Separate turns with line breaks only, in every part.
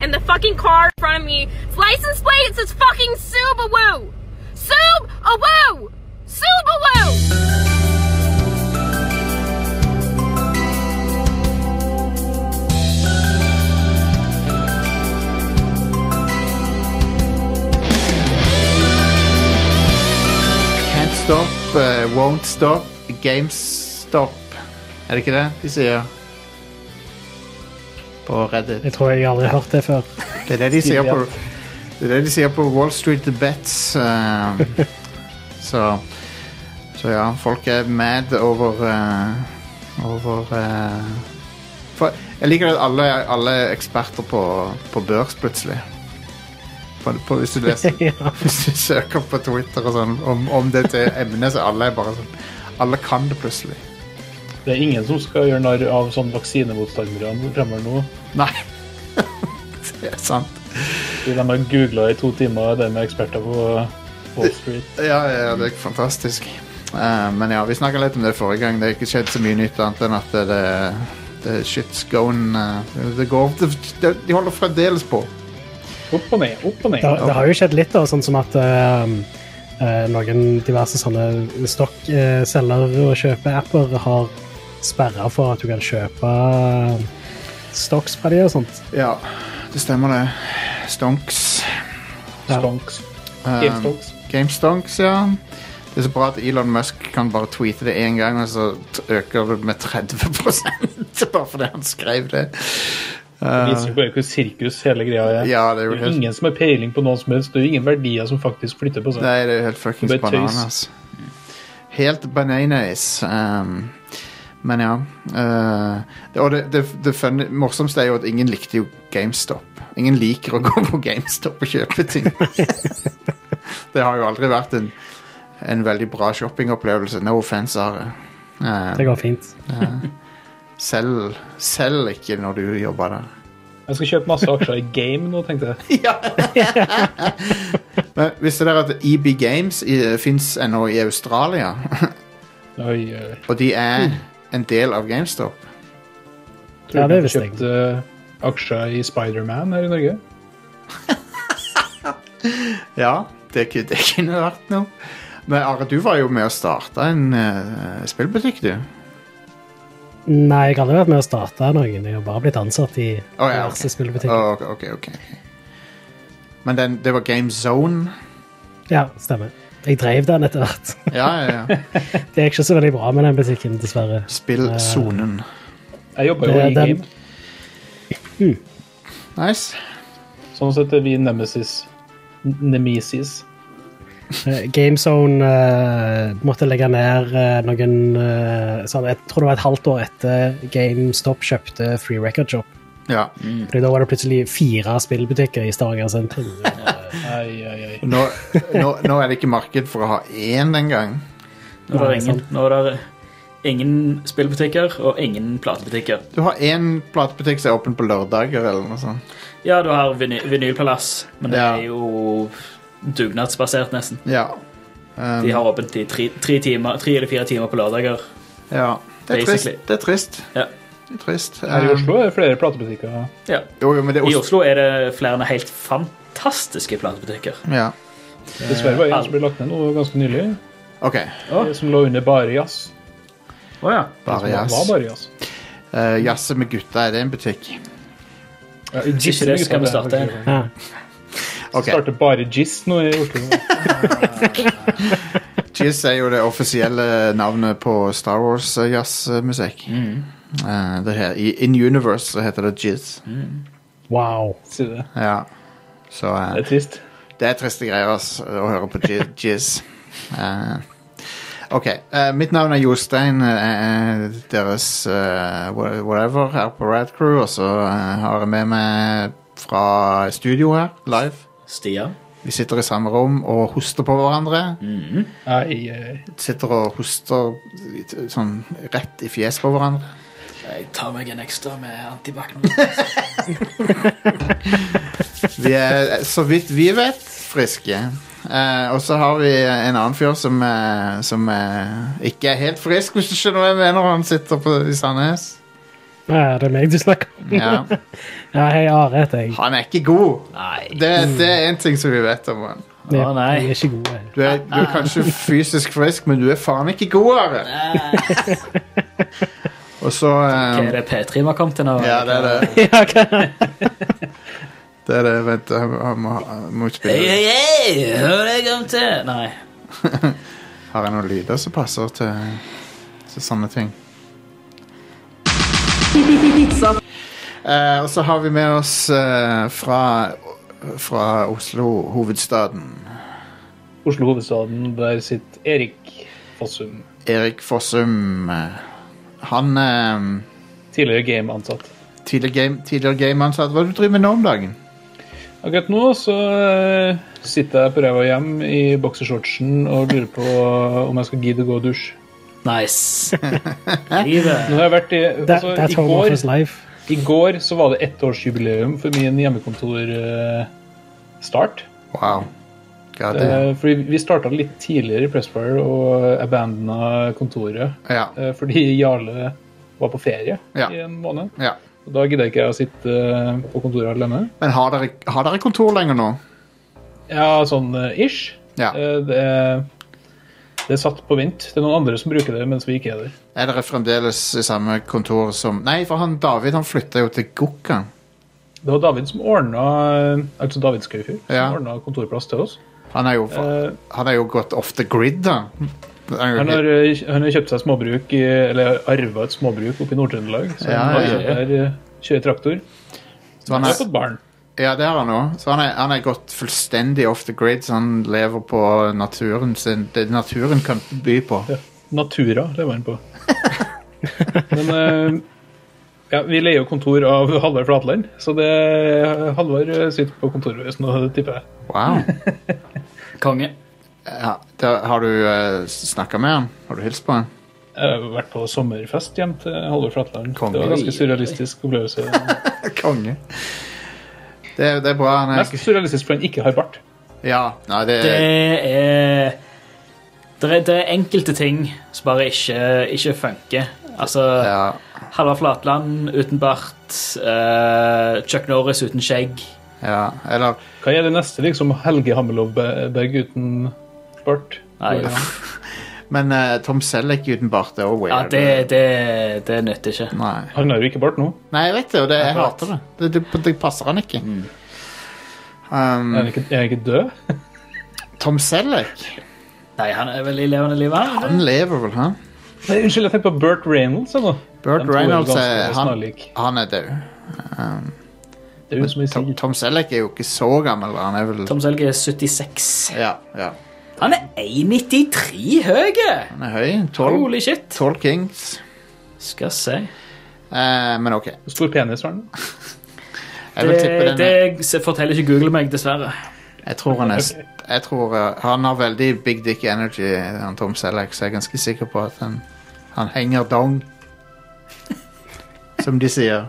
and the fucking car in front of me, its license plate it says fucking Subaru. Subaru. Subaru.
Can't stop, eh, won't stop, GameStop. Er det ikke det de sier? På Reddit.
Jeg tror jeg aldri har hørt det før.
Det er det de sier på, det er det de sier på Wall Street Bets. eh, så, så ja, folk er mad over eh, Over eh, for, Jeg liker at alle, alle er eksperter på, på børs plutselig. På, på, hvis, du leser,
ja.
hvis du søker på Twitter og sånn om, om det til emnet, så alle er bare sånn Alle kan det plutselig.
Det er ingen som skal gjøre narr av sånn vaksinemotstandere fremover nå.
Nei. det er sant.
Fordi de har googla i to timer, det med eksperter på Wall Street.
Ja, ja, det er fantastisk. Eh, men ja, vi snakka litt om det forrige gang. Det har ikke skjedd så mye nytt annet enn at det, det shit's going eh, Det går det, det, De holder fremdeles på.
Opp og ned, opp og ned.
Det, det har jo skjedd litt, da, sånn som at ehm, eh, noen diverse sånne stokkselger- og kjøpeapper har sperra for at du kan kjøpe ehm, stocks fra de og sånt.
Ja, det stemmer det. Stonks.
Ja.
Stonks.
Eh,
GameStonks.
GameStonks, ja. Det er så bra at Elon Musk kan bare tweete det én gang, og så t- øker det med 30 bare fordi han skrev det.
Det
Eh,
viser jo bare hvor sirkus hele greia er.
ja, det er
Det
jo
er jo
helt
ingen som har peiling på noen som helst. Det er jo ingen verdier som faktisk flytter på seg.
Nei, det er jo helt fuckings
Det er bare tøys.
bananas. Helt bananas. ehm, men ja. eh, det- og det, det, det funny, morsomste er jo at ingen likte jo GameStop. Ingen liker å gå på GameStop og kjøpe ting. det har jo aldri vært en, en veldig bra shoppingopplevelse. No offense, Are. Eh,
Det går fint.
selv, selv ikke når du jobber der.
Jeg skal kjøpe masse aksjer i Game nå, tenkte jeg.
Men visste dere at EB Games fins ennå i Australia?
Oi, oi.
og de er en del av GameStop.
Tror
Ja,
du
det
jeg
visste jeg.
kjøpte eh, aksjer i Spiderman her i Norge?
Ja, det, ku- det kunne vært noe. Men Are, du var jo med å starte en eh, spillbutikk, du.
Nei, jeg har aldri vært med å starte noen. Jeg har bare blitt ansatt i
Å, ja,
diverse
ok.
spillbutikker.
Å, ok, ok, ok. Men den, det var Game Zone?
Ja, stemmer. Jeg drev den etter hvert.
Ja, ja, ja.
Det gikk ikke så veldig bra med den butikken, dessverre.
Spillsonen.
Jeg jobba jo
Det-
i
den-
Game.
Nice.
Sånn sett er vi Nemesis. N- Nemesis.
Eh, GameZone eh, måtte legge ned eh, noen eh, sånn, Jeg tror det var et halvt år etter GameStop kjøpte Free Record Shop.
Ja.
Fordi Da var det plutselig fire spillbutikker i Stavanger sentrum.
Ai, ai, ai.
Nå, nå, nå er det ikke marked for å ha én engang.
Nå er
Nei,
det ingen, nå er det ingen spillbutikker og ingen platebutikker.
Du har én platebutikk som er åpen på lørdager, eller noe sånt.
Ja, du har vinyl, Vinylpalass, men det
Ja.
er jo dugnadsbasert, nesten.
Ja. Um,
De har åpent i tre, tre, timer, tre eller fire timer på lørdager.
ja. Det er trist.
Basically.
Det er trist.
Ja.
Det er trist.
Her i
Um,
Oslo er det flere platebutikker.
Ja.
jo, jo, men det er
I
Oslo.
Oslo er det flere enn helt fantastiske platebutikker.
Ja.
Dessverre var det en
Eh,
som ble lagt ned nå ganske nylig,
OK.
eh, som lå under bare jazz.
Oh, ja.
Bare
Som
jazz.
Var bare jazz.
Eh, Jazze med gutta, er det en butikk?
Ja, i
Hvis ikke det, så kan vi starte en.
Ja.
Ok.
Starte bare jizz nå i Oslo.
Jizz er jo det offisielle navnet på Star eh, Wars-jazzmusikk.
Mm.
Eh, In Universe så heter det Jizz.
Mm.
Wow.
Si det.
Ja. Så eh,
Det er trist.
det er triste greier ass, å høre på ji- Jizz. Eh, OK. eh, mitt navn er Jostein. eh, eh, deres eh, wha- whatever her på Rad Crew. Og så eh, har jeg med meg fra studio her, live.
Stian.
Vi sitter i samme rom og hoster på hverandre.
Ai, ai.
Sitter og hoster eh, sånn rett i fjeset på hverandre.
Jeg tar meg en ekstra med antibac.
Vi er, så vidt vi vet, friske. Eh, og så har vi en annen fyr som, eh, som eh, ikke er helt frisk, hvis du skjønner hva jeg mener. Han sitter på, i Sandnes.
Nei, det er meg du snakker om.
Ja.
Ja, hei, Are heter jeg.
Han er ikke god.
Nei.
Det, det er én ting som vi vet om han.
Å, nei.
Jeg er ikke god. jeg.
Du er, du er kanskje fysisk frisk, men du er faen ikke god, Are.
Hva
Og så eh,
er det P3 vi har kommet til nå?
Ja, det er det.
Ja, hva?
det, er det. Vent, han han må, han må
Hei,
spille.
hei, hei! Hør det jeg kom til! Nei.
Har jeg noen lyder som passer til, til sånne ting? Eh, og så har vi med oss eh, fra, fra Oslo, hovedstaden,
Oslo hovedstaden, der sitter Erik Fossum.
Erik Fossum. eh, Han eh,
Tidligere game-ansatt.
tidligere game- tidligere game-ansatt. Hva er det du driver med nå om dagen?
Akkurat nå så eh, sitter jeg på ræva hjem i boksershortsen og lurer på om jeg skal gidde å gå og dusje.
Nice. Livet.
Nå har jeg vært i,
That,
altså,
that's
i,
home
går,
office life.
I går så var det ettårsjubileum for min eh, hjemmekontorstart.
Wow. God, det,
Eh, fordi vi starta litt tidligere i Pressfire og abandona kontoret
ja,
eh, fordi Jarle var på ferie
Ja.
i en måned.
ja.
Og da gidder ikke jeg å sitte eh, på kontoret alene.
Men har dere, har dere kontor lenger nå?
Ja, sånn eh, ish.
Ja.
Eh, Det, er- det er satt på vent. Det er noen andre som bruker det mens vi ikke er der.
Er dere fremdeles i samme kontor som Nei, for han David han flytta jo til Gokkan.
Det var David som ordna altså David Skaufjord, som
Ja.
ordna kontorplass til oss.
Han er jo,
Eh,
han er jo gått off the grid, da. Han
Han
er jo,
har, eh, han har kjøpt seg småbruk, i, eller arva et småbruk oppe i Nord-Trøndelag. Så
Ja,
han
ja,
ja.
er der, eh, kjører traktor.
så han
Han har
er,
fått barn.
ja, det har han òg. Så han er, han er gått fullstendig off the grid, så han lever på naturen sin. Det naturen kan by på.
Natura lever han på. Men eh, ja, vi leier jo kontor av Halvard Flatland, så det Halvard eh, sitter på kontoret vårt nå, tipper jeg.
Wow.
Konge.
Ja, da, har du uh, snakka med han? Har du hilst på han?
Jeg har vært på sommerfest hjem til Halvor Flatland.
Konge.
Det var en ganske surrealistisk opplevelse.
Konge. Det, er- det er bra. Han
Mest
er,
surrealistisk fordi han ikke har bart.
ja, nei, det,
Det
Eh,
er det er, det er enkelte ting som bare ikke, ikke funker. Altså
ja,
Halvard Flatland uten bart, eh, Chuck Norris uten skjegg.
ja. Eller
Hva er det neste, liksom? Helge Hammerlov-Berg uten bart?
Nei,
Ja.
Men eh, Tom Selleck uten bart er også weird.
ja, det, det, det nytter ikke.
Nei.
Han har jo ikke bart nå.
Nei, jeg vet det, og det, jeg
Akkurat.
hater det. Det, det. det passer han ikke. Um,
Er han ikke, er han ikke død?
Tom Selleck,
Nei, han er vel i levende liv, han?
han lever vel, han?
Nei, unnskyld, jeg tenkte på Burt Reynolds. jeg, nå.
Burt
De to er jo
Reynolds
ganske
er han,
snarlik.
han er død.
Det er jo som jeg
Tom,
sier.
Tom Selleck er jo ikke så gammel. Han er vel
Tom Selge er 76.
Ja, ja.
Han er 1,93 høy!
Han er høy. Tolv
Holy shit.
kings.
Skal se.
Eh, men OK.
Stor penis har han.
Jeg vil tippe
Det,
den er-
det s- forteller ikke Google meg, dessverre.
Jeg tror han er s- jeg tror, eh, Han har veldig big dick energy, han Tom Selleck, så jeg er ganske sikker på at han, han henger dong. Som de sier.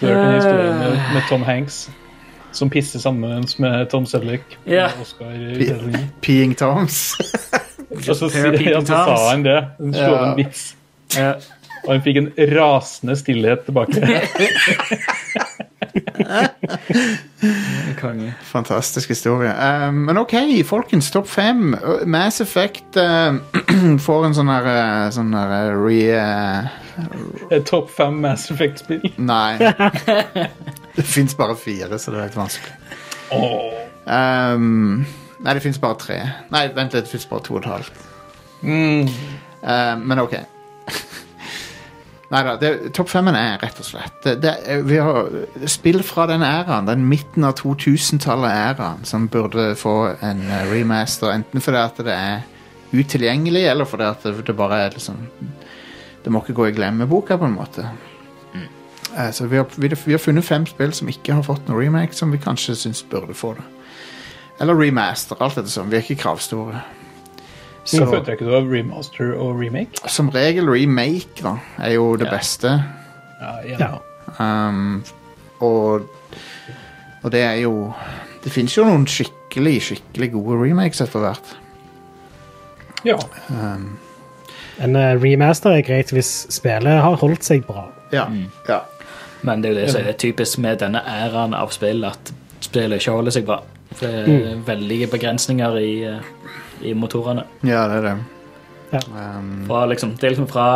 Du hørte den historien med,
Eh.
med Tom Hanks, som pisser sammen med Tom Selleck. på
Ja.
Oscar-utdelingen.
Peeing Toms.
Og så,
pair of
sier- ja, så sa
peaking
han det. Han slo
Ja.
av en vits.
Ja.
Og han fikk en rasende stillhet tilbake.
Konge.
Fantastisk historie. Eh, men OK, folkens. Topp fem. Eh, Mass Effect eh, får en sånn her eh, Sånn her eh, re... eh,
Topp fem Mass Effect-spill.
nei. det fins bare fire, så det er litt vanskelig.
Åh.
Ehm, nei, det fins bare tre. Nei, vent litt, det fins bare to og et halvt.
Mm.
Ehm, men OK. Nei da. det- Topp femmen er rett og slett det, det, er- vi har Spill fra den æraen, den midten av 2000-tallet-æraen, som burde få en eh, remaster, enten fordi at det er utilgjengelig, eller fordi at det, det bare er liksom Det må ikke gå i glemmeboka, på en måte. Eh, Så vi har, vi, vi har funnet fem spill som ikke har fått noen remake, som vi kanskje syns burde få det. Eller remaster, alt etter som. Vi er ikke kravstore. Så-
Nå følte jeg ikke du var remaster og remake.
som regel remake da, er jo det
Ja.
beste.
Ja,
Ja.
Um, og, og det er jo Det finnes jo noen skikkelig skikkelig gode remakes etter hvert.
ja.
En eh, remaster er greit hvis spillet har holdt seg bra.
Ja. ja.
Men det er jo det som er typisk med denne æraen av spill, at spillet ikke holder seg bra. For Det er veldige begrensninger i, eh, i motorene.
Ja, det er det.
Ja.
Um,
Fra, liksom, det er liksom fra,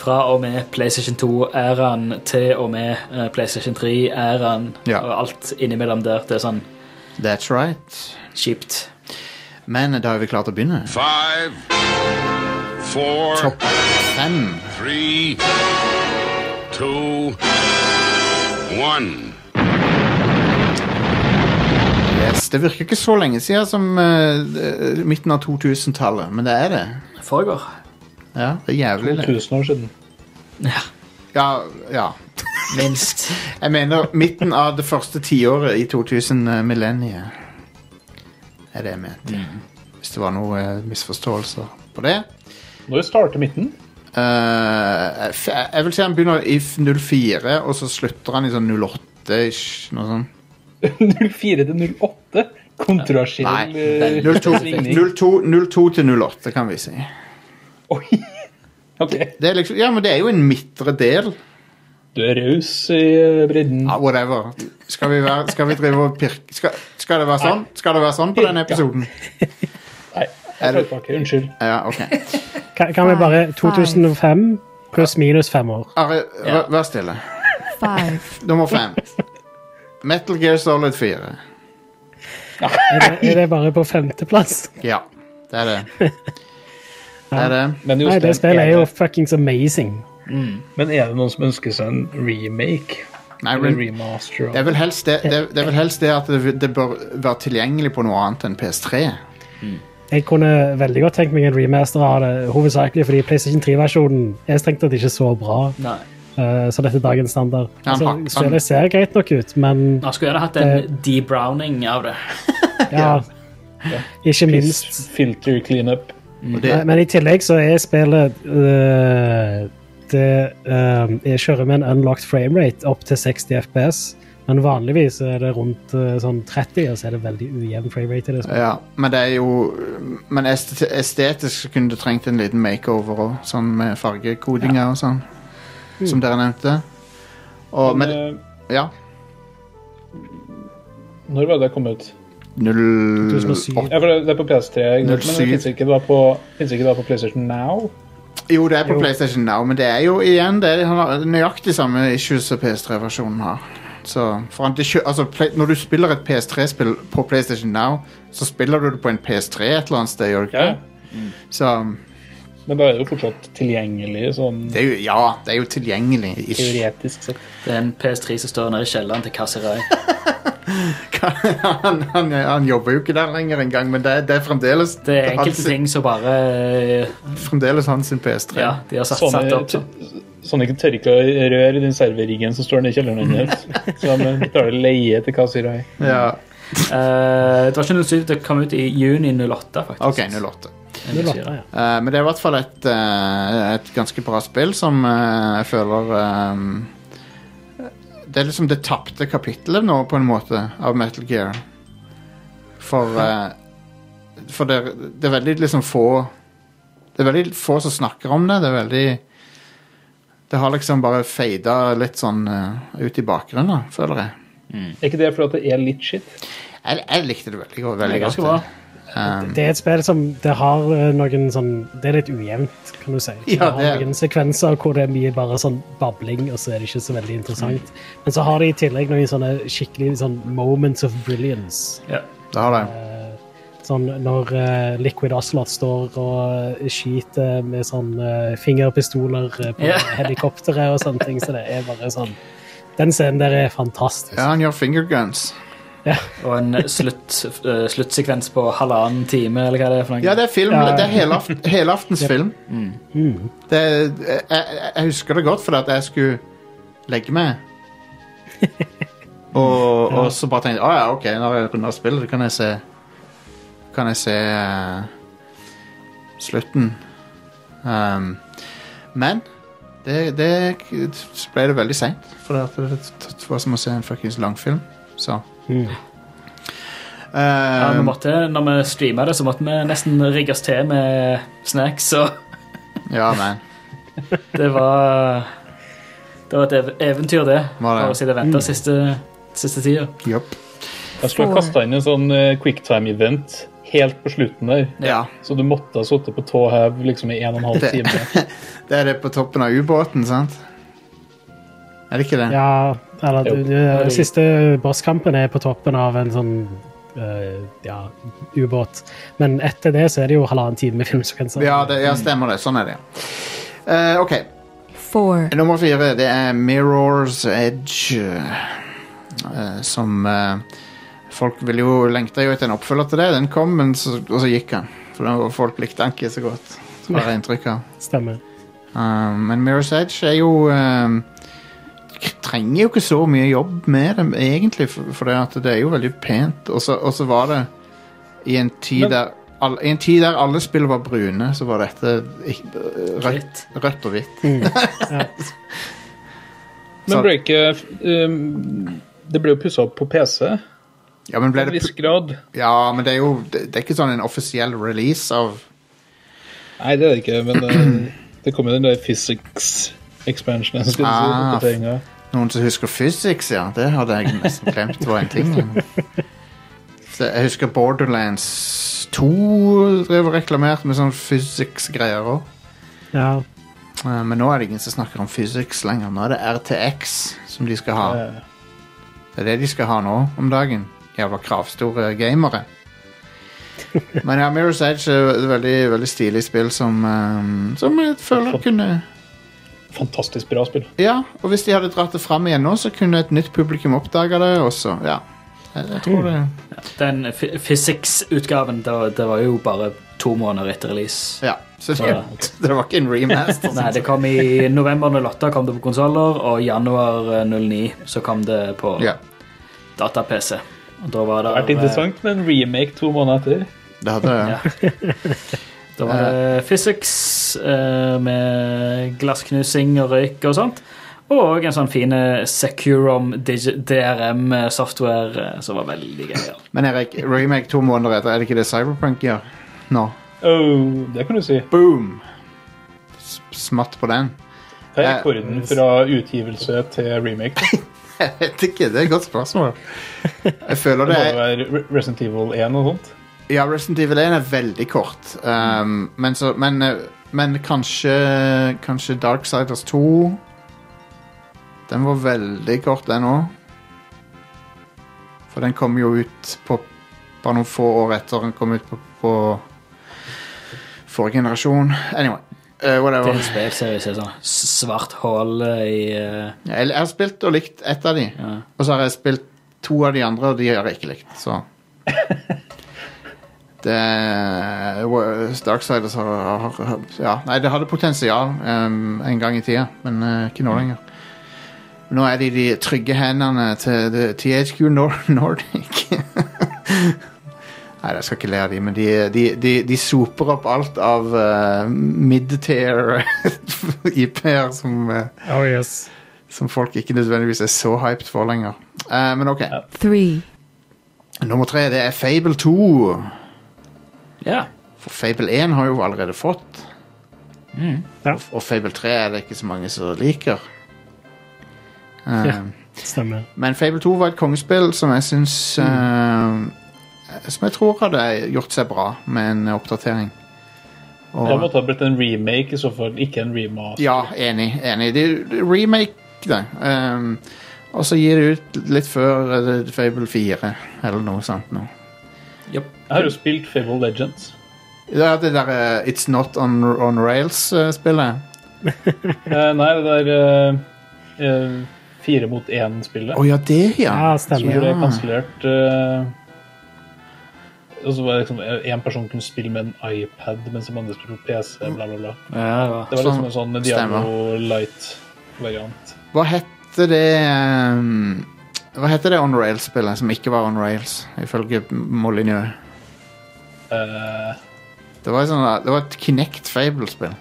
fra og med PlayStation 2-æraen til og med eh, PlayStation 3-æraen
Ja.
og alt innimellom der. Det er sånn
that's right.
kjipt.
Men da har vi klart å begynne.
Five, four,
Topp fem.
three, two, one.
Yes. Det virker ikke så lenge siden som eh, det- midten av 2000-tallet, men det er det.
Foregår.
Ja, det er jævlig lenge.
1000 år siden.
Ja,
Ja, ja.
minst.
Jeg mener midten av det første tiåret i 2000-millenniet. Er det jeg mente. Hvis det var noen eh, misforståelser på det.
Når starter midten?
Eh, f- jeg vil si han begynner i f- 04, og så slutter han i sånn 08-ish. Noe sånt.
04 til 08? Kontrasiell
Nei,
eh,
02,
svingning.
02, 02 til 08, kan vi si.
Oi. OK.
Det er liksom, ja, men det er jo en midtre del.
Du er raus i eh, bredden.
Ja, whatever. Skal vi, være, skal vi drive og pirke skal, skal det være sånn? Skal det være sånn på denne episoden?
Nei,
Er
jeg
det-
tar tilbake. Unnskyld.
Ja, ok.
Kan, kan vi bare 2005 pluss minus fem år?
Are, vær- vær stille.
Five.
Nummer fem. Metal Gear Solid 4.
Er det, er det bare på femteplass?
Ja, det er det. Det er det.
Men,
Nei,
Jostein,
det spillet er
er
jo
det-
fuckings amazing.
men er det noen som ønsker seg en remake?
Nei,
Eller
men
remaster?
det er vel helst det, det, det, er vel helst det at det, det bør være tilgjengelig på noe annet enn PS3.
Jeg kunne veldig godt tenkt meg en remaster av det, hovedsakelig fordi PlayStation 3-versjonen er strengt tatt ikke så bra.
Nei.
eh, så dette er dagens standard.
Ja,
Altså,
han- han-
spillet ser greit nok ut, men
Nå skulle jeg gjerne hatt en debrowning av det.
ja Ikke minst.
Filter cleanup.
Og
Nei,
det,
Men i tillegg så er spillet øh, Det øh, jeg kjører med en unlocked framerate opp til 60 FPS. Men vanligvis er det rundt øh, sånn 30, og så er det veldig ujevn framerate i det spillet.
ja, men det er jo Men est- estetisk så kunne du trengt en liten makeover òg, sånn med fargekodinger og sånn, som dere nevnte. Og, men
Men,
ja
eh, når var det kom ut?
08
Ja, for det det er på PS3. ikke
07.
sant? Men det finnes ikke da på, finnes ikke da på PlayStation Now?
Jo, det er på PlayStation Now, men det er jo igjen det er, han har nøyaktig samme issues som PS3-versjonen har. Så for han, det, kjø- altså, play, Når du spiller et PS3-spill på PlayStation Now, så spiller du det på en PS3 et eller annet sted. Gjør du ikke?
Ja.
Så
Men da er det jo fortsatt tilgjengelig sånn
det er jo, ja, det er jo tilgjengelig. Ish.
teoretisk sett.
Det er en PS3 som står nede i kjelleren til Kasserai.
Han, han, han jobber jo ikke der lenger engang, men det, er- det er fremdeles
Det er enkelte
hans,
ting som bare eh,
fremdeles hans sin PS3.
Ja, de har satt,
Sånne,
satt opp sånn.
sånne tørka rør i den serverriggen som står nede i kjelleren hennes. Så de betaler leie til Kasirai.
Ja,
Eh, det var ikke 07, det kom ut i juni 08, faktisk.
OK, 08.
Jeg vil si det.
Eh, men det er i hvert fall et, eh, et ganske bra spill som eh, jeg føler eh, Det er liksom det tapte kapitlet nå, på en måte, av Metal Gear. For eh, For det, er- det er veldig liksom få Det er veldig få som snakker om det. Det er veldig Det har liksom bare fada litt sånn eh, ut i bakgrunnen, da, føler jeg.
Er ikke det fordi det er litt shit?
Jeg, jeg likte det veldig, godt-
Det
veldig
er
godt.
ganske bra.
Det er et spill som det har øh, noen sånn Det er litt ujevnt, kan du si. Det
Ja,
har
det er-
noen sekvenser hvor det er mye bare sånn babling, og så er det ikke så veldig
Mm.
interessant. Men så har de i tillegg noen sånne skikkelig sånn moments of brilliance.
Ja.
Det har det.
Sånn når eh, Liquid Ocelot står og eh, skyter med sånn eh, fingerpistoler eh, på
Ja.
helikopteret og sånne ting, så det er bare sånn Den scenen der er fantastisk.
Ja, han gjør fingerguns.
Og en slutt, eh, sluttsekvens på halvannen time, eller hva det er for noe.
Ja, det er film.
Ja, ja.
Det er helaft, helaftens film. Det, jeg, jeg- jeg husker det godt, fordi at jeg skulle legge meg. Og, og så bare tenkte jeg, «Å ja, ok, når jeg runder spillet, så kan jeg se Kan jeg se eh, slutten. Um, men det, det så ble det veldig seint, for det, at det var som å se en fuckings langfilm. Så
Mm.
Ja, vi
um,
måtte, når vi streama det, så måtte vi nesten rigge oss til med snacks og
Ja, man.
Det var Det var et ev- eventyr, det.
Var det?
Bare siden jeg venta siste, siste tida.
Jopp.
Jeg skulle ha kasta inn en sånn eh, quicktime-event helt på slutten der.
Ja.
Så du måtte ha sittet på tå hev liksom i en og en halv
Det-
time.
Det er det på toppen av ubåten, sant? Er det ikke det?
Ja, eller
Jo.
det- det- siste bosskampen er på toppen av en sånn eh, ja, ubåt. Men etter det så er det jo halvannen time med film. Så kan jeg si.
Ja, det, ja stemmer det. Sånn er det. ja. Eh, OK.
Four.
Nummer fire, det er Mirror's Edge. eh, som eh, Folk ville jo lengta jo etter en oppfølger til det. Den kom, men så, og så gikk den. For da- folk likte den ikke så godt. Så har jeg inntrykk av.
Stemmer.
Um, men Mirror's Edge er jo um, k- Trenger jo ikke så mye jobb med dem, egentlig, for, for det, at det er jo veldig pent. Og så og så var det i en tid
Men-
der all, I en tid der alle spill var brune, så var dette ikk- rødt,
Dritt.
rødt og hvitt. Så-
Men ble ikke ehm, Det ble jo pussa opp på PC til
Ja, men, ble
en
det,
viss
pu-
grad.
ja, men det er jo det, det er ikke sånn en offisiell release av
Nei, det er det ikke, men det, det kom jo den der physics expansionen. skulle jeg si,
Ah,
oppdateringen.
Noen som husker physics, ja. Det hadde jeg nesten glemt var en ting. Så jeg husker Borderlands 2 drev og reklamerte med sånn physics-greier òg.
Ja.
Eh, Men nå er det ingen som snakker om physics lenger. Nå er det RTX som de skal ha.
Eh,
Det er det de skal ha nå om dagen. Jævla kravstore gamere. Men ja, Mirror's Edge er et veldig, veldig stilig spill som, eh, som jeg føler kunne
Fantastisk bra spill.
Ja, og hvis de hadde dratt det fram igjen nå, så kunne et nytt publikum oppdaga det også. Ja. Jeg, jeg tror det
Den phy- physics-utgaven, det, var- det var jo bare to måneder etter release.
Ja. Så det, det var ikke en remaster.
Nei, det kom i november 08 kom det på konsoller, og januar eh, 09 så kom det på
Ja,
data-PC. Og da var det,
Det
eh,
har vært interessant med en remake to måneder etter.
det hadde
Ja. Da var det physics eh, med glassknusing og røyk og sånt. Og en sånn fin Securom DRM-software eh, som var veldig gøy. ja.
Men Erik, remake to måneder etter, er det ikke det Cyberpunk gjør nå?
Oh, det kan du si.
Boom! S- Smatt på den.
Det er rekorden fra utgivelse til remake. da.
Jeg vet ikke, det er et godt spørsmål. Jeg føler
Det
det
må
er
jo være Re- Resident Evil 1 og sånt.
Ja, Resident Evil 1 er veldig kort. Um, men, så, men, eh, men kanskje Kanskje Darksiders 2 Den var veldig kort, den òg. For den kom jo ut på bare noen få år etter den kom ut på, på forrige generasjon. Anyway. eh,
Det er
whatever.
en spilserie som er sånn s- svart hull i eh,
Jeg, jeg har spilt og likt ett av de.
ja.
Og så har jeg spilt to av de andre, og de har jeg ikke likt, så Det eh, Darksiders har, har, har Ja, nei, det hadde potensial em, en gang i tida, men eh, ikke nå lenger. Nå er de de trygge hendene til det- THQ Nor Nordic. Nei, jeg skal ikke le av de, men de, de, de, de soper opp alt av eh, mid-tier IP-er som eh,
Oh yes.
som folk ikke nødvendigvis er så hyped for lenger. Eh, men ok.
Three.
Nummer tre, det er Fable 2.
ja.
For Fable 1 har jo allerede fått.
Mm, Ja.
Og, og Fable 3 er det ikke så mange som liker. Eh,
Ja. Stemmer.
Men Fable 2 var et kongespill som jeg syns
Mm.
eh, Som jeg tror hadde gjort seg bra med en oppdatering. Og-
Det måtte ha blitt en remake i så fall, ikke en remaster.
Ja, enig. enig. Det er jo remake, det. Ehm, og så gir det ut litt før eh, Fable 4, eller noe sånt. Nå.
Japp.
Jeg har jo spilt Fable Legends.
Det er det der eh, It's Not On, on Rails-spillet.
Eh, nei, det der eh, eh, fire mot én-spillet.
Å ja, det, ja.
Ja,
som
stemmer.
ble
ja.
kansellert. eh, og så var det liksom én person kunne spille med en iPad, mens de andre spilte på PC. Bla, bla, bla.
Ja, det var.
Det var liksom en
Sånn,
sånn Diablo Light-variant.
Hva hette det ehm, Hva hette det On Rails-spillet som ikke var On Rails, ifølge Molyneux?
Eh,
Det var, et sånn- det var et Kinect Fable-spill.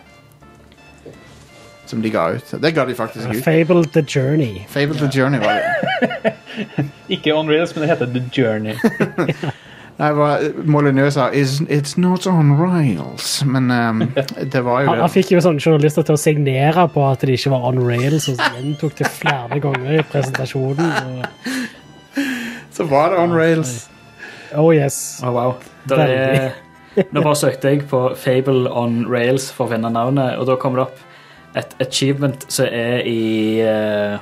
Som de ga ut. Det ga de faktisk ut.
Fable The Journey.
Fable to Journey var det.
ikke On Rails, men det heter The Journey.
Nei, hva Molyneux sa is, It's not on rails. Men ehm, det var jo
Han, han
det.
fikk jo sånne journalister til å signere på at de ikke var on rails, og så gjentok det flere ganger i presentasjonen. Og,
Så var det on rails.
oh yes.
Å, wow. Der er, nå bare søkte jeg på Fable on Rails for å finne navnet, og da kommer det opp et achievement som er i eh,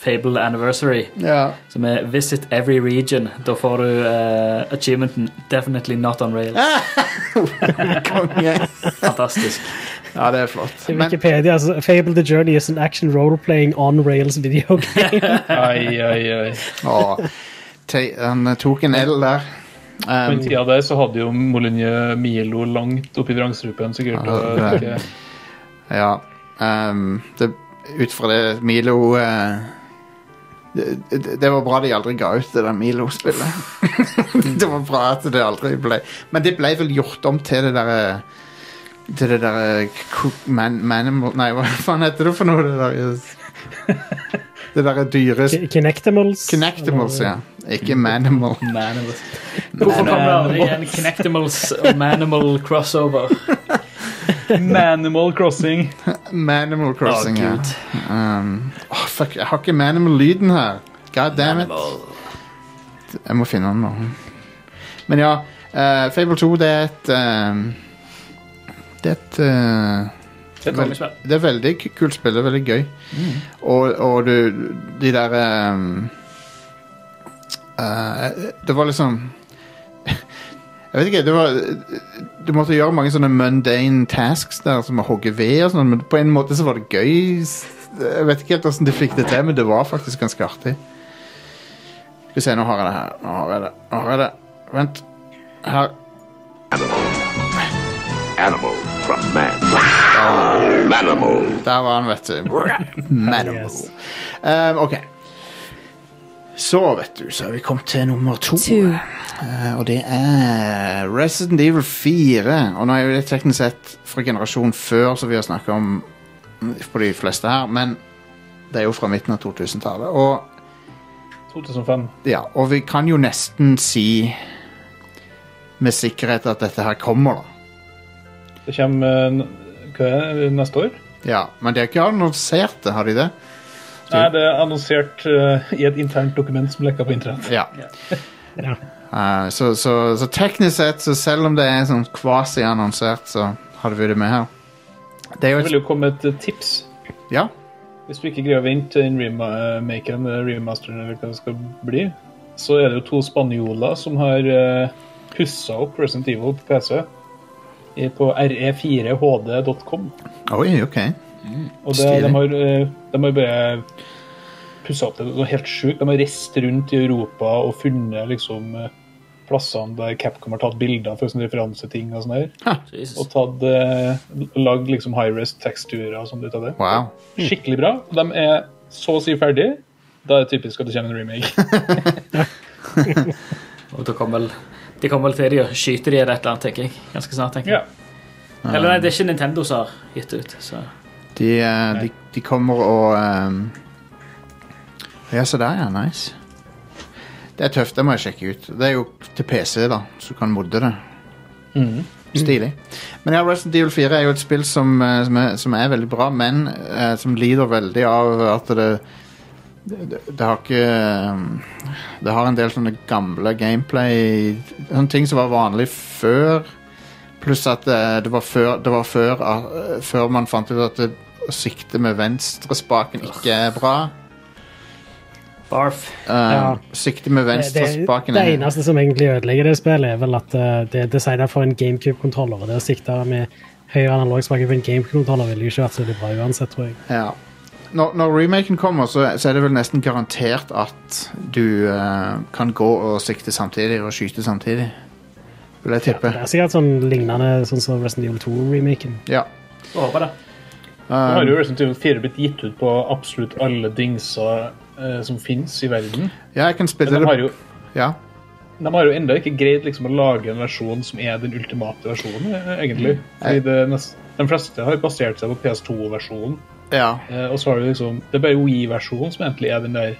Fable Anniversary,
Ja.
som er Visit Every Region. Da får du eh, achievementen Definitely Not on Rails.
Ah! Konge.
Fantastisk.
Ja, det er flott. Men
Wikipedia, altså, Fable the Journey is an action role-playing on rails video game.
Ai, ai, ai.
å, te, han tok en L der.
På den
Ehm,
tida der så hadde jo Molyneux Milo langt oppi vrangstrupen, sikkert. Og,
Ja, det
ikke,
ja. ehm, det, ut fra det Milo eh, det, det, det var bra de aldri ga ut det der Milo-spillet. det var bra at det aldri ble Men det ble vel gjort om til det derre Til det derre Cook- man, Manimal Nei, hva faen heter det for noe? Det derre Det derre dyre
Ki- Kinectimals.
Connectimals, ja. Ikke Manimal.
Manimals. Hvorfor kom det aldri en Connectimals og Manimal crossover?
Manimal Crossing.
Manimal Crossing, ja. Um, åh, fuck, jeg har ikke Manimal-lyden her. God damn it. Jeg må finne den nå. Men ja, eh, Fable 2 det er et eh, Det er et eh,
Det er
vel- det er veldig k- kult spill. Det er veldig gøy.
Mm.
Og, og du De der ehm, eh, Det var liksom Jeg vet ikke. Det var Du måtte gjøre mange sånne mundane tasks der, som å hogge ved og sånn, men på en måte så var det gøy. Jeg vet ikke helt åssen de fikk det til, men det var faktisk ganske artig. Skal vi se, nå har jeg det her. Nå har jeg det. Nå har jeg det. Vent. Her.
Animal from man. Manimal.
Der var han, vet du. Manimal.
Yes.
Ehm, ok. Så, vet du, så er vi kommet til nummer to.
Two.
Eh, og det er Resident Evil 4. Og nå er jo det teknisk sett fra generasjon før, som vi har snakka om på de fleste her, men det er jo fra midten av 2000-tallet. Og
2005.
ja, og vi kan jo nesten si med sikkerhet at dette her kommer, da.
Det kommer eh, n- hva er det, eh, neste år.
Ja, Men de har ikke annonsert det, har de det?
Nei, det er annonsert eh, i et internt dokument som lekker på internett.
Ja.
Ja.
Eh, så, så, så teknisk sett, så selv om det er sånn kvasi-annonsert, så hadde vi det med her. Det er
Det vil
jo et
jo komme et eh, tips
Ja.
Hvis du ikke greier å vente til den remakeren, eh, remasteren, eller hva det skal bli, så er det jo to spanjoler som har uh, pussa opp Resident Evil på PC i- på e re4hd.com.
Oi, OK.
Og det, de,
Stilig.
har, eh, de har bare pussa opp det noe helt sjukt. De har reist rundt i Europa og funnet liksom eh, plassene der Capcom har tatt bilder for sånne referanseting og sånn her. Og
Jesus.
tatt, eh, lagd liksom high-rest teksturer og sånn ut av det.
Wow.
Skikkelig bra. og De er så å si ferdig. Da er det typisk at det kommer en remake.
Og da kommer vel, de kommer vel til de og skyter de eller et eller annet, tenker jeg. Ganske snart, tenker jeg.
Ja.
Eller nei, det er ikke Nintendo som har gitt det ut. Så.
De, eh, de, de kommer og ehm, Ja, se der, ja. Nice. Det er tøft. Det må jeg sjekke ut. Det er jo til PC, da, så du kan modde det. Stilig. Men ja, Resident Evil 4 er jo et spill som, eh, som, er, som er veldig bra, men eh, som lider veldig av at det det, det har ikke eh, Det har en del sånne gamle gameplay Sånne ting som var vanlig før. Pluss at eh, det var før, det var før, eh, før man fant ut at det, å sikte med venstrespaken ikke er bra.
Barf.
Eh, Sikte med
Det, det,
venstrespaken
det eneste som egentlig ødelegger det spillet, er vel at eh, det er designet for en GameCube-kontroller, og det å sikte med høyre analogspake på en GameCube-kontroller ville jo ikke vært så veldig bra uansett, tror jeg.
Ja. Når, når remaken kommer, så, så er det vel nesten garantert at du eh, kan gå og sikte samtidig og skyte samtidig. Vil jeg tippe.
Det er sikkert sånn lignende sånn som Resident Evil 2-remaken.
Ja.
Jeg Håper det.
Um,
Nå har jo liksom Resident Evil 4 blitt gitt ut på absolutt alle dingser eh, som fins i verden.
ja, jeg kan
Men
spille
de har
det.
jo,
Ja.
de har jo enda ikke greid liksom, å lage en versjon som er den ultimate versjonen, eh, egentlig.
Mm.
Fordi det nest, de fleste har basert seg på PS2-versjonen.
ja.
Eh, og så har du liksom Det er bare OI-versjonen som egentlig er den der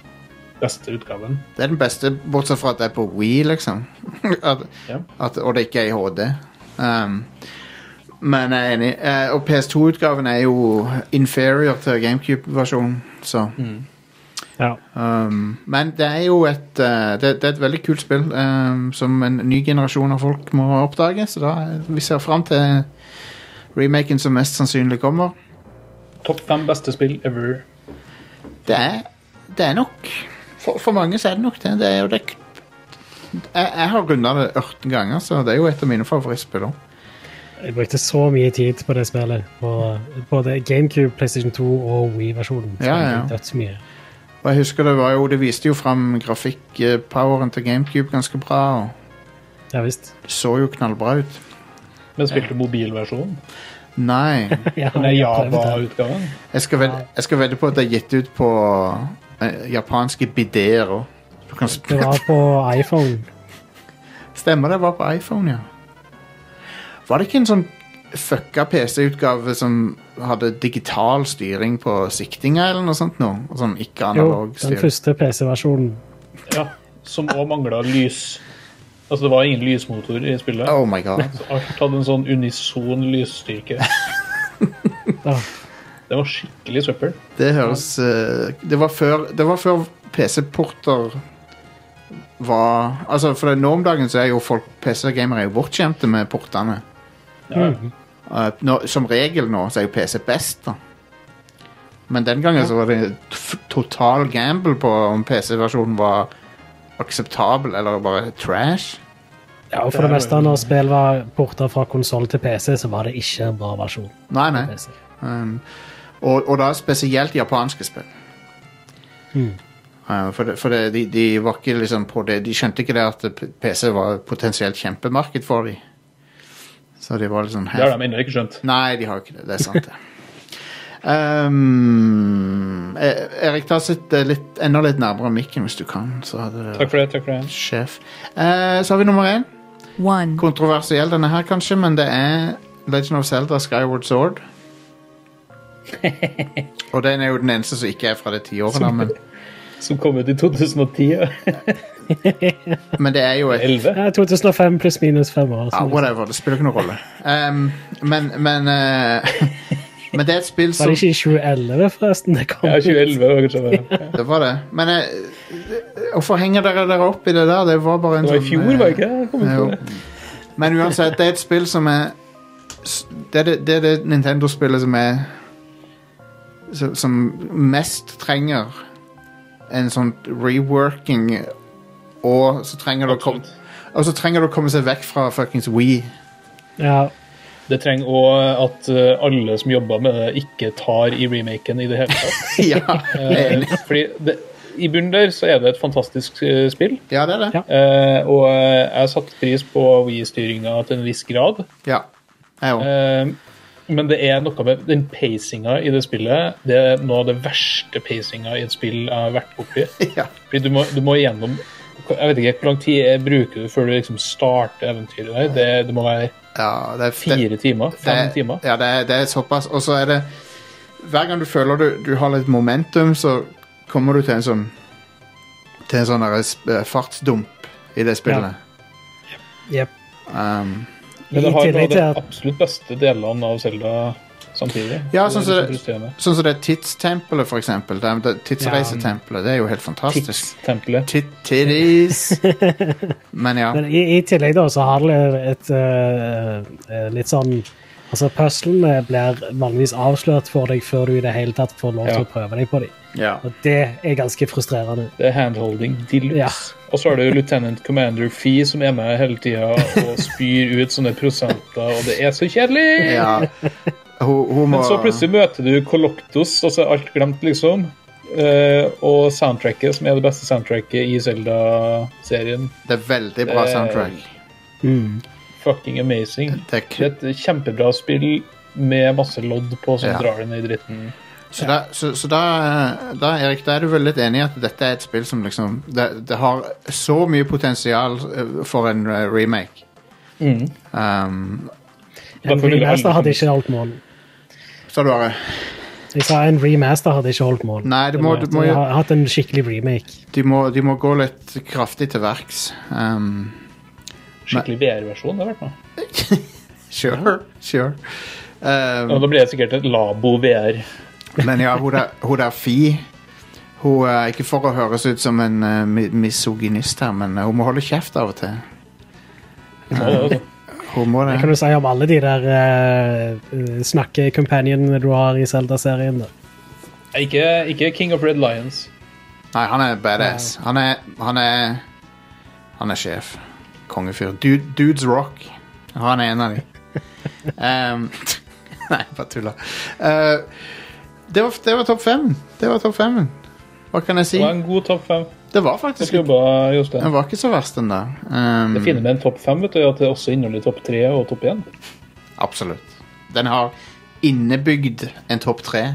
beste utgaven.
Det er den beste, bortsett fra at det er på Wii, liksom. at,
Ja.
at, og det ikke er i HD. Um, men jeg er enig. Eh, og PS2-utgaven er jo inferior til GameCube-versjonen, så
Ja.
um, Men det er jo et eh, det, det er et veldig kult spill um, som en ny generasjon av folk må oppdage, så da vi ser fram til remaken som mest sannsynlig kommer.
Topp fem beste spill ever.
Det er, det er nok for, for mange så er det nok det. det, er jo det jeg, jeg har runda det 18 ganger, så det er jo et av mine favorittspill òg.
Jeg brukte så mye tid på det spillet. På både GameCube, PlayStation 2 og Wii-versjonen.
Ja, ja, ja.
Dødsmye.
Og jeg husker det var jo, det viste jo fram grafikkpoweren til GameCube ganske bra. og
Ja visst.
Det så jo knallbra ut.
Men spilte mobilversjonen.
Nei.
Ja,
Den er
jeg har prøvd det.
Java-utgaven.
Jeg skal ved- jeg skal vedde på at det er gitt ut på eh, japanske bideer òg. Du kan sp-
Det var på iPhone.
Stemmer det var på iPhone, ja. Var det ikke en sånn fucka PC-utgave som hadde digital styring på siktinga eller noe sånt nå? Og Sånn ikke
Jo,
analog
den
styring.
første PC-versjonen.
Ja, som òg mangla lys. Altså, det var ingen lysmotor i spillet.
Oh my god.
Så alt hadde en sånn unison lysstyrke.
Ja.
Det var skikkelig søppel.
Det høres eh, Det var før, det var før PC-porter var Altså, for det- nå om dagen så er jo folk PC-gamere er jo bortskjemte med portene.
Ja.
Eh, nå, som regel nå så er jo PC best, da. Men den gangen så var det f- total gamble på om PC-versjonen var akseptabel eller bare trash.
Ja, og for det
Det er
meste når spill var porta fra konsoll til PC, så var det ikke en bra versjon.
Nei, nei.
PC.
Um, og, og da spesielt japanske spill.
Hmm.
Uh, for det, for det, de, de var ikke liksom på det De skjønte ikke det at p- PC var et potensielt kjempemarked for dem. Så de var litt sånn
Det har de ennå ikke skjønt.
Nei, de har ikke det. Det er sant, det. um, E- Erik, ta sitt eh, litt, enda litt nærmere mikken hvis du kan. Så hadde det
Takk for det. takk for det.
Sjef. Eh, så har vi nummer én.
One.
Kontroversiell denne her, kanskje, men det er Legend of Zelda Skyward Sword. Og den er jo den eneste som ikke er fra det tiåret, da, men,
Som kom ut i 2010. ja.
men det er jo et
11.
Ja, 2005 pluss minus fem år.
ja,
så-
Whatever, det spiller ikke noen rolle. Um, men men, eh, men det er et spill
Var det
som
ikke i 2011, forresten? Det kom
Ja, 2011 var kanskje det.
Det var det. Men eh, hvorfor henger dere dere opp i det der? Det var bare en
Det var i
sånn,
fjor,
eh,
var det ikke det? Jeg kom ikke på det?
Jo. Men uansett, det er et spill som er s- Det er det, det, er det Nintendo-spillet som er som- Som mest trenger en sånn reworking, og så trenger det å komme og så trenger det å komme seg vekk fra fuckings We.
Ja,
Det trenger òg at eh, alle som jobber med det, ikke tar i remaken i det hele tatt.
ja, jeg er enig.
Eh, Fordi det, i bunnen der så er det et fantastisk eh, spill.
ja, det er det.
Ja.
Eh, og eh, jeg satte pris på Wii-styringa til en viss grad.
Ja. Jeg òg.
Eh, men det er noe med den pacinga i det spillet. Det er noe av det verste pacinga i et spill jeg har vært borti.
Ja.
Fordi du må, du må gjennom Jeg vet ikke hvor lang tid bruker du før du liksom starter eventyret der. Det, det må være
Ja, det er det-
fire timer. Fem
det,
timer.
Ja, det er, det er såpass. Og så er det Hver gang du føler du, du har litt momentum, så kommer du til en sånn Til en sånn der sp- eh, fartsdump i det spillet.
jep.
Um,
I
Men det har
tillegg
noe av
til
de
at
absolutt beste delene av Selda samtidig.
Ja,
Så
sånn som
det er liksom litt frustrerende.
sånn som det tidstempelet, for eksempel. Det, det, tidsreisetempelet. Det er jo helt fantastisk.
Tidstempelet.
Tit- Titties. Men ja.
Men i, i tillegg da, så har det et eh, eh, litt sånn Altså, puzzlene blir vanligvis avslørt for deg før du i det hele tatt får lov til
Ja.
å prøve deg på dem.
ja.
Og det er ganske frustrerende.
Det er handholding de luxe.
Ja.
Og så har du Lieutenant Commander Fee som er med hele tida og spyr ut sånne prosenter, og det er så kjedelig!
ja. Hun, hun må
Men så plutselig møter du Coloctos, altså alt glemt, liksom. Eh, og soundtracket, som er det beste soundtracket i Zelda-serien.
Det er veldig bra
Eh,
soundtrack.
Fucking amazing.
Det er
Det
ku-
er et kjempebra spill med masse lodd på som
Ja.
drar deg ned i dritten.
Så, da, så, så da, da, Erik, da er du vel litt enig i at dette er et spill som liksom Det, det har så mye potensial eh, for en eh, remake. Um,
En
Derfor vil jeg
remaster
aldri-
hadde ikke holdt mål.
så du bare
Jeg sa en remaster hadde ikke holdt mål.
Nei, du må, du må,
Jeg har hatt en skikkelig remake.
de, må, de må gå litt kraftig til verks. Um,
Skikkelig VR-versjon. det har vært noe.
Sure. sure. Um,
Og Da blir det sikkert et Labo VR.
Men ja, hun der, hun der Fi Hun er ikke for å høres ut som en eh, mi- misogynist her, men eh, hun må holde kjeft av og til.
Så, det er jo sånn.
Hun må
Det kan
det.
du si om alle de der eh, snakke-companionene du har i Zelda-serien. da.
Ikke, ikke King of Red Lions.
Nei, han er badass. Han er Han er, han er sjef. Kongefyr. Dude, dudes rock. Han er en av de. Um, nei, bare tulla. Eh, det var, det var topp fem. Det var topp fem. Hva kan jeg si?
Det var en god topp fem.
Det var
Godt
faktisk
jobba,
Den
Jostein.
var ikke så verst, den der. Um,
Det fine med en topp fem vet du, er at det også inneholder topp tre og topp én.
Absolutt. Den har innebygd en topp tre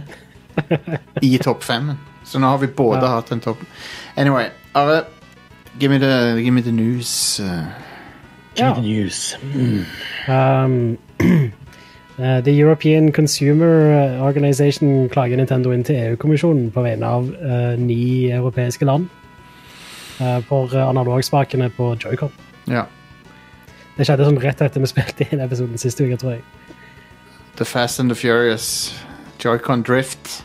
i topp fem. Så nå har vi både
Ja.
hatt en topp Anyway, Are, give me the, give me the news. Uh,
Ja.
News.
Um, eh, The European Consumer Organization klager Nintendo inn til EU-kommisjonen på vegne av eh, ni europeiske land eh, for eh, analogspakene på Joycon.
ja.
Det skjedde sånn rett etter vi spilte inn episoden siste uke, tror jeg.
The Fast and the Furious. Joycon Drift.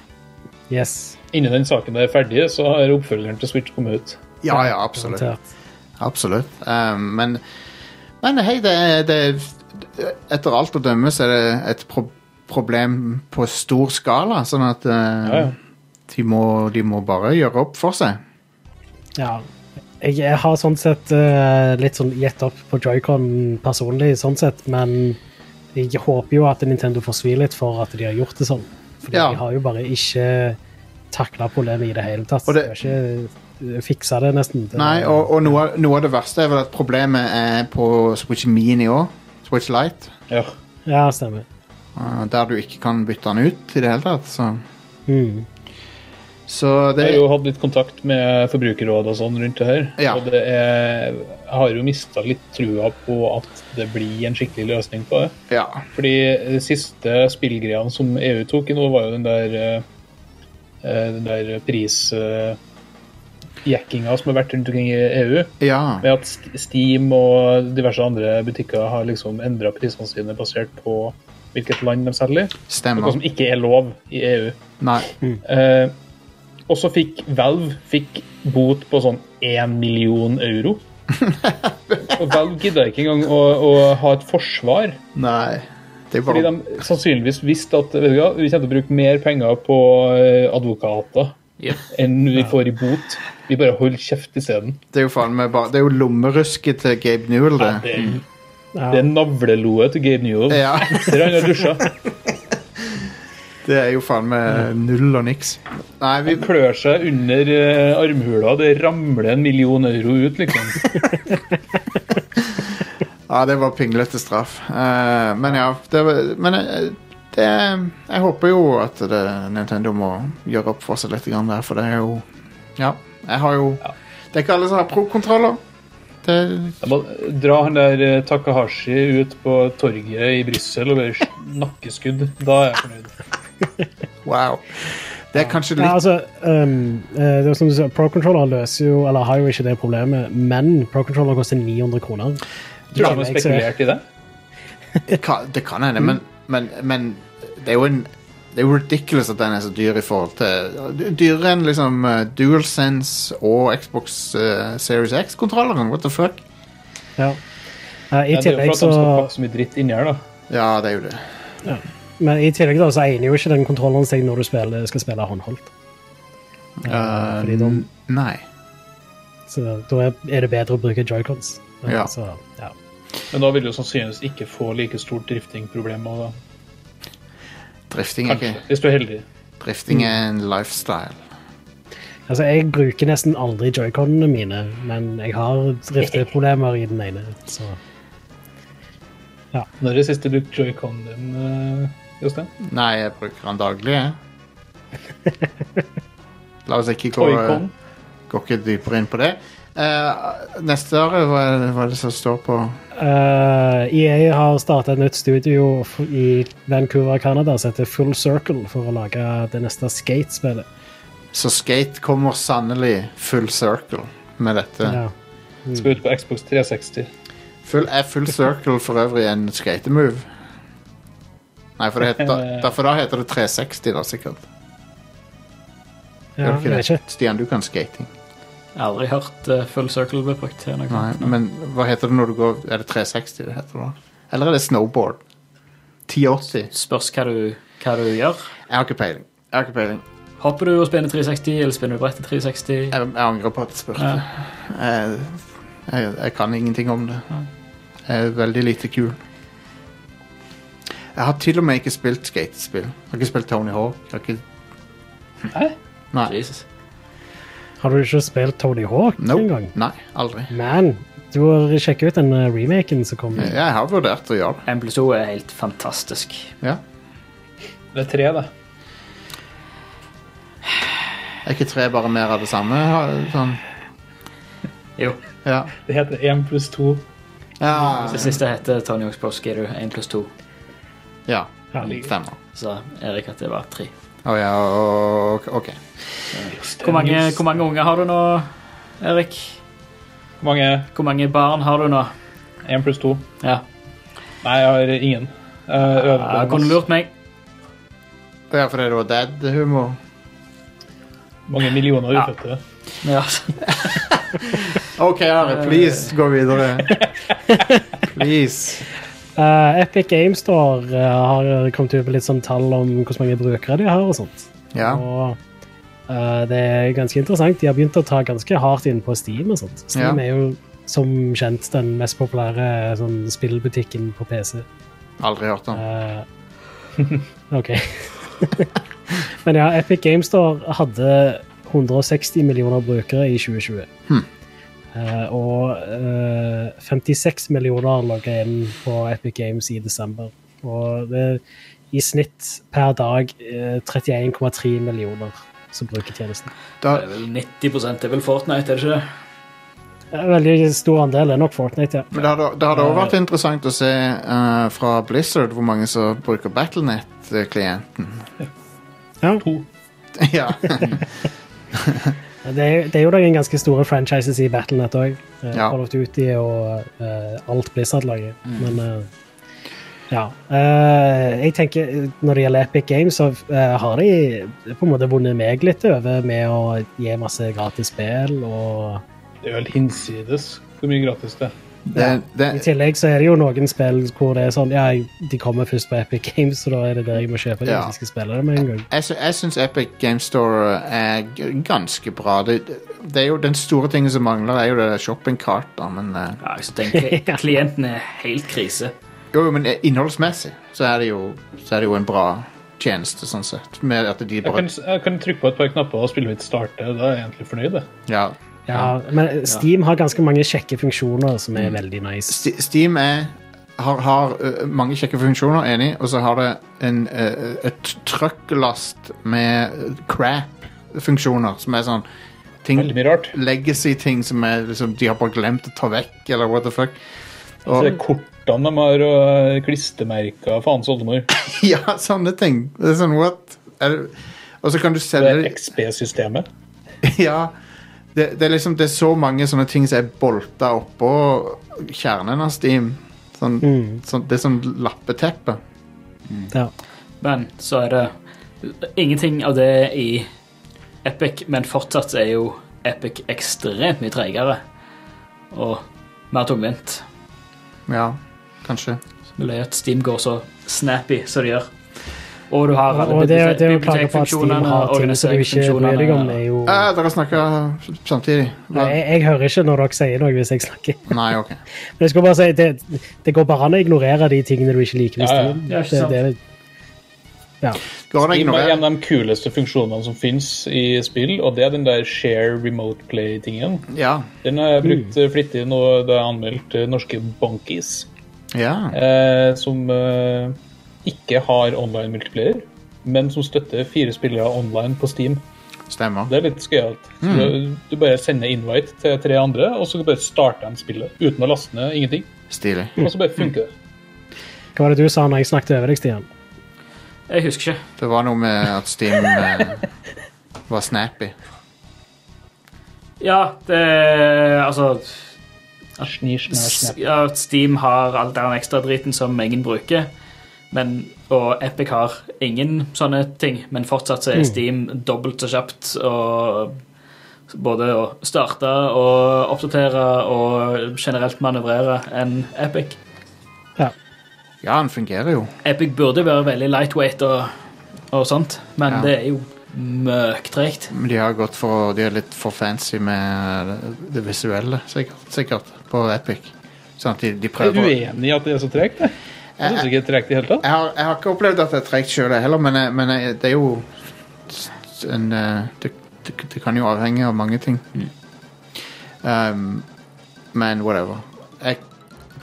Yes.
Innen den saken er ferdig, så har oppfølgeren til Switch kommet ut.
Ja, ja, absolutt.
Garantert.
Absolutt. Um, men, men hei, det er, det er Etter alt å dømme så er det et pro problem på stor skala, sånn at uh,
Ja, ja.
De, må, de må bare gjøre opp for seg.
Ja. Jeg, jeg har sånn sett eh, litt sånn gitt opp på Joycon personlig, sånn sett, men jeg håper jo at Nintendo får svi litt for at de har gjort det sånn. Fordi
Ja.
de har jo bare ikke takla problemet i det hele tatt.
Og
De
det-
har ikke fiksa det, nesten. Det-
Nei, og, og noe, av- noe av det verste er vel at problemet er på Switch Mini òg. Switch Light.
Ja.
Ja, stemmer.
uh, Der du ikke kan bytte den ut i det hele tatt. Så,
Mm.
så det
Jeg har jo hatt litt kontakt med Forbrukerrådet og sånn rundt det her.
Ja.
Og det er, jeg har jo mista litt trua på at det blir en skikkelig løsning på det.
Ja.
Fordi de siste spillgreiene som EU tok i nå, var jo den der, eh, eh, den der prisjekkinga som har vært rundt omkring i EU.
ja.
Med at Sk- Steam og diverse andre butikker har liksom endra prisene sine basert på hvilket land de selger i. Noe
Stemmer.
som ikke er lov i E EU.
Nei.
Eh, og så fikk Valve fikk bot på sånn 1 million euro. Og Valve gidda ikke engang å, å ha et forsvar,
Nei. Det er
fordi
bare
de sannsynligvis visste at vet du hva, vi kommer til å bruke mer penger på eh, advokater
Yep.
enn vi får i bot. Vi bare holder kjeft isteden.
Det er jo faen meg bare Det er jo lommerusket til Gabe Newell,
Ja,
det.
det, det er navleloet til Gabe Newell.
Ja,
Der han har dusja.
det er jo faen meg null og niks. Nei, vi
Han klør seg under eh, armhula, det ramler en million euro ut, liksom.
Ja, det var pinglete straff. Eh, men ja, det var Men eh, det Jeg håper jo at det, Nintendo må gjøre opp for seg litt grann der, for det er jo Ja. Jeg har jo Det er ikke alle som har pro-kontroller. Det
Jeg må dra han der eh, Takahashi ut på torget i Brussel og bare nakkeskudd. Da er jeg fornøyd.
Wow. Det er kanskje
Ja,
litt
altså, um, eh, det er som du sier, Pro Controller løser jo, eller har jo ikke det problemet, men Pro Controller koster 900 kroner.
Tror du de har
Jeg ser-
spekulert i det?
Det kan- Det kan hende, men, men, men det er jo en det er jo ridiculous at den er så dyr i forhold til Dyrere enn liksom eh, DualSense og Xbox eh, Series X-kontrolleren. What the fuck?
Ja. Eh, I
Ja, det er jo
tillegg
for at de skal
så
pakke så mye dritt inni her, da.
Ja, det er jo det.
Men i tillegg da, så egner jo ikke den kontrollen seg når du spiller, skal spille håndholdt. Eh, fordi da,
Eh, Nei.
så da er- er det bedre å bruke joycons. Eh,
Ja.
Så, ja.
Men da vil du sannsynligvis ikke få like stort driftingproblem. og da-
Drifting er ikke
Kanskje, hvis du er heldig.
Drifting er en lifestyle.
Altså, jeg bruker nesten aldri joyconene mine, men jeg har drifteproblemer i den ene. Så.
Når er det siste du brukte joyconen din, eh, Jostein?
Nei, jeg bruker den daglig, jeg. La oss ikke gå,
Joycon?
gå ikke dypere inn på det. Eh, neste år, hva er, det- hva er det som står på
Eh, EA har startet et nytt studio f- i Vancouver, Canada, som heter Full Circle, for å lage det neste Skate-spillet.
Så skate kommer sannelig full circle med dette.
Ja.
Skal ut på Xbox 360.
Full, er full circle for øvrig en skatemove? Nei, for, det heter,
Eh.
da- da, for da heter det 360, da, sikkert.
Ja,
Gjør
jeg
det
vet
ikke
ikke.
det? Stian, du kan skating.
Aldri hørt eh, full circle bli brukt til noe.
Nei, men hva heter det når du går Er det 360 det heter da? Eller er det snowboard? 1080?
Spørs hva du, hva du gjør.
Jeg har ikke peiling. Jeg har ikke peiling.
Hopper du og spinner 360, eller spinner du brettet 360?
Jeg, jeg angrer på at jeg spurte.
Ja.
Jeg, jeg, jeg kan ingenting om det. Jeg er veldig lite kul. Jeg har til og med ikke spilt skatespill. Jeg har ikke spilt Tony Hawk. Jeg har ikke...
Hæ?
Nei.
Jesus.
Har du ikke spilt Tony Hawk
No.
engang?
Nei, aldri.
Man, du må sjekke ut den eh, remaken som kom.
Jeg har vurdert å gjøre det.
M pluss 2 er helt fantastisk.
Ja.
Det er tre, det.
Er ikke tre bare mer av det samme? Sånn.
Jo.
Ja.
Det heter én pluss to.
Ja.
Det siste heter Tony Hawk's Pro Skater 1 pluss 2.
ja.
Herlig.
Femmer.
Så Erik at det var 3.
Å ja, og- ok.
Hvor mange, hvor mange unger har du nå, Erik?
Hvor mange?
Hvor mange barn har du nå?
Én pluss to.
Ja,
Nei, jeg har ingen. Eh, Jeg øver på
jeg kunne
masse-
lurt meg.
Å ja, for det var dad-humor.
mange millioner
Ja.
ufødte.
Ja,
OK, Are, please, gå videre. Please.
Eh, Epic Games Store eh, har kommet ut med litt sånn tall om hvor mange brukere de har. og sånt.
Ja.
Og eh, Det er ganske interessant. De har begynt å ta ganske hardt inn på Steam. og sånt. Steam
Ja.
er jo som kjent den mest populære sånn, spillbutikken på PC.
Aldri hørt om.
Eh, OK. Men ja, Epic Games Store hadde 160 millioner brukere i 2020. Eh, og eh, 56 millioner logga inn på Epic Games i desember. Og det er i snitt per dag eh, 31,3 millioner som bruker tjenesten.
Da,
Det er vel 90 Det er vel Fortnite, er det ikke det?
Det er En Eh, veldig stor andel er nok Fortnite, ja.
Men det hadde, det hadde også vært interessant å se eh, fra Blizzard hvor mange som bruker Battlenet-klienten.
ja.
To.
ja.
Det er, det er jo noen ganske store franchises i Battlenet òg. Uh,
Ja. Mm.
Call of Duty og eh, alt Blizzard-laget. Men eh, ja. Eh, jeg tenker Når det gjelder Epic Games, så eh, har de på en måte vunnet meg litt over med å gi masse gratis spill. Og
Det er jo helt hinsides hvor mye gratis det er.
det, det,
i tillegg så er det jo noen spill hvor det er sånn Ja, de kommer først på Epic Games, så da er det der jeg må kjøpe det
Ja.
hvis jeg skal spille det med en gang.
jeg, sy- jeg syns Epic Game Store er g- ganske bra. Det, det er jo Den store tingen som mangler, er jo det der shoppingkartet. Men, eh,
Ja, jeg tenker Klienten er helt krise.
jo, men innholdsmessig så er, det jo, så er det jo en bra tjeneste, sånn sett. Med at de
Jeg
bare
kan, jeg kan trykke på et par knapper og spillet mitt starter. Da er jeg egentlig fornøyd. jeg.
Ja.
Ja, men Steam har ganske mange kjekke funksjoner som er veldig nice.
Ste- Steam er, har, har ø, mange kjekke funksjoner, enig, og så har det en, ø, et trøkkelast med ø, crap-funksjoner, som er sånn ting,
Veldig mye rart.
Legacy-ting som er, liksom, de har bare glemt å ta vekk, eller what the fuck.
Så det er kortene de har, og klistremerker Faens oldemor.
ja, sånne ting. Det er sånn what? Er det, og så kan du
Det er
selge
XB-systemet.
Ja. Det, det, er liksom, det er så mange sånne ting som er bolta oppå kjernen av Steam. Sånn,
Mm.
sånn, det er sånn lappeteppe.
Ja.
Men så er det ingenting av det i Epic, men fortsatt er jo Epic ekstremt mye tregere og mer tungvint.
Ja, kanskje.
Det er at Steam går så snappy som det gjør. Og du har alle
Og det,
bibliotek-
det å klage på at Steam har ting som du ikke bryr deg om,
organiseringsfunksjonene.
er jo
Eh, dere snakker samtidig. Hva-
Nei, jeg, jeg hører ikke når dere sier noe hvis jeg snakker.
Nei, ok.
Men jeg skulle bare si, det, det går bare an å ignorere de tingene du ikke liker med
Ja, ja.
Steam.
Ja, ikke sant.
Det, det, ja.
Går det å
Det er en
ignorere?
av de kuleste funksjonene som finnes i spill, og det er den der share remote play-tingen.
Ja.
Den har jeg brukt eh, flittig nå da jeg anmeldte norske Bonkies,
ja.
eh, som eh, ikke har online multiplayer, men som støtter fire spillere online på Steam.
Stemmer.
Det er litt skøyalt. Du,
Mm.
du bare sender invite til tre andre, og så bare starter de spillet uten å laste ned ingenting.
Stilig.
Og så bare funker det.
Hva var det du sa når jeg snakket over deg, Stian?
Jeg husker ikke.
Det var noe med at Steam eh, var snappy.
Ja, det Altså
Sni, sna, snap.
ja, Steam har all den ekstradriten som ingen bruker. Men, og Epic har ingen sånne ting, men fortsatt så
Mm.
er Steam dobbelt så kjapt og både å starte og oppdatere og generelt manøvrere enn Epic.
Ja, den fungerer jo.
Epic burde være veldig lightweight og, og sånt, men
Ja.
det er jo møktregt.
Men de har gått for De er litt for fancy med det visuelle, sikkert, sikkert på Epic. Sånn at de, de
Jeg er
prøver
uenig i at det er så tregt. Jeg Jeg synes ikke det er tregt i hele tatt.
jeg har, jeg har ikke opplevd at det er tregt sjøl heller, men, jeg- men jeg, det er jo en, eh, det, det, det kan jo avhenge av mange ting. Um, men whatever. Jeg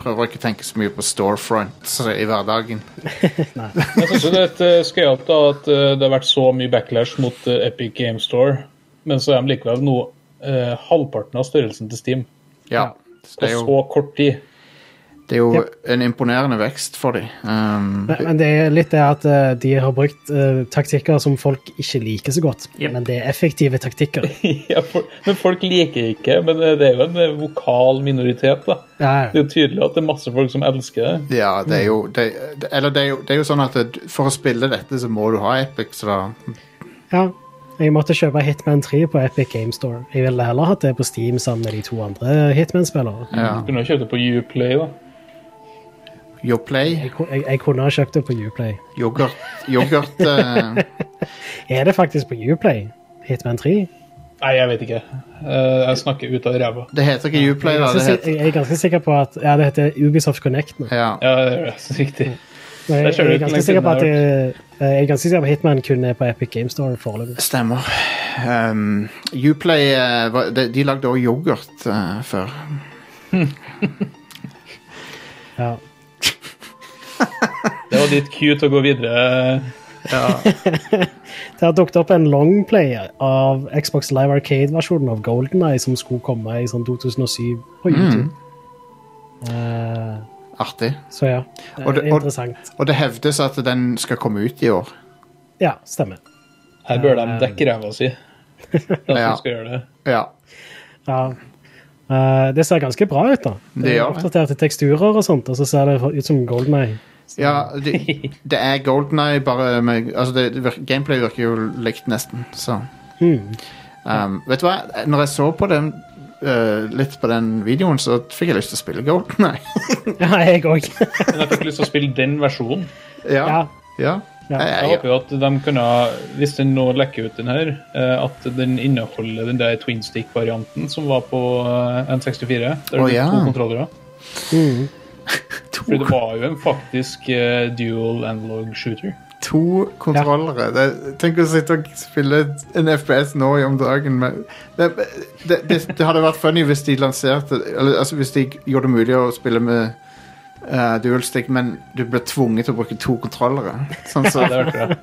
prøver ikke å tenke så mye på storefront i hverdagen.
Jeg synes jo det er et eh, skøyalt da at eh, det har vært så mye backlash mot eh, Epic Game Store, men så er de likevel nå eh, halvparten av størrelsen til Steam
Ja. Så
på
det er jo,
så kort tid.
det er jo en imponerende vekst for dem. Um,
Men, men det er litt det at eh, de har brukt eh, taktikker som folk ikke liker så godt.
Yep.
Men det er effektive taktikker.
ja, for, men folk liker ikke, men eh, det er jo en eh, vokal minoritet, da.
Ja,
Det er jo tydelig at det er masse folk som elsker det.
ja, det er jo det, det- Eller det er jo, det er jo sånn at det, for å spille dette, så må du ha Epic, så da
ja. Jeg måtte kjøpe Hitman 3 på Epic Game Store. Jeg ville heller hatt det på Steam sammen med de to andre Hitman-spillere.
ja.
Kunne jo kjøpt det på Uplay, da.
Your Play,
Jeg, ku- jeg, jeg kunne ha kjøpt det på Uplay.
yoghurt, yoghurt eh,
Er det faktisk på Uplay? Hitman 3?
Nei, jeg vet ikke. Eh, jeg snakker ut av ræva.
Det heter ikke Uplay,
Jeg er,
da.
ganske
Det
si-
heter,
jeg er ganske sikker på at Ja, det heter Ubisoft Connect nå.
ja.
Ja, det er så riktig.
Men
Der
Jeg,
ser du
jeg er ganske
hvor lenge
sikker
siden
på at
det
jeg, jeg er ganske sikker på at Hitman kun er på Epic Game Store foreløpig.
Stemmer. Um, Uplay eh, var- de, de lagde også yoghurt eh, før.
Ja.
Det var litt cute å gå videre.
Det har dukket opp en longplayer av Xbox Live Arcade-versjonen av Golden Eye som skulle komme i sånn 2007
Mm.
på YouTube. Eh,
Artig.
så ja, det er
Og det- og-
interessant.
Og det hevdes at den skal komme ut i år.
Ja, stemmer.
Her bør de dekke ræva si. At de
Ja.
skal gjøre det.
Ja.
Ja. Eh, det ser ganske bra ut, da. Det
Det
er
gjør det.
Oppdaterte teksturer og sånt, og så ser det ut som Golden Eye.
ja det, det er Golden Eye, bare med altså det, det virker, Gameplay virker jo likt, nesten. Så. Um, vet du hva? Når jeg så på den eh, litt på den videoen, så fikk jeg lyst til å spille Golden Eye.
Ja, jeg òg.
Men jeg fikk lyst til å spille den versjonen.
ja.
ja.
ja.
Ja.
Jeg,
Jeg
jeg,
håper jo at de kunne, hvis den nå lekker ut den her, eh, at den inneholder den der twinstick-varianten som var på eh, N64. Der
Å,
det
ja.
var to kontrollere.
Mm.
For det var jo en faktisk eh, dual analog shooter.
to kontrollere. Det, tenk å sitte og spille en FPS nå i om dagen med det, det, det, det hadde vært funny hvis de lanserte eller, altså Hvis de gjorde det mulig å spille med eh, dualstick, men du ble tvunget til å bruke to kontrollere. Sånn så,
Ja, det hørte jeg.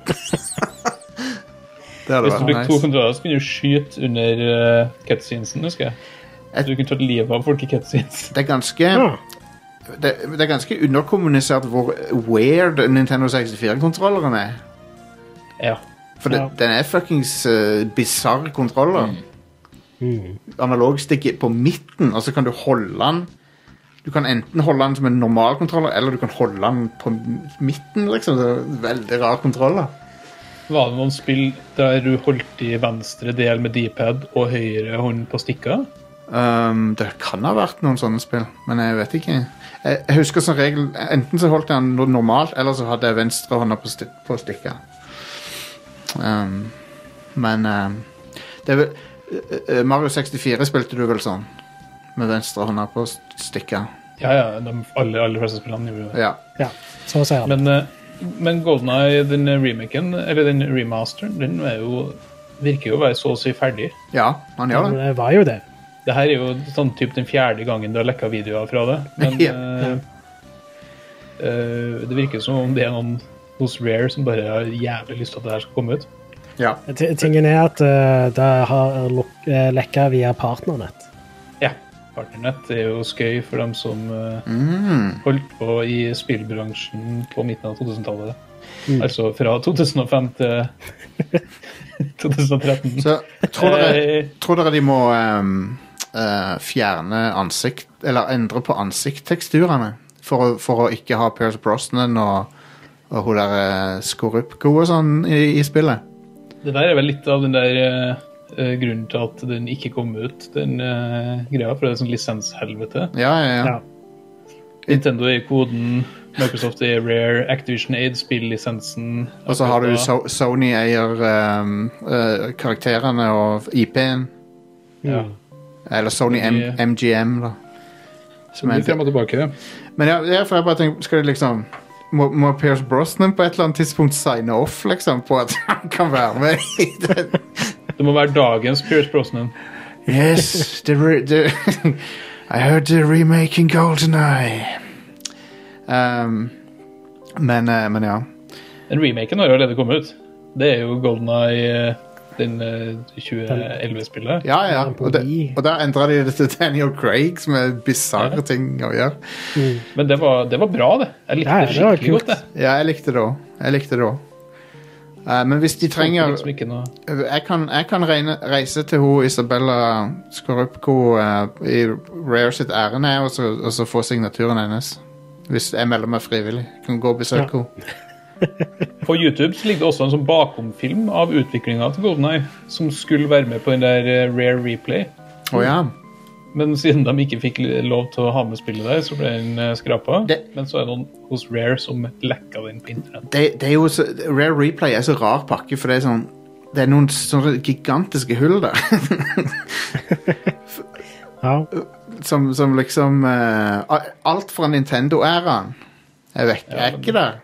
det hadde
Hvis
vært
du brukte to
nice.
kontrollere, så kunne du skyte under eh, cutscenesen, husker jeg. Så du kunne tatt livet av folk i cutscenes.
Det er ganske
Ja.
det, det er ganske underkommunisert hvor weird Nintendo 64-kontrolleren er.
Ja.
For det,
Ja.
den er fuckings uh, bisarr kontroller. Analogstikket på midten, og så kan du holde den Du kan enten holde den som en normal kontroller, eller du kan holde den på midten, liksom. Det er veldig rar kontroller.
Var det noen spill der du holdt i venstre del med D-pad og høyre hånd på stikka?
Um, det kan ha vært noen sånne spill, men jeg vet ikke. Jeg, jeg husker som regel Enten så holdt jeg den no- normalt, eller så hadde jeg venstrehånda på, sti på stikka. Um, men um, det er vel, eh, eh, Mario 64 spilte du vel sånn? Med venstrehånda på st- stikka.
Ja, ja, de aller, aller fleste spillene gjorde det.
Ja.
ja. Så å si. alt.
Men, eh, men Golden Eye, den remaken, eller den remasteren, den er jo, virker jo å være så å si ferdig.
ja, han gjør
Men
det.
det var jo det.
Det her er jo sånn typ den fjerde gangen du har lekka videoer fra det. Men
Ja.
eh, eh, det virker som om det er noen hos Rare som bare har jævlig lyst til at det her skal komme ut.
Ja.
T- Tingen er at eh, det har luk- eh, lekka via partnernett.
Ja. Partnernett er jo skøy for dem som eh,
Mm.
holdt på i spillbransjen på midten av 2000-tallet.
Mm.
Altså fra 2005 til 2013.
Så tror dere,
Eh,
tror dere de må um, eh, fjerne ansikt Eller endre på ansiktteksturene. For å, for å ikke ha Pierce Brosnan og, og hun der eh, Skorupko og sånn i, i spillet.
Det der er vel litt av den der eh, eh, grunnen til at den ikke kom ut, den eh, greia. For det er sånn lisenshelvete.
Ja, ja, ja.
Ja.
Nintendo er koden, Microsoft er rare, Activision Aid spiller lisensen.
Og så har du so Sony eier ehm, eh, karakterene og IP-en.
Ja.
Eller Sony M
De-
MGM, da.
Så mye frem og tilbake.
Men ja, ja, for jeg bare tenker, skal det liksom må, må Pierce Brosnan på et eller annet tidspunkt signe off liksom, på at han kan være med i den?
Det må være dagens Pierce Brosnan.
Yes, the re the I heard the remaking GoldenEye. Um, men, eh, men ja.
Den remaken har jo allerede kommet ut. Det er jo Golden Eye, den eh, 2011-spillet.
Ja, ja. Og, det,
Parodi.
og der endra de det til Daniel Craig, som er bisarre ting å gjøre.
Men det var, det var bra, det. Jeg likte
Ja,
det
det var
skikkelig
kult.
godt, det.
Ja, jeg likte det òg. Jeg likte det også. Eh, men hvis de trenger
Liksom ikke noe...
Jeg kan, jeg kan regne, reise til hun Isabella Skorupko eh, i Rare sitt ærend her, og, så- og så få signaturen hennes. Hvis jeg melder meg frivillig. Kan gå og besøke
Ja.
henne.
På YouTube så ligger det også en sånn bakomfilm av utviklinga til Golden Eye, som skulle være med på den der eh, Rare Replay.
Å ja.
Men siden de ikke fikk lov til å ha med spillet der, så ble den eh, skrapa.
Det-
Men så er det noen hos Rare som lekka den på internett.
det, det er jo så, Rare Replay er så rar pakke, for det er sånn Det er noen sånne gigantiske hull der.
Ja.
som, som liksom eh, a- Alt fra Nintendo-æraen er vekk. er ikke der.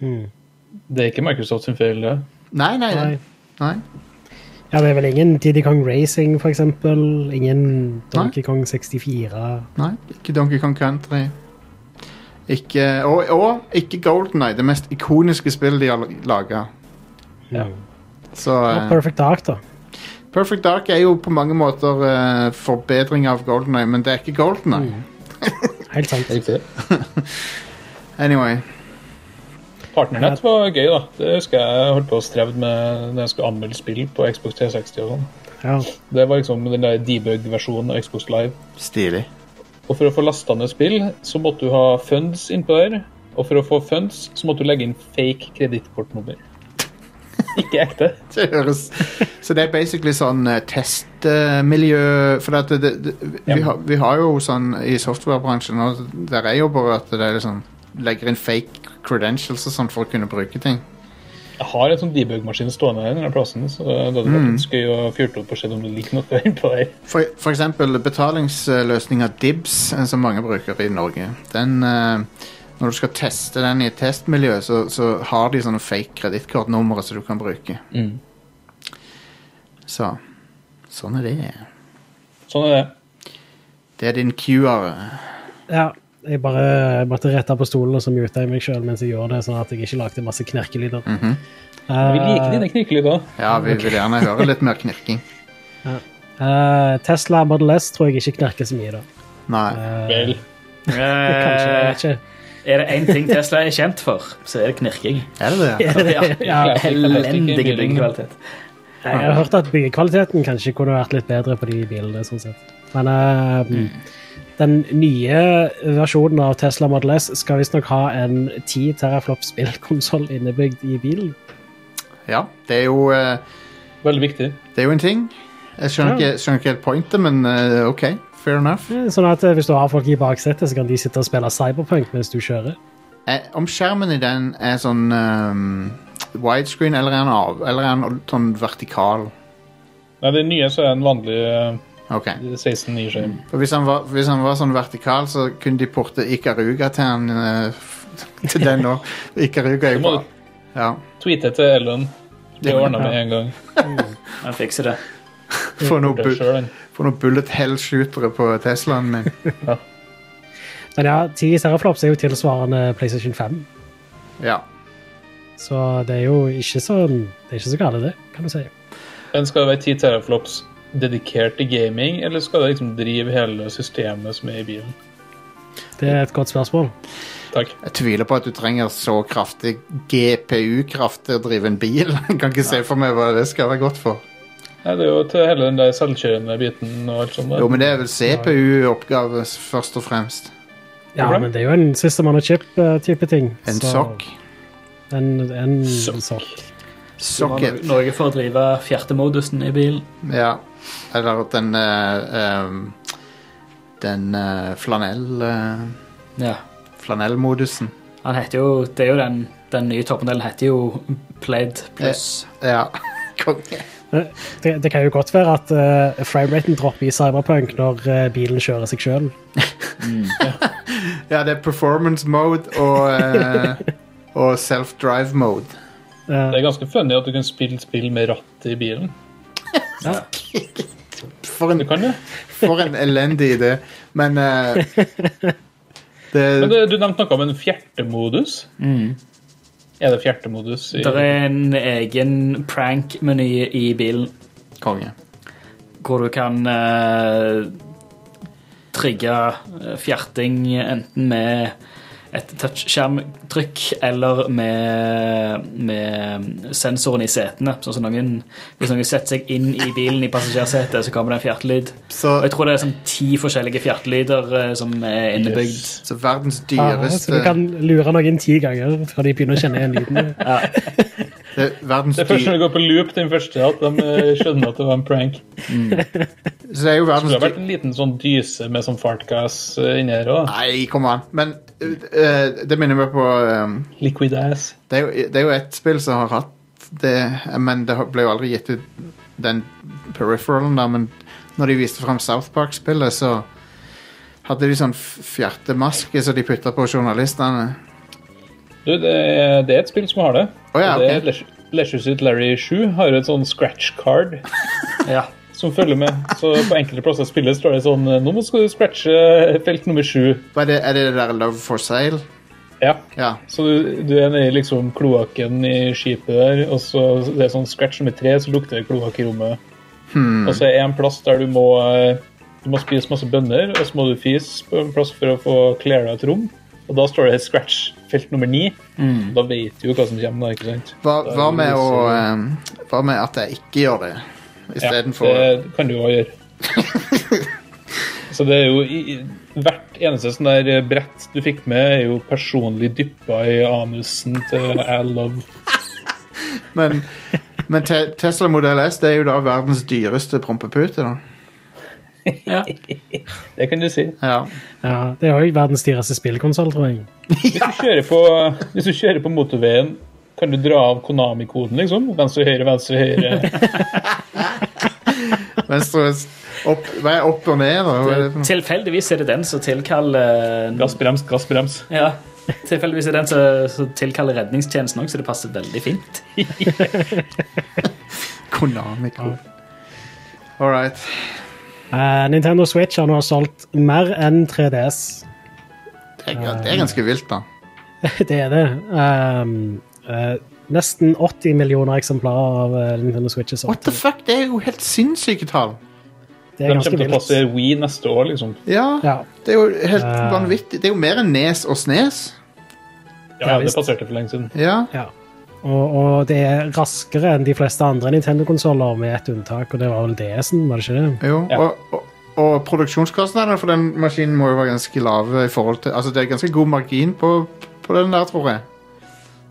Det er ikke Microsoft sin feil, det.
Nei, nei, nei.
Nei.
nei.
ja, det er vel ingen Diddy Kong Racing, for eksempel. Ingen Donkey Kong 64.
Nei, ikke Donkey Kong Country. Ikke, og, og ikke Golden Eye, det mest ikoniske spillet de har laga.
Ja.
Så
Og
eh,
Mm. Perfect Dark, da.
Perfect Dark er jo på mange måter eh, forbedring av Golden Eye, men det er ikke Golden Eye.
Helt sant.
Anyway.
Partnernett var gøy, da. Det husker jeg holdt på å strevde med når jeg skulle anmelde spill på Xbox 360 og sånn.
Ja.
Det var liksom den der debug-versjonen av Xbox Live.
Stilig.
Og for å få lasta ned spill, så måtte du ha funds innpå der. Og for å få funds, så måtte du legge inn fake kredittkortnummer. Ikke ekte.
Det høres Så det er basically sånn eh, testmiljø For at det, det, det, vi,
Ja.
har, vi har jo sånn i softwarebransjen nå, der jeg jobber, at det er liksom legger inn fake credentials og sånn for å kunne bruke ting.
Jeg har en sånn debug-maskin stående her, i denne plassen, så det hadde vært
Mm.
litt skøy å fjurte opp og se om det ligger noe innpå der.
For, for eksempel betalingsløsninga Dibs, eh, som mange bruker i Norge. Den, eh, når du skal teste den i et testmiljø, så, så har de sånne fake kredittkortnumre som du kan bruke. Så sånn er det.
Sånn er det.
Det er din QR.
ja. Jeg bare jeg måtte rette på stolen og så mute jeg meg sjøl mens jeg gjorde det, sånn at jeg ikke lagde masse knerkelyder. Eh,
Vi liker dine knirkelydene.
Ja, vi vil gjerne høre litt mer knirking.
eh, Tesla Model S tror jeg ikke knerker så mye, da.
Nei.
Vel.
Kanskje, jeg vet
Eh,
ikke.
er det én ting Tesla er kjent for, så er det knirking.
Er det det?
Ja,
Ja.
Elendig byggekvalitet.
Nei, Jeg har hørt at byggekvaliteten kanskje kunne vært litt bedre på de bilene. sånn sett. Men eh, den nye versjonen av Tesla Model S skal visstnok ha en 10 teraflop spillkonsoll innebygd i bilen.
Ja, det er jo, eh,
Veldig viktig.
det er jo en ting. Jeg skjønner ikke, skjønner ikke helt pointet, men eh, OK. Fair enough.
Eh, Sånn at eh, Hvis du har folk i baksetet, så kan de sitte og spille Cyberpunk mens du kjører.
Eh, om skjermen i den er sånn ehm, widescreen, eller er den av? Eller er den sånn vertikal?
Nei, det nye så er en vanlig eh,
OK.
16 9 skjerm.
For hvis han, var, hvis han var sånn vertikal, så kunne de porte Ikaruga til han eh, f- til den nå. Ikaruga er jo
må
bra. Ja.
Tweete til Ellen. Det ordna med en gang.
Han fikser det.
Få noen
Det er
bu
selv den.
få noen bullet hell-shootere på Teslaen min.
Men ja, 10 teraflops er jo tilsvarende PlayStation 5,
Ja.
så det er jo ikke så, det er ikke så gale, det, kan du si.
Men skal det være 10 teraflops dedikert til gaming, eller skal det liksom drive hele systemet som er i bilen?
Det er et godt spørsmål.
Takk.
Jeg tviler på at du trenger så kraftig GPU-kraft til å drive en bil. Jeg kan ikke se for meg hva det skal være godt for.
Nei, det er jo til hele den der selvkjørende biten og alt sånt. der.
Jo, men det er vel CPU-oppgave s- først og fremst.
Ja, men det er jo en sistemann og chip-type eh, ting.
En
så-
sokk.
En, en
Sokk.
sokk.
Socket.
Norge for å drive fjertemodusen i bilen.
Ja. Eller at den eh, ehm, Den eh, flanell... eh,
Ja.
flanellmodusen.
Han heter jo, det er jo den, den nye toppmodellen heter jo Played Plus.
Ja. Konge.
Det, det kan jo godt være at uh, frameraten dropper i Cyberpunk når eh, bilen kjører seg sjøl.
Ja, det er performance mode og, eh, og self-drive mode.
Det er ganske funny at du kan spille spill med ratt i bilen.
For
Du
en,
kan det.
for en elendig idé. Men eh,
Men
det, Mm.
det, du nevnte noe om en fjertemodus. Er det fjertemodus? I,
Det er en egen prank-meny i bilen
Konge.
hvor du kan eh, trigge eh, fjerting enten med et touchskjermtrykk eller med, med sensoren i setene. Sånn som noen, hvis noen setter seg inn i bilen i passasjersetet, så kommer det en fjertelyd. Og
Så,
jeg tror det er sånn ti forskjellige fjertelyder eh, som er innebygd.
Yes.
så verdens
så du
dyreste
kan lure noen ti ganger før de begynner å kjenne igjen lyden.
det, er verdens
Det er først
dyr,
når det går på loop, den første, at de eh, skjønner at det var en prank.
Så det er jo
Det
verdens
har vært
dyr,
en liten sånn dyse med sånn fartgass eh, inni her òg.
Nei, kom an. Men eh, det minner meg på eh,
Liquid ass.
det, er jo, det er jo ett spill som har hatt det, men det har- ble jo aldri gitt ut den peripheralen der. Men når de viste fram South Park-spillet, så hadde de sånn f- fjertemaske som de putta på journalistene.
Du, det, er- det er et spill som har det.
Å ja,
Og det er
ok.
Leisure- Leisure Suit Larry 7 har et sånn scratch card
Ja.
som følger med. Så på enkelte plasser i spillet står det sånn Nå må skal du scratche felt nummer sju.
Hva er det, er det det der Love for Sale?
Ja.
Ja.
Så du, du er nede i liksom kloakken i skipet der, og så det er sånn scratch nummer tre, så lukter det kloakk i rommet. Og så er det en plass der du må, eh, du må spise masse bønner, og så må du fise på en plass for å få cleara et rom. Og da står det scratch felt nummer ni. Da vet du jo hva som kommer, da, ikke sant?
Hva,
Da er
hva,
det
med
jo
å,
så-
eh, hva med at jeg ikke gjør det? Istedenfor
Ja, det kan du òg gjøre. Så det er jo i, i, Hvert eneste sånn der brett du fikk med, er jo personlig dyppa i anusen til I love
Men, men te Tesla Model S det er jo da verdens dyreste prompepute. da.
ja.
Det kan du si.
Ja.
Ja, det er jo verdens dyreste spillkonsoll, tror jeg.
Hvis du kjører på, hvis du kjører på motorveien, kan du dra av Konami-koden, liksom? Venstre, høyre, venstre, høyre.
Venstre opp, Hva er opp og ned? da? Hva er det for noe?
Tilfeldigvis er det den som tilkaller eh,
Gassbrems, gassbrems.
Ja. Tilfeldigvis er det den som- som tilkaller redningstjenesten òg, så det passer veldig fint.
Konami-kode. All right.
Eh, Nintendo Switch har nå solgt mer enn 3DS.
Det er, det er ganske vilt, da.
Det er det. Ehm, eh, nesten 80 millioner eksemplarer av eh, Nintendo Switch er
What
solgt.
the fuck? Det er jo helt sinnssyke tall.
Det er
De kommer
ganske
til å
vilt.
passere We neste år, liksom.
Ja,
Ja.
det er jo helt
Eh.
vanvittig. Det er jo mer enn Nes og Snes.
Ja, det
visst.
passerte for lenge siden.
Ja.
Ja. Og, og det er raskere enn de fleste andre Nintendo-konsoller, med ett unntak, og det var vel DS-en, var det ikke det?
Jo.
Ja.
Og, og, og produksjonskostnadene for den maskinen må jo være ganske lave. i forhold til, altså Det er ganske god margin på, på den der, tror jeg.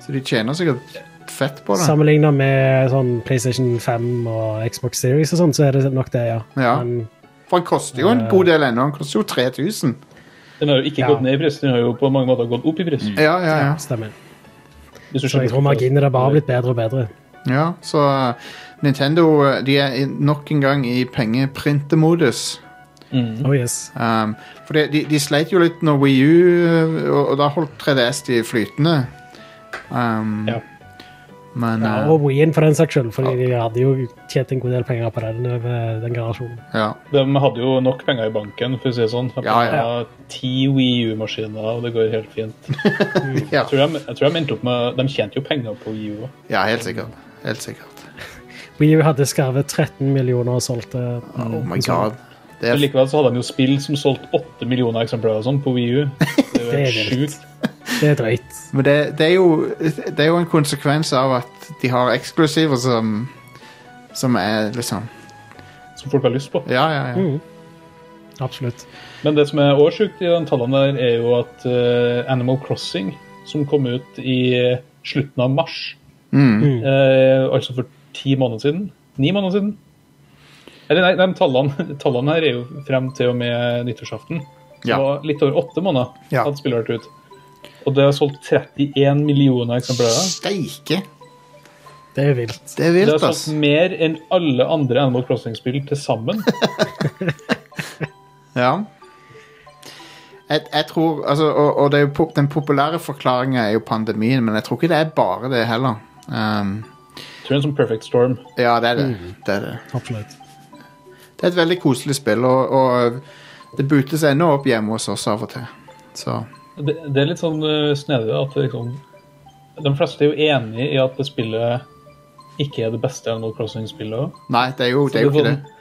Så de tjener sikkert fett på det.
Sammenlignet med sånn PlayStation 5 og Xbox Series og sånn, så er det nok det, ja.
Ja.
Men
For den koster jo en god del ennå. Den koster jo 3000.
Den har jo ikke
Ja.
gått ned i pris, den har jo på mange måter gått opp i pris.
Ja, ja, ja.
stemmer.
Hvis du
Så jeg
skjønner
tror
hva-
marginene der bare har blitt bedre og bedre.
Ja, så eh, Nintendo eh, de er i- nok en gang i pengeprintemodus.
Mm.
Oh yes.
Um, for de, de, de sleit jo litt når Wii U eh, og, og da holdt 3DS de flytende. Um,
Ja.
Men
Ja,
eh,
og Wien for den saks skyld, fordi de hadde jo tjent en god del penger på den, eh, den generasjonen.
ja.
De hadde jo nok penger i banken, for å si det sånn. De
Ja, ja.
har Ti Wii U-maskiner, og det går helt fint.
Ja.
Jeg tror de, jeg tror de endte opp med De tjente jo penger på Wii U òg.
ja, helt sikkert. Helt sikkert.
Wien hadde skarvet 13 millioner solgte
Oh my god. Det
Men
er,
likevel så hadde de jo spill som solgte åtte millioner eksemplarer og sånn på Wii U. Det er jo
Det er
helt
vilt.
sjukt.
Det er drøyt.
men det, det, er jo, det er jo en konsekvens av at de har eksklusiver som, som er liksom
som folk har lyst på.
Ja, ja, ja.
Absolutt.
Men det som er også sjukt i den tallene der, er jo at eh, Animal Crossing, som kom ut i eh, slutten av mars,
Mm.
eh, altså for ti måneder siden, ni måneder siden Eller nei, de tallene, tallene her er jo frem til og med nyttårsaften. Det
Ja.
var litt over åtte måneder
Ja.
at spillet har vært ut. Og det har solgt 31 millioner eksemplarer.
Steike!
Det er vilt.
Det er
Det har
vilt, ass.
solgt mer enn alle andre Animal Crossing-spill til sammen.
Ja. Jeg, jeg tror, altså, og, og det er jo pop, den populære forklaringa er jo pandemien, men jeg tror ikke det er bare det heller. Um,
Tror jeg som sånn Perfect Storm.
ja, det er det. det er det.
Absolutt.
Det er et veldig koselig spill, og, og det bootes ennå opp hjemme hos oss av og til. Så
Det, det er litt sånn eh, snedig at det liksom, de fleste er jo enig i at det spillet ikke er det beste Animal Crossing-spillet. også.
Nei, det er jo, det er jo
Så
ikke
det er
det.
sånn-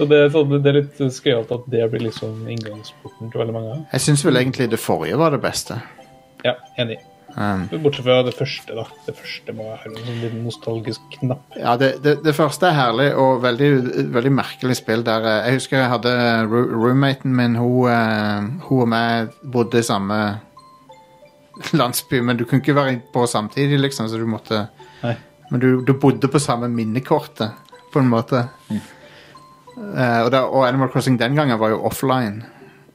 Så det, er sånn- det er litt skøyalt at det blir liksom inngangsporten til veldig mange.
Jeg syns vel egentlig det forrige var det beste. Um,
Ja, enig. Bortsett fra det første, da. Det første må være en sånn liten nostalgisk knapp.
Ja, det, det, det første er herlig og veldig, veldig merkelig spill. Der, eh, jeg husker jeg hadde ro- roommaten min. Hun, eh, hun og meg bodde i samme landsby, men du kunne ikke være på samtidig, liksom, så du måtte
Nei.
Men du, du bodde på samme minnekortet, på en måte. Eh, og, da- og Animal Crossing den gangen var jo offline.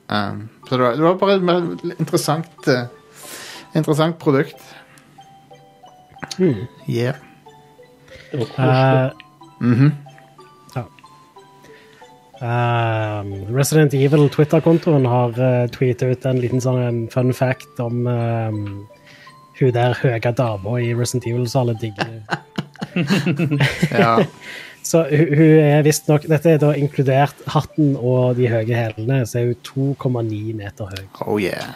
Um, så det var, det var bare et mer interessant, eh, interessant produkt. Yeah.
Det var koselig.
Eh,
mhm.
ja. Ehm, Resident Evil Twitter-kontoen har uh, tweetet ut en liten sånn en fun fact om ehm, hun der høye dama i Resident Evil som alle digger.
Ja.
Så hun, hun er visstnok Dette er da inkludert hatten og de høye hælene, så er hun 2,9 meter høy.
Oh yeah.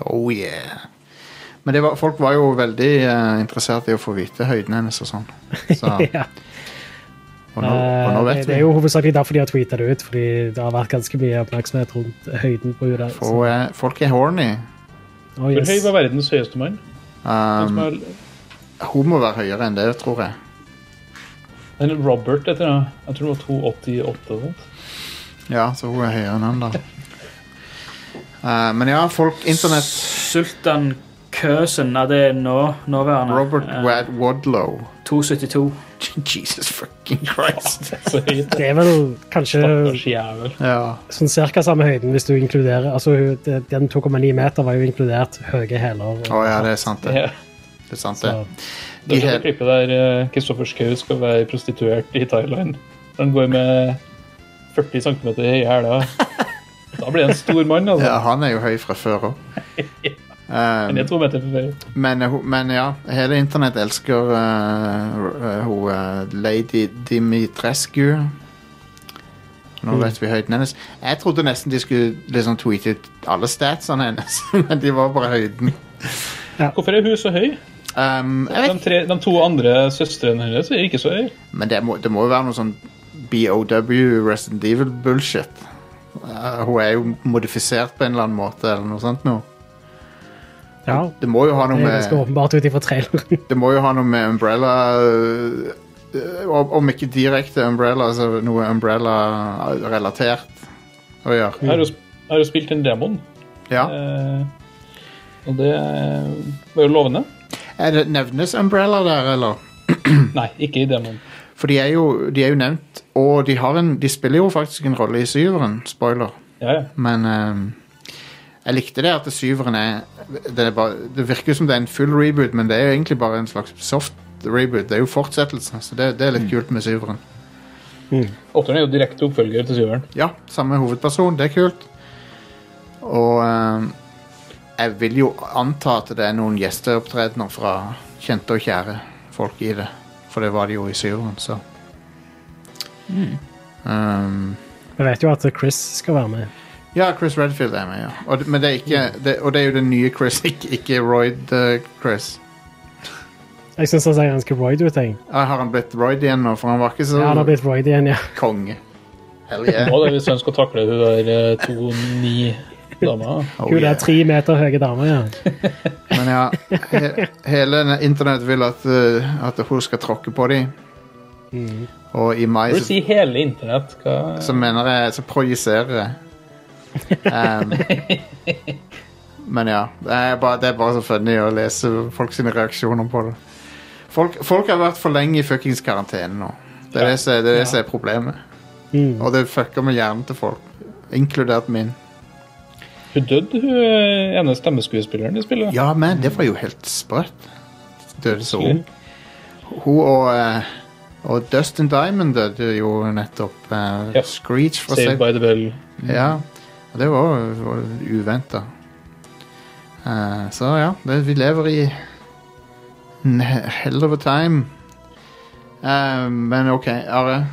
Oh yeah. Men det var, folk var jo veldig eh, interessert i å få vite høyden hennes og sånn. Så,
ja.
og, nå, og nå
Eh,
vet
det er
vi.
jo hovedsakelig derfor de har tweeta det ut, fordi det har vært ganske mye oppmerksomhet rundt høyden på henne. der, så-
Og, eh, folk er horny.
Oh,
Hvor høy
yes.
var verdens høyeste mann? Han som
Um,
er,
hun må være høyere enn det, tror jeg.
eller Robert, heter han. Jeg tror det var 288 eller noe.
Ja, så hun er høyere enn han, da. Eh, men ja, folk Internett
Sultan Køsen, ja, det er nå, nåværende.
Robert
Eh,
Wad Wadlow.
272.
Jesus fucking Christ.
Så høyt.
Det er vel kanskje
Stakkars jævel.
Ja.
sånn cirka samme høyden, hvis du inkluderer Altså, hun- det- den 2,9 meter var jo inkludert høye hæler. og-
Å ja, det er sant, det.
Ja.
Det er sant, det.
så-
Det
De
er
hel-
det klippet der eh, Kristoffer Schou skal være prostituert i Thailand. Han går med 40 cm i hæla. Da blir han en stor mann, altså.
Ja, han er jo høy fra før Eh, òg.
Han er to meter for høy.
Men, eh, ho- men ja, hele internett elsker eh, hun eh, lady Dimitrescu. Nå
Mm.
vet vi høyden hennes. Jeg trodde nesten de skulle liksom tweete ut alle statsene hennes, men de var bare høyden.
Hvorfor er hun så høy?
Um, jeg
De,
vet,
tre, de to andre søstrene hennes er ikke så høy.
men det må, det må jo være noe sånn BOW, Resident Evil-bullshit. Eh, hun er jo modifisert på en eller annen måte, eller noe sånt noe.
Ja,
Det må jo ha noe
det er ganske
med
åpenbart ut ifra traileren.
Det må jo ha noe med Umbrella øh, øh, om- Om ikke direkte Umbrella, så noe Umbrella-relatert å
Jeg
gjøre.
har jo, sp- jeg har jo spilt en demon,
Ja.
eh, og det eh, var jo lovende.
Er det nevnes Umbrella der, eller?
Nei, ikke i demon.
For de er jo, de er jo nevnt, og de, har en, de spiller jo faktisk en rolle i syveren. Spoiler.
Ja, ja.
Men øhm, jeg likte det at det syveren er det, er bare, det virker som det er en full reboot, men det er jo egentlig bare en slags soft reboot. Det er jo fortsettelse, så det, det er litt kult med syveren.
Åtteren er jo direkte oppfølger til syveren.
Ja, samme hovedperson, det er kult. Og eh, jeg vil jo anta at det er noen gjesteopptredener fra kjente og kjære folk i det. For det var det jo i syveren, så. Um,
Vi vet jo at Chris skal være med.
ja, Chris Redfield er med, ja. Og, det- men det er ikke, det, og det er jo den nye Chris, ikke, ikke Royd eh, Chris.
Jeg syns han ser ganske roid ut. jeg.
Ah, har han blitt Royd igjen nå? For han var ikke så
Ja, han har blitt roid iggen, ja.
konge. Hell yeah.
Nå da, hvis han skal takle hun der eh, 2-9-dama.
Oh,
Hun
yeah.
er tre meter høye dame, ja.
Men ja,
Mm.
he hele internett vil at, eh, at hun skal tråkke på dem. Og i mai
Hvor
så,
sier hele internett? Hva
så mener jeg Så projiserer jeg. Um, men ja. Det er, bare, det er bare så funny å lese folk sine reaksjoner på det. Folk, folk har vært for lenge i fuckings karantene nå. Det er det som det er, det som er problemet.
Mm.
Og det fucker med hjernen til folk. Inkludert min.
Hun døde, hun eh, ene stemmeskuespilleren i spillet.
Ja, men det var jo helt sprøtt. Døde så ung. Hun og, eh, og Dustin Diamond døde jo nettopp. eh,
Ja.
Screech fra
Saved
Save
by the Bell.
Ja, og det var, var uventa. så ja, det, vi lever i en he- hell of a time. Eh, men OK, Are.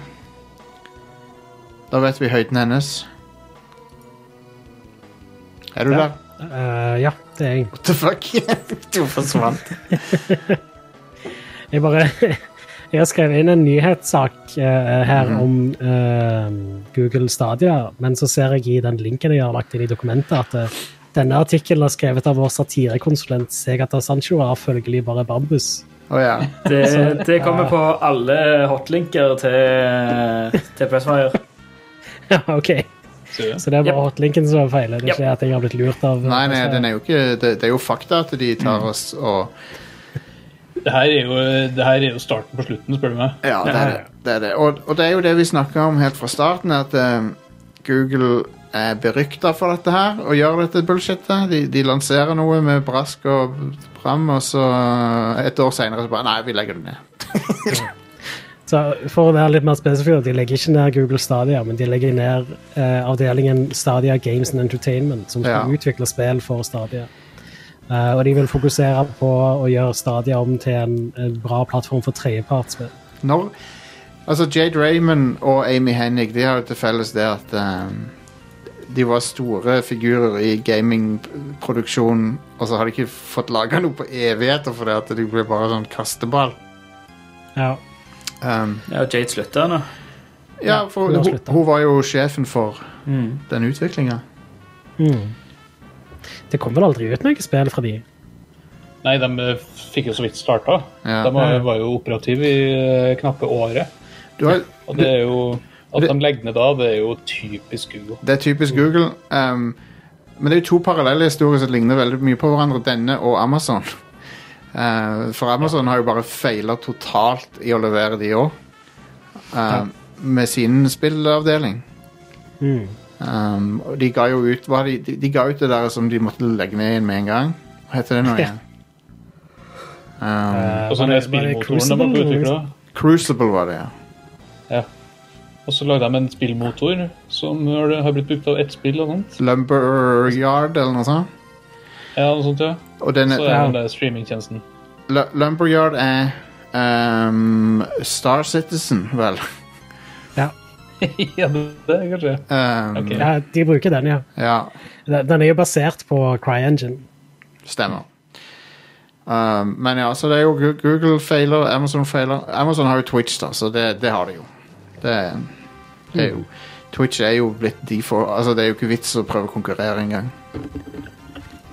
Da vet vi høyden hennes. Er du
Ja.
der?
Eh, ja, det er jeg.
What the fuck? du forsvant.
Jeg bare Jeg har skrevet inn en nyhetssak eh, her
Mhm.
om eh, Google Stadia, men så ser jeg i den linken jeg har lagt inn i dokumentet, at eh, denne artikkelen er skrevet av vår satirekonsulent Segata Sancho og er følgelig bare bambus.
Å ja.
Det, det kommer på alle hotlinker til, til Pressfire.
Ja, OK.
Så, ja.
Så det er bare hotlinken som feiler. Det er ikke at jeg har blitt lurt av
Nei, nei, den er jo ikke Det, det er jo fakta at de tar oss og
Det her er jo, det her er jo starten på slutten, spør du meg.
Ja, det er det. det, er det. Og, og det er jo det vi snakka om helt fra starten, at eh, Google er berykta for dette her og gjør dette bullshitet. De, de lanserer noe med brask og pram, og så eh, et år seinere så bare Nei, vi legger det ned.
Så for å være litt mer spesifikk, de legger ikke ned Google Stadia, men de legger ned eh, avdelingen Stadia Games and Entertainment, som skal
Ja.
utvikle spill for Stadia. Eh, og de vil fokusere på å gjøre Stadia om til en, en bra plattform for tredjepartsspill.
Når Altså, Jade Raymond og Amy Hennig de har jo til felles det at eh, de var store figurer i gamingproduksjonen, og så har de ikke fått laga noe på evigheter fordi at de ble bare sånn kasteball.
Ja.
Um,
Ja, og Jade slutter nå.
Ja, for
hun har
hun,
sluttet.
hun var jo sjefen for den utviklinga.
Mm. Det kom vel aldri ut noe spill fra de?
Nei, de eh, fikk jo så vidt starta.
Ja.
De var, var jo operative i eh, knappe året.
Du har,
Og det er jo At
Det-
de legger ned da, det er jo typisk Google.
det er typisk Google. ehm, men det er jo to parallelle historier som ligner veldig mye på hverandre, denne og Amazon. Eh, for Amazon har jo bare feila totalt i å levere de òg. Med sin spillavdeling.
Mm.
Ehm, og de ga jo ut hva de, de, de ga ut det der som de måtte legge ned igjen med en gang. Hva heter det nå igjen? Ehm,
Eh,
Og så den spillmotoren de var på utvikla.
Crucible var det, ja.
Ja. Og så lagde de en spillmotor som har har blitt brukt av ett spill og sånt.
Lumberyard eller noe sånt.
Ja, og sånt, ja.
Og den,
Så er det den streamingtjenesten.
Lu- Lumberyard er ehm, Star Citizen, vel.
ja, det er kanskje
Ehm,
Ok.
Ja, de bruker den, ja.
Ja,
Den den er jo basert på CryEngine.
stemmer. Ehm, men ja, så det er jo Gu- Google feiler, Amazon feiler. Amazon har jo Twitch, da, så det, det har de jo. Det, er- det er jo Twitch er jo blitt de for Altså, det er jo ikke vits å prøve å konkurrere engang.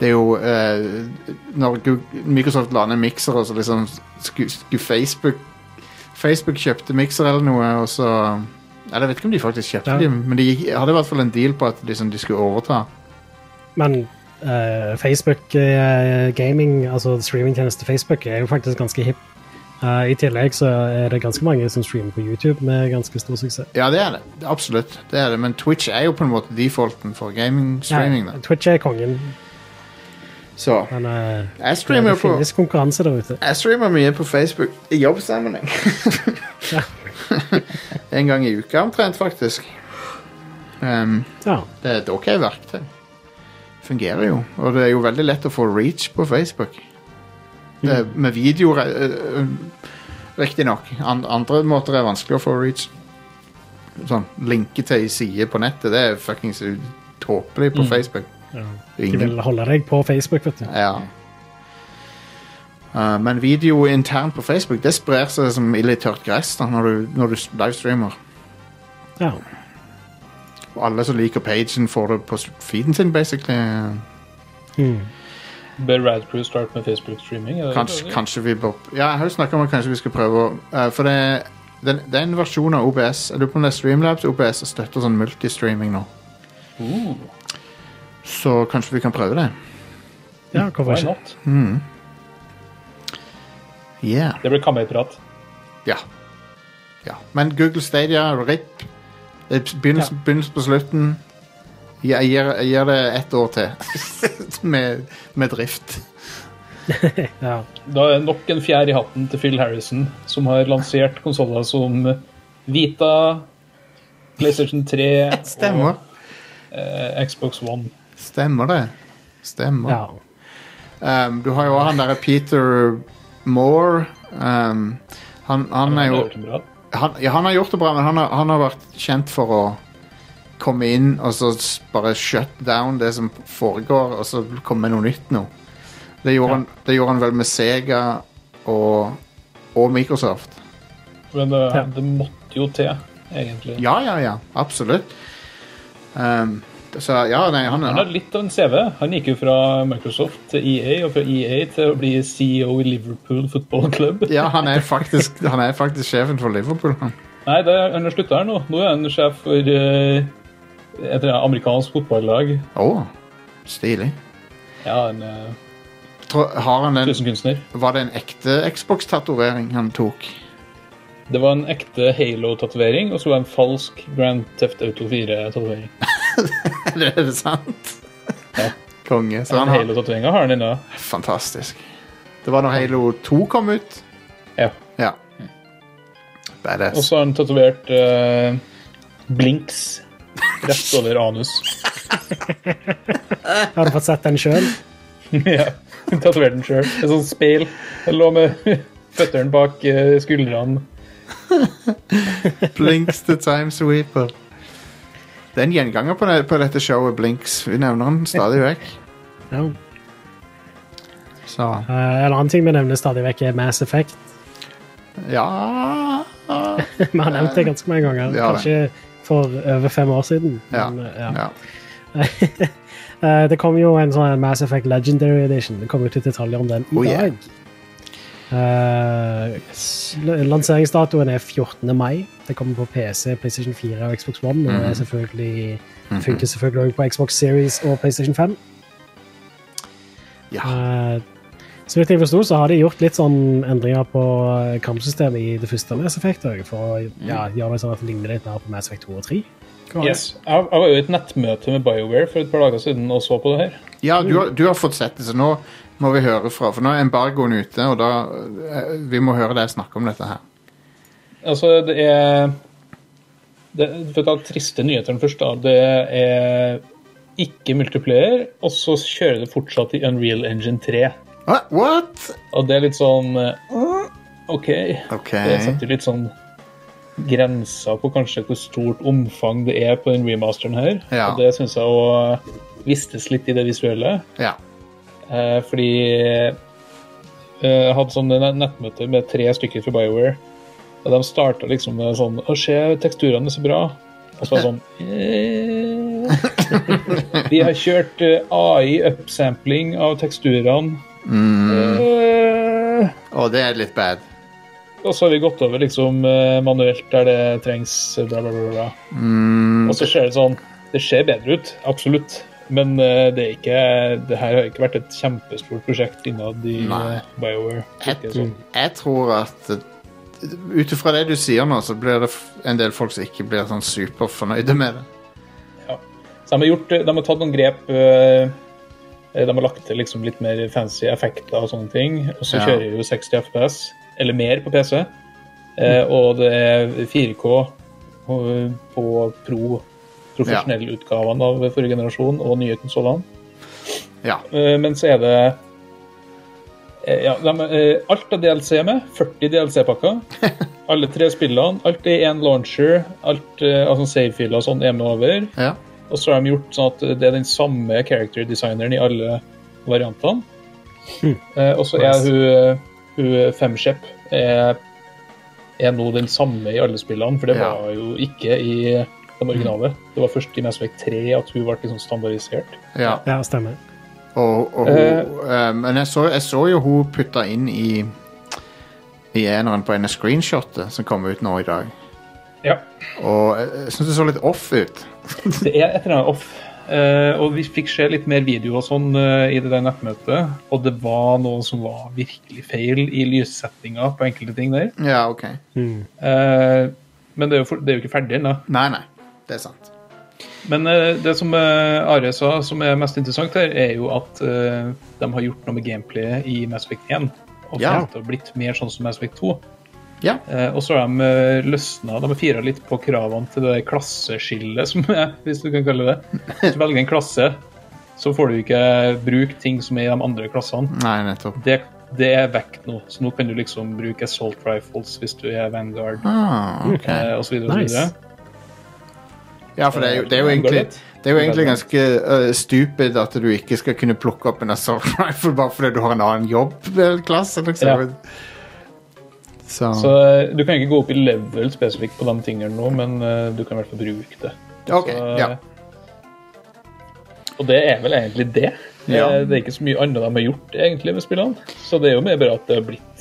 Det er jo eh, Når Gu- Microsoft la ned miksere, så liksom skulle skulle Facebook Facebook kjøpte mikser eller noe, og så Eller jeg vet ikke om de faktisk kjøpte
Ja.
dem, men de gikk, hadde i hvert fall en deal på at liksom, de skulle overta.
Men eh, Facebook eh, gaming, altså streamingtjeneste Facebook, er jo faktisk ganske hipp. Eh, I tillegg så er det ganske mange som streamer på YouTube med ganske stor suksess.
Ja, det er det. Det- Absolutt. det er det Men Twitch er jo på en måte defaulten for gaming-streaming. da
Ja, Twitch er kongen,
Så
men eh,
jeg streamer
det
jo på
finnes konkurranse der ute.
Jeg streamer mye på Facebook i jobbsammenheng.
Ja.
en gang i uka omtrent, faktisk. Ehm,
Ja,
det er et OK verktøy. Fungerer jo. Og det er jo veldig lett å få reach på Facebook. Det, er- Med videoer uh, Riktignok. An, andre måter er vanskelig å få reach. Sånn linke til ei side på nettet, det er fuckings u- tåpelig på Facebook.
de vil holde deg på Facebook, vet du.
Ja. Uh, men video internt på Facebook Det sprer seg som ille tørt gress da, når, du, når du s- livestreamer.
Ja.
Og alle som liker pagen, får det på s- feeden sin, basically.
Mm.
Bør Radcrew starte med Facebook-streaming? er det-
Kanskje, kanskje vi bør Ja, jeg har jo snakket om at kanskje vi skal prøve å uh, For det Den, den versjonen av OBS Jeg lurer på om det er Streamlabs OBS støtter sånn multistreaming nå. Så kanskje vi kan prøve det.
Ja, hvorfor
Why
ikke?
not?
Yeah.
Det blir kammerprat.
Ja. ja. Men Google Stadia, RIP Det begynnes, begynnes på slutten. Jeg gir, jeg gir det ett år til med, med drift.
Ja.
Da er nok en fjær i hatten til Phil Harrison, som har lansert konsoller som eh, Vita, PlayStation 3
Stemmer.
og eh, Xbox One.
Stemmer det. Stemmer.
ja.
Um, du har jo også han derre Peter Moore. Um, han, han er jo
Det bra.
han, ja, han har gjort det bra, men han har, han har vært kjent for å komme inn og så s- bare shut down det som foregår, og så komme med noe nytt nå. Det gjorde, han, det gjorde han vel med Sega og, og Microsoft.
Men det,
Ja.
det måtte jo til, egentlig.
Ja, ja, ja. Absolutt. Um, så ja, nei, han,
Han har
han,
litt av en CV. Han gikk jo fra Microsoft til EA, og fra EA til å bli CEO i Liverpool Football Club.
ja, han, er faktisk, han er faktisk sjefen for Liverpool. han.
Nei, det, han har slutta her nå. Nå er han sjef for eh, et eller annet amerikansk fotballag.
Å, stilig.
Ja, en eh,
Tror- Har han den,
tusenkunstner.
var det en ekte Xbox-tatovering han tok?
Det var en ekte Halo-tatovering, og så var det en falsk Grand Theft Auto 4-tatovering.
Det er det sant? Konge. Så han har,
Halo-tatoveringa har han ennå.
Fantastisk. Det var når Halo 2 kom ut.
Ja.
Ja.
Og
Badass.
så har han tatovert eh, Blinks rett over anus.
Har du fått sett den sjøl?
ja, hun tatoverte den sjøl. Et sånt speil. sånn Den lå med føttene bak eh, skuldrene.
Blinks the Time Sweeper. Det er en gjenganger på, det, på dette showet, Blinks. Vi nevner han stadig vekk.
Ja.
Så
Eh, en annen ting vi nevner stadig vekk, er Mass Effect.
ja
Vi har nevnt det ganske mange ganger.
vi har
Kanskje for over fem år siden.
Ja.
Men, eh,
ja.
Eh, det kom jo en sånn Mass Effect Legendary Edition. Det kom ut litt detaljer om den i
Oh, yeah.
dag. Eh, l- lanseringsdatoen er 14. mai. Det kommer på PC, PlayStation 4 og Xbox One. Og det
Mhm.
er selvfølgelig, funker selvfølgelig også på Xbox Series og PlayStation 5.
ja.
Eh, så vidt jeg forsto, så har de gjort litt sånn endringer på eh, kampsystemet i det første Mass Effect også, for å ja,
Mhm.
gjøre det sånn at det ligner litt mer på Mass Effect 2 og 3.
Yes. Jeg, jeg var jo i et nettmøte med BioWare for et par dager siden og så på det her.
Ja, du har, du har fått sett det, så nå må vi høre fra. For nå er embargoen ute, og da eh, Vi må høre deg snakke om dette her.
Altså, det er det, For å ta triste nyheter den første, da. Det er ikke multiplayer, og så kjører det fortsatt i Unreal Engine 3.
Hva? What?
Og det er litt sånn eh, OK.
OK.
Det setter litt sånn grenser på kanskje hvor stort omfang det er på den remasteren her.
Ja.
Og det syns jeg òg vistes litt i det visuelle.
Ja.
Eh, fordi eh, jeg hadde sånn net- nettmøte med tre stykker fra BioWare. Og de starta liksom med sånn Å, se, teksturene er så bra. Og så var det sånn eh. Vi har kjørt eh, AI-upsampling av teksturene. Eh.
Og det er litt bad.
Og så har vi gått over liksom eh, manuelt der det trengs eh, bla, bla, bla. bla. Og så ser det sånn Det ser bedre ut, absolutt. Men eh, det er ikke Det her har ikke vært et kjempestort prosjekt innad i
Nei.
eh, BioWare. Ikke
jeg,
sånn.
jeg tror at eh, ut ifra det du sier nå, så blir det f- en del folk som ikke blir sånn superfornøyde med det.
Så de har, gjort, de har tatt noen grep. eh, De har lagt til liksom litt mer fancy effekter og sånne ting. Og så
Ja.
kjører jeg jo 60 FPS, eller mer, på PC. Eh, Og det er 4K og- på pro profesjonell-utgaven av forrige generasjon og nye konsollene.
Ja.
Eh, Men så er det eh, ja, de, eh, alt er DLC med. 40 DLC-pakker. Alle tre spillene. Alt er én launcher. Alt, eh, altså save-filer og sånn er med over.
ja.
Og så har de gjort sånn at det er den samme character designeren i alle variantene. Eh, og så er
Nice.
hun, eh, hun Femshep er, er nå den samme i alle spillene, for det
Ja.
var jo ikke i de originale. Det var først i Mass Effect 3 at hun ble liksom standardisert.
ja.
Ja, stemmer.
Og, og hun eh, Men jeg så, jeg så jo hun putta inn i i eneren på en av screenshotene som kom ut nå i dag.
Ja.
Og jeg, jeg syns det så litt off ut.
Det er et eller annet off. Eh, og vi fikk se litt mer video og sånn eh, i det der nettmøtet, og det var noe som var virkelig feil i lyssettinga på enkelte ting der.
Ja, OK.
Eh, men det er jo, for, det er jo ikke ferdig ennå.
Nei, nei. Det er sant.
Men eh, det som eh, Are sa som er mest interessant her, er jo at eh, de har gjort noe med gameplayet i Mass Effect 1. Og
Ja.
fått det har blitt mer sånn som Mass Effect 2.
Ja.
Eh, og så har de eh, løsna De har fira litt på kravene til det der klasseskillet, som er, hvis du kan kalle det. Hvis du velger en klasse, så får du ikke bruke ting som er i de andre klassene.
Nei, nettopp.
Det, det er vekk nå, så nå kan du liksom bruke assault rifles hvis du er vanguard
Ah, OK.
eh, osv.
Nice.
Ja, for det er jo, det er jo egentlig Det er jo egentlig ganske eh, stupid at du ikke skal kunne plukke opp en assault rifle bare fordi du har en annen jobb eller klasse, liksom. Så,
Så eh, du kan ikke gå opp i level spesifikt på de tingene nå, men eh, du kan i hvert fall bruke det.
OK.
så- eh,
Ja.
Og det er vel egentlig det.
Ja.
Eh, Det er ikke så mye annet de har gjort egentlig med spillene, så det er jo mer bare at det har blitt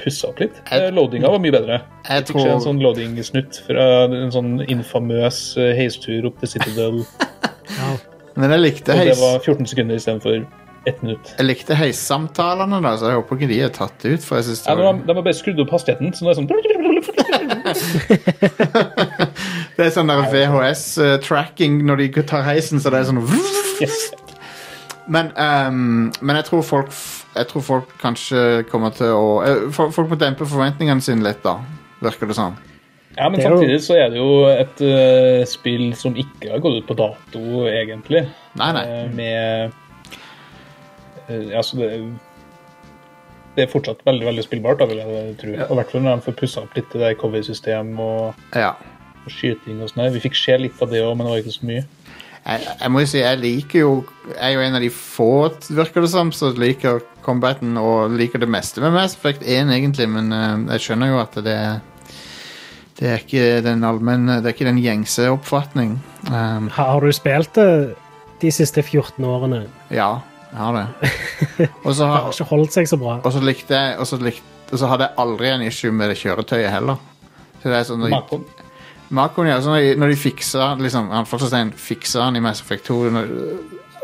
pussa opp litt. Eh, Loadinga var mye bedre.
Jeg
Fikk se en
tror
sånn loading-snutt fra en sånn infamøs eh, heistur opp til Citadel, og
Men jeg likte,
det
heis,
var 14 sekunder istedenfor ett minutt.
jeg likte heissamtalene, da, så jeg håper ikke de er tatt ut. For jeg synes
Ja,
det,
men
var,
de, de har bare skrudd opp hastigheten, så nå er det sånn
det er sånn der VHS-tracking eh, når de tar heisen, så det er sånn
Yes.
Men, ehm, men jeg, tror folk, f- jeg tror folk kanskje kommer til å eh, Folk folk må dempe forventningene sine litt, da. Virker det sånn.
Ja, men
Det er jo-
samtidig så er det jo et eh, spill som ikke har gått ut på dato, egentlig.
Nei, nei.
Eh, med eh, Altså, det, det er fortsatt veldig veldig spillbart, da, vil jeg tro. Og I hvert fall når de får pussa opp litt det der cover-system og,
Ja.
og skyting og sånn. her. Vi fikk se litt av det òg, men det var ikke så mye.
jeg, jeg må jo si, jeg liker jo Jeg er jo en av de få, virker det som, som liker combaten og liker det meste med Mass Effect 1, egentlig, men eh, jeg skjønner jo at det Det er ikke den allmenne Det er ikke den gjengse oppfatning. Um,
Har har du spilt det de siste 14 årene?
ja, jeg har det. Og så
Det har
har-
ikke holdt seg så bra.
og så likte jeg Og så likte og så hadde jeg aldri en issue med det kjøretøyet heller. Så det er sånn når de-
Makon.
Markon, ja, så når de, når de fiksa liksom, han Falsterstein fiksa han i Mass Effect 2 når,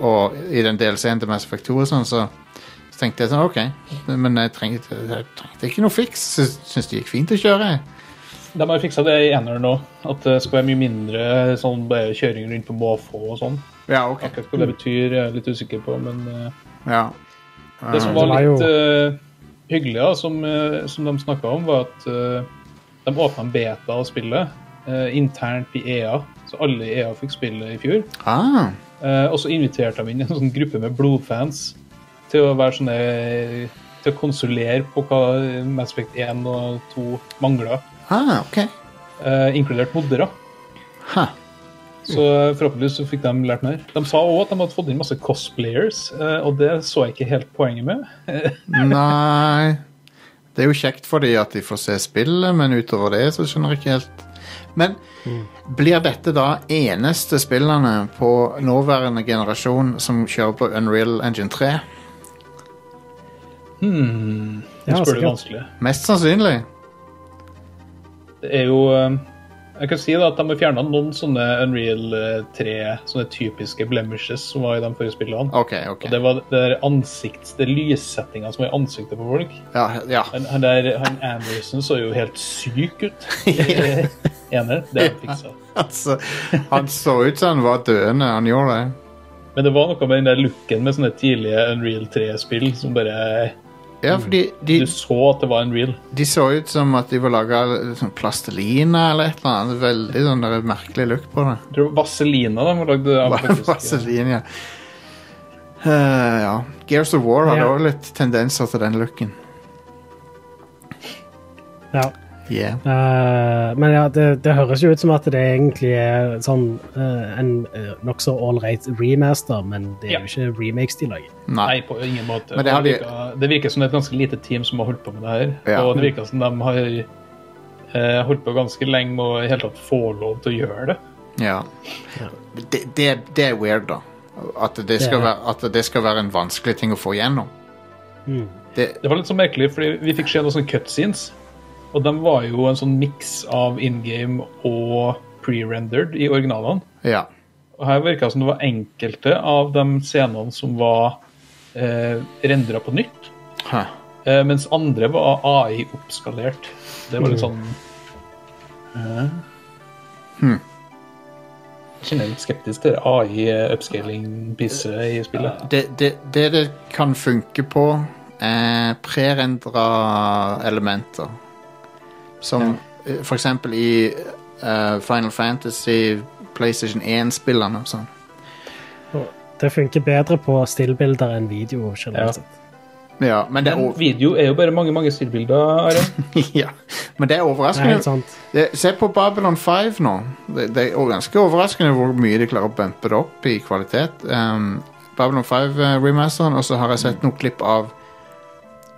og i den delscenen til Mass Effect 2 og sånn, så, så tenkte jeg sånn, ok men jeg trengte, jeg trengte ikke noe fiks jeg synes det gikk fint å kjøre jeg.
De har fiksa det i eneren nå, at det skal være mye mindre sånn bare kjøring rundt på måfå og sånn.
ja, ok
Akkurat hva det betyr, er jeg litt usikker på, men eh,
ja.
Det som
det
var
var
litt
jo-
eh, hyggelig, da, som, eh, som de snakka om, var at eh, de åpna en beta av spillet eh, internt i EA. Så alle i EA fikk spillet i fjor.
Ah,
Eh, og så inviterte de inn en sånn gruppe med blodfans til å være sånne til å konsulere på hva Mass Effect 1 og 2 mangler,
ah, ok
eh, inkludert modderer.
Ha.
Så eh, forhåpentligvis så fikk de lært mer. De sa òg at de hadde fått inn masse cosplayers, eh, og det så jeg ikke helt poenget med.
Nei Det er jo kjekt for de at de får se spillet Men utover det så skjønner jeg ikke helt Men blir dette da eneste spillene På nåværende generasjon Som kjører på Unreal Engine 3
Nå
Ja,
spør du
sikkert.
vanskelig.
Mest sannsynlig
Det er jo eh, Jeg kan si da at de har fjerna noen sånne Unreal eh, 3, sånne typiske blemishes som var i de forrige spillene.
Ok, ok
Og det var det der ansikts, det lyssettinga som var i ansiktet på folk.
Ja, ja.
Han, han der han Anderson så jo helt syk ut. i- Ener. Det har de fiksa.
Altså, han så ut som han var døende Han gjorde det
Men det var noe med den der looken med sånne tidlige Unreal 3-spill som bare
Ja,
Mm.
fordi de,
Du så at det var Unreal.
de så ut som at de var laget av sånn plastelina eller et eller annet Veldig sånn der merkelig lukt på det
Jeg tror det var Vaselina de har lagd. av faktisk-
Vaseline, ja. Eh, ja. Gears of War hadde
Ja.
også litt tendenser til den looken.
Ja.
Yeah.
Eh, men ja, det, det høres jo ut som at det egentlig er sånn eh, en uh, nokså ålreit remaster, men det er
Ja.
jo ikke remakes de lager.
Nei.
Nei, på ingen måte.
Men det
Og
har de-
virker- det virker som det er et ganske lite team som har holdt på med det her.
Ja.
Og det virker som de har eh, holdt på ganske lenge med å i hele tatt få lov til å gjøre det.
Ja. Det, det, det er weird, da. At det, skal
Det er det.
være, at det skal være en vanskelig ting å få gjennom. Det,
Det var litt sånn merkelig, fordi vi fikk se noen sånne cutscenes. Og de var jo en sånn miks av in game og pre-rendered i originalene.
ja.
Og her virka det som det var enkelte av de scenene som var eh, rendra på nytt.
Hæ.
Eh, mens andre var AI-oppskalert. Det var litt
Mm.
sånn eh.
Hmm.
Jeg kjenner jeg er litt skeptisk til AI-upscaling-pisset i spillet.
Det, det, det det kan funke på, er prerendra elementer. Som eh, for eksempel i eh, Final Fantasy, PlayStation 1-spillene og sånn.
Det funker bedre på stillbilder enn video.
Ja.
generelt sett.
Ja, men det er,
Men
o-
video er jo bare mange mange stillbilder. Are.
ja. Men det er
Det er helt
overraskende.
sant.
Det, se på Babylon 5 nå. Det, det er jo ganske overraskende hvor mye de klarer å bumpe det opp i kvalitet. Um, Babylon 5-remasteren, og så har jeg sett noen klipp av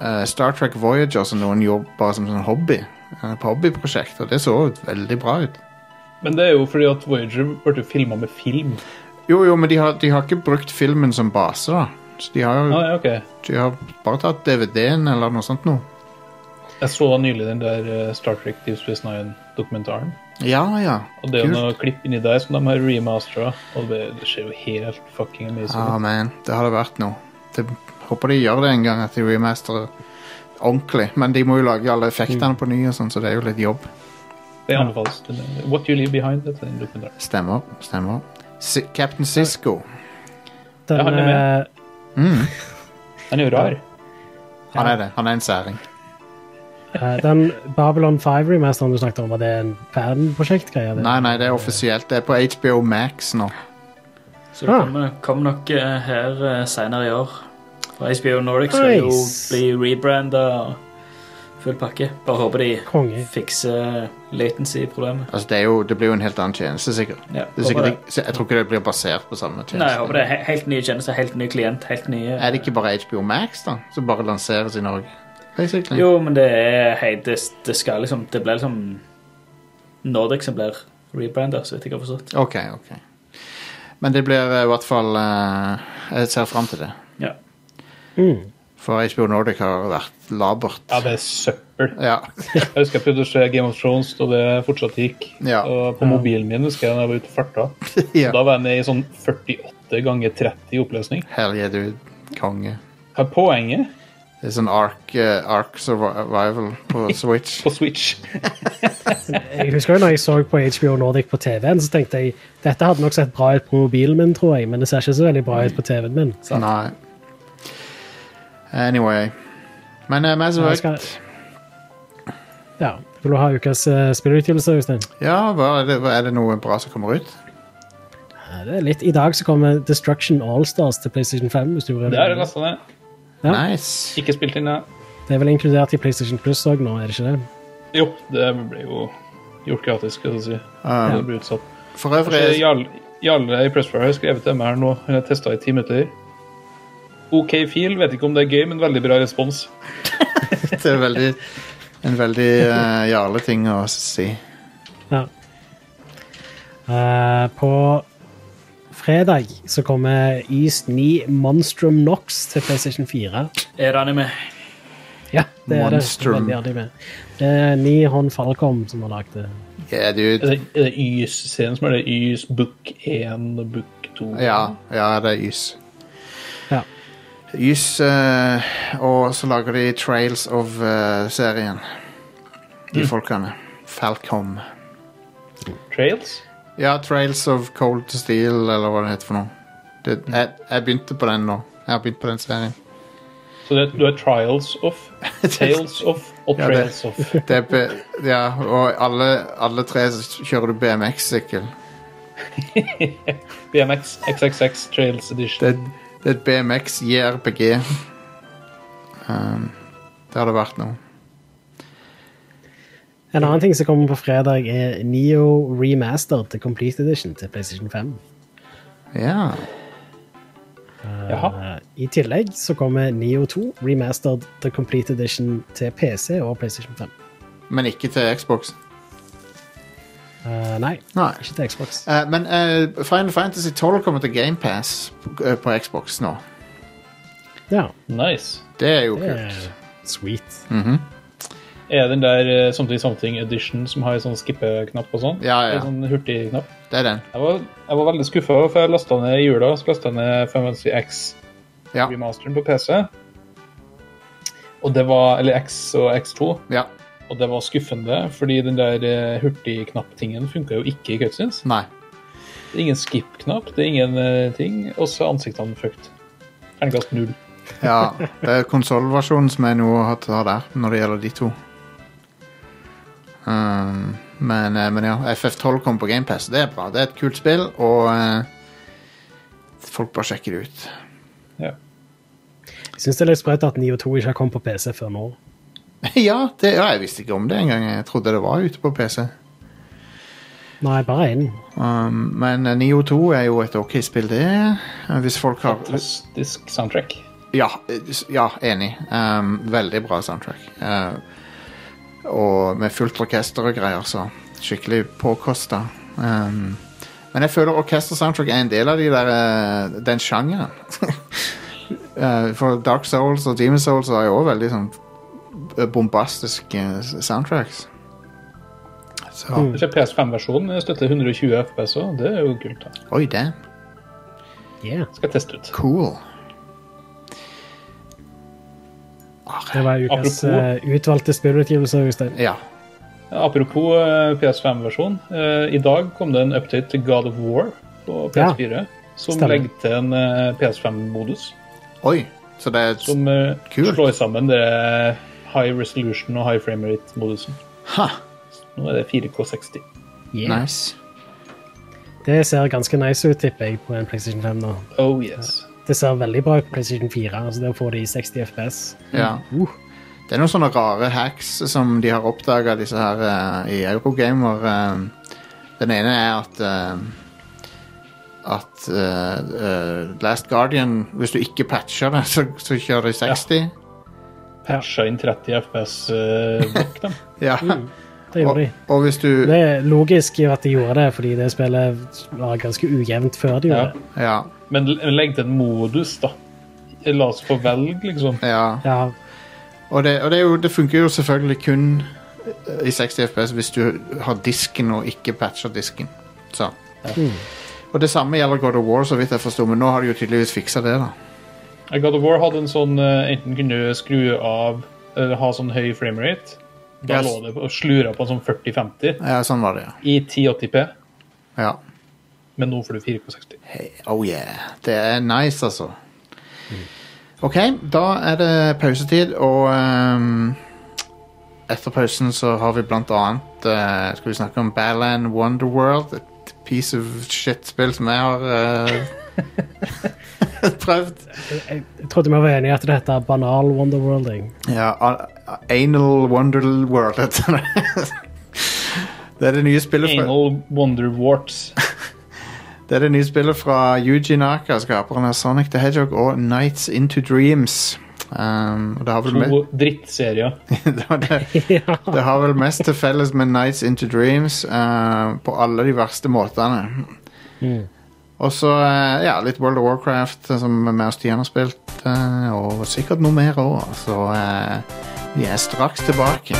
eh, Star Trek Voyager som noen jobber som sånn hobby. eh, På hobbyprosjekt, og det så veldig bra ut.
Men det er jo fordi at Voyager ble filma med film.
Jo, jo, men de har, de har ikke brukt filmen som base, da. Så de har, jo,
Ah, ja, ok.
de har bare tatt DVD-en eller noe sånt noe.
Jeg så nylig den der eh, Star Trek Deep Space Nine-dokumentaren.
Ja, ja.
Og det er jo
Kult.
noen klipp inni der som de har remastera. Og det, det ser jo helt fucking amazing
Ja,
ut.
men det hadde vært noe. Det, håper de gjør det en gang, at de remasterer ordentlig. Men de må jo lage alle
Mm.
effektene på ny, og sånn, så det er jo litt jobb.
Det anbefales. Den, eh, What You Leave Behind heter den dokumentaren.
Stemmer. stemmer. Si- Captain Sisko.
Den,
Ja, han er med.
eh,
Den er jo rar.
Han er det. Han er en særing.
eh, den Babylon 5-remasteren du snakket om, var det en fanprosjektgreie? det?
Nei, nei, det er offisielt. Det er på HBO Max nå.
Så
Ah.
det kommer, kommer nok eh, her eh, senere i år. For HBO Nordic skal jo
Nice.
bli rebranda og full pakke. Bare håper de
Konge.
fikser eh, latency-problemet.
Altså, det, er jo, det blir jo en helt annen tjeneste, sikkert. Det
Ja,
er
håper
sikkert
det.
ikke, så jeg tror ikke det blir basert på samme tjeneste.
Nei, jeg håper det er he- helt nye tjenester, helt ny klient, helt nye
Er det ikke bare HBO Max, da? Som bare lanseres i Norge? Basically.
Jo, men det er hei, det, det skal liksom Det blir liksom Nordic som blir rebranda, så vidt jeg har forstått.
Ok, ok. Men det blir eh, i hvert fall eh, Jeg ser fram til det.
Ja.
Mm.
For HBO Nordic har vært labert.
Ja, det er søppel.
Ja.
Jeg husker jeg prøvde å se Game of Thrones da det fortsatt gikk.
Ja.
Og på mobilen min husker jeg da jeg var ute og farta.
ja.
Da var jeg nede i sånn 48 ganger 30 i oppløsning.
Hell yeah, du konge.
Hva er poenget
Det er sånn Ark, eh, Ark Survival på Switch.
på Switch?
Jeg husker jo når jeg så på HBO Nordic på TV-en, så tenkte jeg dette hadde nok sett bra ut på mobilen min, tror jeg, men det ser ikke så veldig bra ut på TV-en min.
Nei. Anyway. Men uh, Mass
Ja, jeg
Effect
skal- Ja. Vil du ha ukas eh, spillutgivelse, Øystein?
Ja, hva er, det, hva er det noe bra som kommer ut?
Ja, Det er litt. I dag så kommer Destruction Allstars til PlayStation 5. Hvis du vil.
Det altså. har jeg
Mm.
lasta ned.
Ja.
Nice.
Ikke spilt inn, jeg.
det er vel inkludert i PlayStation Plus òg nå, er det ikke det?
Jo, det ble jo gjort gratis, skal jeg si. det ble utsatt.
Ah, For øvrig
Jarle Jarle i Pressfire har skrevet til meg her nå. Hun har testa i ti minutter. OK feel, vet ikke om det er gøy, men veldig bra respons.
det er veldig, en veldig uh, jarleting å si.
Ja. Eh, på fredag så kommer East 9 Monstrum Nox til PlayStation 4.
Er det anime?
Ja, det er
Monstrum.
det. Veldig artig med. Det er Nihon Falcom som har lagd det.
Yeah, dude.
Er det, er det YS-serien som er det YS Book 1 og Book 2?
Ja, ja, det er ys.
Ja.
Ys, eh, og så lager de Trails of-serien. de folkene. Falcom.
Trails?
Ja, Trails of Cold Steel, eller hva det heter for noe. Det, jeg, jeg begynte på den nå. Jeg har begynt på den serien.
Så det, du har Trials of, Tales of og
Ja, det-
Trails of.
Det er be, ja, og alle, alle tre så kjører du BMX-sykkel.
BMX XXX Trails Edition.
Det, det er et BMX JRPG. Um, det hadde vært noe.
En annen ting som kommer på fredag, er Neo Remastered til Complete Edition til PlayStation 5.
Ja.
Jaha.
Eh, I tillegg så kommer Neo 2 Remastered til Complete Edition til PC og PlayStation 5.
Men ikke til Xbox.
Eh, nei,
Nei.
ikke til Xbox.
Eh, men eh, Final Fantasy 12 kommer til GamePass på, eh, på Xbox nå.
Ja,
Nice.
Det er jo
det
kult.
er sweet.
Er den der eh, Something Something Edition som har sånn skippeknapp og sånn?
Ja, ja.
En Sånn hurtigknapp?
Det er den.
Jeg var, jeg var veldig skuffa, for jeg lasta ned i jula så lastet jeg ned Final Fantasy X
Ja.
remasteren på PC. Og det var, eller X og X2.
ja.
Og det var skuffende, fordi den der eh, hurtigknapp-tingen funka jo ikke i cutscenes.
Nei.
Det er ingen skip-knapp, det er ingen eh, ting. Og så er ansiktene fucked. Terningkast null.
Ja, det er konsolversjonen som er noe å ta der, når det gjelder de to. Um, men, eh, men ja, FF12 kom på GamePass. Det er bra. Det er et kult spill, og eh, folk bare sjekker det ut.
Ja.
Jeg syns det er litt sprøtt at 9 og 2 ikke har kommet på PC før nå.
ja, det, ja, jeg visste ikke om det engang. Jeg trodde det var ute på PC.
Nei, bare én.
Um, men eh, Neo 2 er jo et ok spill, det. Eh, Hvis folk har
Fantastisk soundtrack.
Ja, eh, ja enig. Um, veldig bra soundtrack. Eh, og med fullt orkester og greier, så skikkelig påkosta. Um, men jeg føler orkester-soundtrack er en del av de der, eh, den sjangeren. Eh, for Dark Souls og Demon Souls har jo også veldig sånn bombastiske soundtracks. Så
Kanskje PS5-versjonen støtter 120 FPS òg. Det er jo kult. da.
Oi, damn.
Yeah.
Skal jeg teste ut.
Cool.
Det var ukas
Apropos-
eh, utvalgte spillutgivelser, Jostein.
Ja.
Apropos eh, PS5-versjon. eh, I dag kom det en update til God of War på PS4. som
stemmer.
legger til en eh, PS5-modus.
Oi. Så det er et
Som eh,
Kult.
slår sammen det high resolution og high frame rate-modusen.
Ha!
Nå er det 4K60.
Nice.
Det ser ganske nice ut, tipper jeg, på en PlayStation 5 nå.
Oh yes.
Det ser veldig bra ut på PlayStation 4. altså Der får de 60 FPS.
Ja.
Uh.
Det er noen sånne rare hacks som de har oppdaga, disse her eh, i Eurogamer. eh. den ene er at eh, at eh, eh, Last Guardian Hvis du ikke patcher det, så, så kjører de 60.
Patcha inn 30 FPS-blokk, dem.
Ja.
Det
Mm. Og,
gjorde de.
og hvis du
Det er logisk i at de gjorde det, fordi det spillet var ganske ujevnt før de gjorde
Ja.
det.
Ja.
Men l- legg til en modus, da. La oss få velge, liksom.
ja.
Ja,
Og, det, og det, er jo, det funker jo selvfølgelig kun eh, i 60 FPS hvis du har disken og ikke patcher disken. Så. Mm. Og det samme gjelder God of War, så vidt jeg forsto, men nå har de jo tydeligvis fiksa det. da
God of War hadde en sånn eh, Enten kunne du skru av eller ha sånn høy framerate. Da
Yes.
lå det og slura på en sånn 40-50
Ja, sånn var det, ja.
i 1080P,
ja.
men nå får du 4K60.
Hey, oh yeah. Det er nice, altså. OK, da er det pausetid, og ehm, etter pausen så har vi blant annet eh, Skal vi snakke om Balan Wonderworld? Et piece of shit-spill som jeg har eh, prøvd.
jeg, jeg trodde vi var enige i at det heter banal Wonderworlding.
Ja, a- a- Anal Wonderworld heter det. det er det nye spillet fra
Anal Wonder Warts.
Det er det nye spillet fra Yuji Naka, skaperen av Sonic the Hedgehog og Nights Into Dreams. Um, og det har vel me-
To drittserier.
det, har- det,
ja.
det har vel mest til felles med Nights Into Dreams uh, på alle de verste måtene. Og så uh, ja, litt World of Warcraft, uh, som vi og Stian har spilt, uh, og sikkert noe mer òg. Så uh, vi er straks tilbake.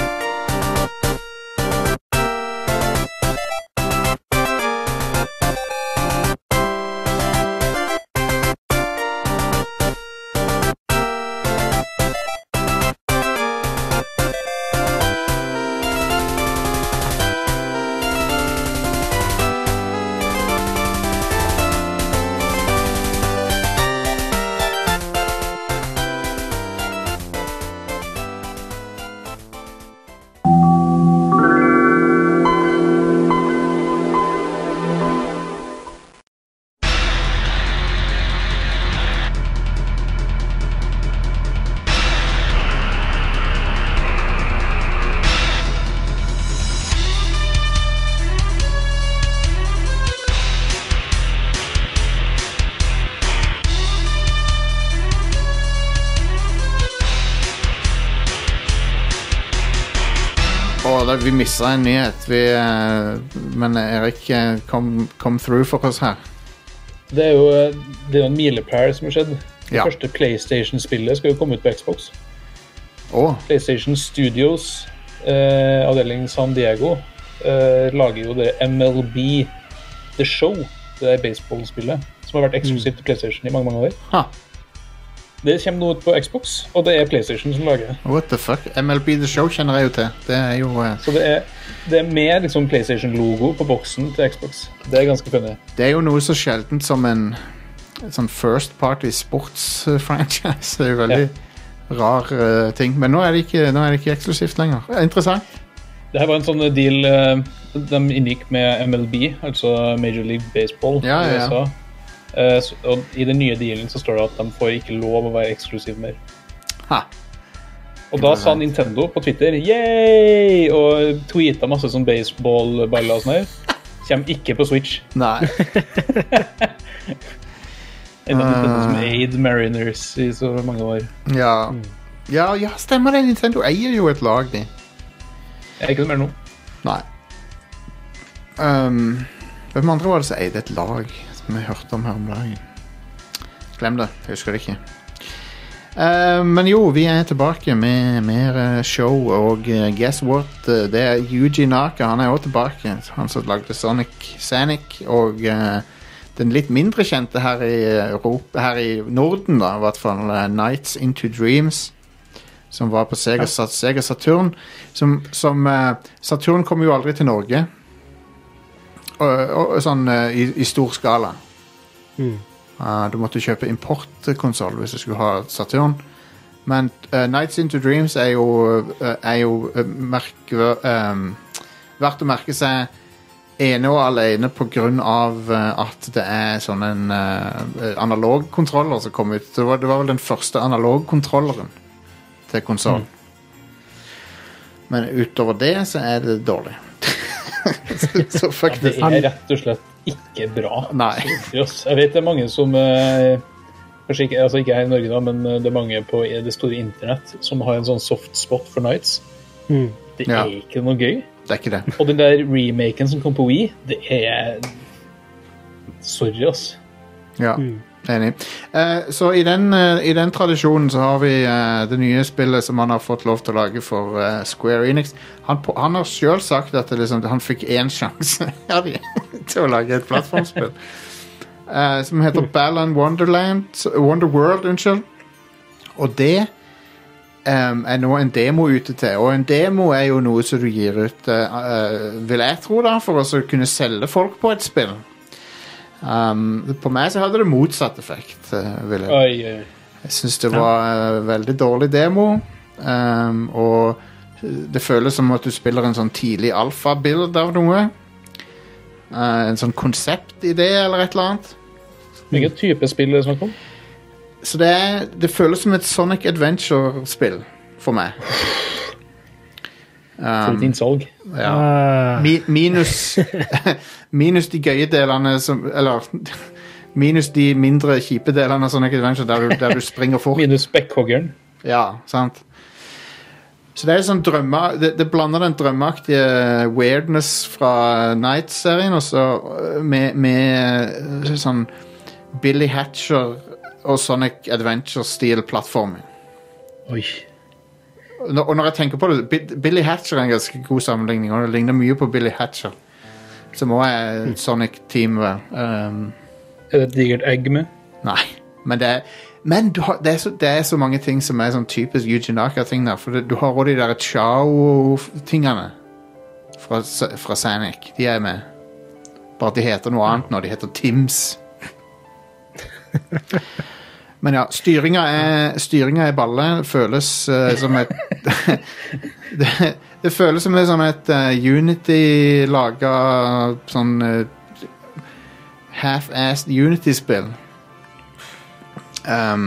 Å, da, vi mista en nyhet, vi, eh, men Erik eh, kom, kom through for oss her.
eh, Det er jo det er jo en milepæl som har skjedd.
Ja.
Første PlayStation-spillet skal jo komme ut på Xbox.
Å,
PlayStation Studios, eh, avdeling San Diego, eh, lager jo det MLB The Show, det der baseballspillet, som har vært
Mm.
eksklusivt til PlayStation i mange mange år.
ha.
Det kommer nå ut på Xbox, og det er PlayStation som lager det.
What the fuck? MLB The Show kjenner jeg jo til. Det er jo eh,
Så det er, det er mer liksom PlayStation-logo på boksen til Xbox. Det er ganske funny.
Det er jo noe så sjeldent som en en sånn first party sports-franchise. Det er jo veldig rar eh, ting. Men nå er, det ikke, nå er det ikke eksklusivt lenger. Eh, Interessant.
Det her var en sånn deal eh, de inngikk med MLB, altså Major League Baseball
Ja, ja, ja.
i USA. Eh, s- og I den nye dealen så står det at de får ikke lov å være eksklusiv mer.
Ha.
Og da sa Nintendo på Twitter yay, og tweeta masse sånn baseballballer og sånn her. Kjem ikke på Switch.
Nei.
En av Nintendo som eid Mariners i så mange år.
Ja. ja, ja, stemmer det. Nintendo eier jo et lag, de.
Jeg er ikke det mer nå.
Nei. Um, hvem andre var det som eide et lag som jeg hørte om her om dagen? Glem det. Jeg husker det ikke. Eh, men jo, vi er tilbake med mer eh, show, og eh, guess what? Eh, det er Yuji Naka. Han er òg tilbake. Han som lagde Sonic Sanic. Og eh, den litt mindre kjente her i, eh, Europa, her i Norden, da, i hvert fall eh, Nights Into Dreams som var på Sega, Sat- Sega Saturn. Som, som eh, Saturn kom jo aldri til Norge. Og, og, og sånn eh, i, i stor skala. Eh, du måtte kjøpe importkonsoll hvis du skulle ha Saturn. Men eh, Nights Into Dreams er jo, eh, er jo eh, merke, eh, verdt å merke seg ene og alene på grunn av eh, at det er sånn en eh, analogkontroller som kom ut. Det var, det var vel den første analogkontrolleren til konsoll. Men utover det så er det dårlig. så, så fuck
Det
det.
er rett og slett ikke bra.
Nei.
Yes. Jeg vet det er mange som eh, Kanskje ikke, altså ikke her i Norge, da, men eh, det er mange på i det store internett som har en sånn soft spot for Nights.
Mm.
Det
Ja.
er ikke noe gøy.
Det er ikke det.
Og den der remaken som kom på Wii, det er Sorry, ass.
Ja, enig. Eh, så i den, eh, i den tradisjonen så har vi eh, det nye spillet som han har fått lov til å lage for eh, Square Enix. Han, på, han har sjøl sagt at det liksom, han fikk én sjanse av de til å lage et plattformspill. eh, som heter Balland Wonderland Wonderworld, unnskyld. Og det em, er nå en demo ute til. Og en demo er jo noe som du gir ut, eh, eh, vil jeg tro, da, for å så kunne selge folk på et spill. Um, på meg så hadde det motsatt effekt. eh, vil jeg.
Oi, oi.
jeg syns det var eh, veldig dårlig demo. Um, og det føles som at du spiller en sånn tidlig alfabild av noe. Eh, en sånn konseptidé eller et eller annet.
Hvilken type spill er det snakk om?
Så det, er, det føles som et Sonic Adventure-spill for meg.
Fullt innsalg.
Ja.
Eh,
Mi minus Minus de gøye delene som Eller minus de mindre kjipe delene av Sonic Adventure, der du, der du springer fort.
Minus Spekkhoggeren.
Ja, sant. Så det er sånn drømme, det, det blander den drømmeaktige weirdness fra Night-serien og så, øh, med, med øh, sånn Billy Hatcher og Sonic Adventure-stil plattforming.
Oi.
Nå- Og når jeg tenker på det, Bi- Billy Hatcher er en ganske god sammenligning, og det ligner mye på Billy Hatcher. Som òg er Sonic-teamet. Um,
Er det et digert egg med?
Nei, men det er men du har, det, er så, det er så mange ting som er sånn typisk Yuji Naka-ting der. For det, du har også de der Chao-tingene fra, S- fra Sanic. De er med. Bare at de heter noe annet nå. De heter Tims. Men ja, styringa er, styringa er balle. Føles eh, som et det, det føles som liksom et eh, Unity-laga sånn eh, half-assed Unity-spill. Um,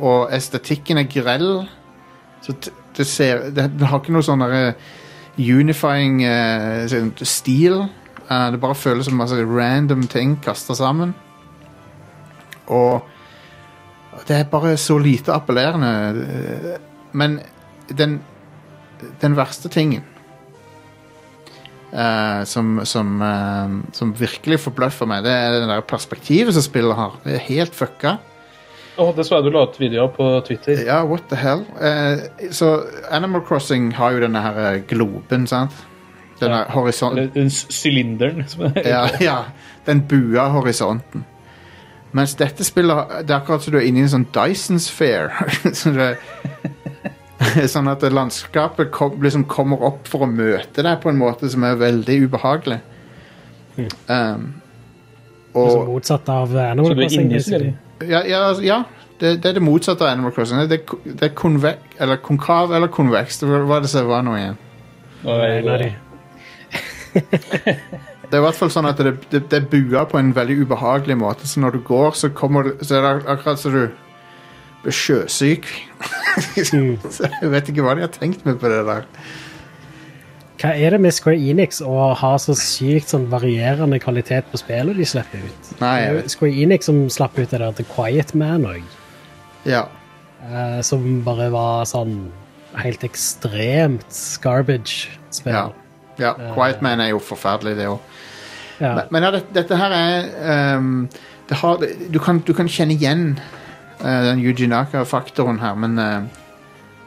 og estetikken er grell. Så t- det ser Det, det har ikke noe sånn derre unifying eh, sånn stil. Eh, det bare føles som masse random ting kasta sammen. Og det er bare så lite appellerende. eh, Men den den verste tingen eh, som, som, eh, som virkelig forbløffer meg, det er det der perspektivet som spillet har. Det er helt fucka.
Å, det så jeg du la ut videoer på Twitter.
Ja, what the hell? Eh, så Animal Crossing har jo denne her eh, globen, sant? Denne
Ja.
horisonten.
Eller den s- sylinderen. som det heter.
Ja, ja, den bua horisonten. Mens dette spillet, det er akkurat som du er inne i en sånn Dyson Sphere. så det, sånn at landskapet kom, liksom kommer opp for å møte deg på en måte som er veldig ubehagelig.
Hm.
Um,
Liksom
og,
motsatt av Animal
Så du er
Crossing.
inne i
basically.
spillet.
ja, ja, altså, ja det, det er det motsatte av Animal Crossing. Det er, ko- det er konvek, eller konkav eller konveks. Det var- hva er det som var nå igjen?
Nå er jeg
En av de.
glad.
Det er i hvert fall sånn at det, det, det er bua på en veldig ubehagelig måte, så når du går, så, kommer, du- så er det akkurat som du blir sjøsyk.
Mm.
så jeg vet ikke hva de har tenkt med på det der.
Hva er det med Square Enix å ha så sykt sånn varierende kvalitet på spillet de slipper ut?
Nei,
Det
jeg
er jo
vet
Square Enix som slapp ut det der The Quiet Man òg,
Ja.
eh, som bare var sånn helt ekstremt garbage-spill.
ja. ja. Quiet Man er jo forferdelig, det òg.
Ja.
Men, men ja, det, dette her er ehm, det har, det- du, kan, du kan kjenne igjen eh, den Yuji Naka-faktoren her, men eh,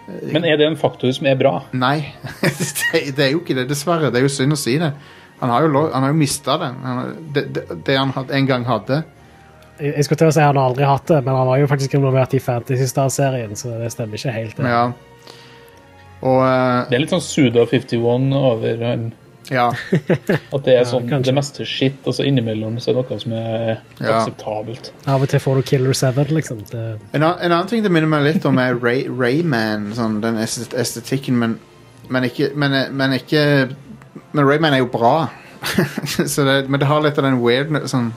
Men er det en faktor som er bra?
nei. det, det er jo ikke det, dessverre. Det er jo synd å si det. Han har jo, lov- han har jo mista det. Han- Det, det. Det han had- en gang hadde.
Jeg jeg skulle til å si han har aldri hatt det, men han var jo faktisk involvert i Fantasy Star-serien, så det stemmer ikke helt. det.
Ja. Og eh,
Det er litt sånn Suda 51 over han.
ja,
At det er sånn
kanskje.
det meste er shit, og så innimellom så er det noe som er
Ja.
akseptabelt.
Av og til får du Killer 7, liksom. Det,
en, an- en annen ting det minner meg litt om, er Ray, Rayman. Sånn, den est- estetikken, men, men ikke men, men ikke Men Rayman er jo bra. Så det, men det har litt av den weirdness sånn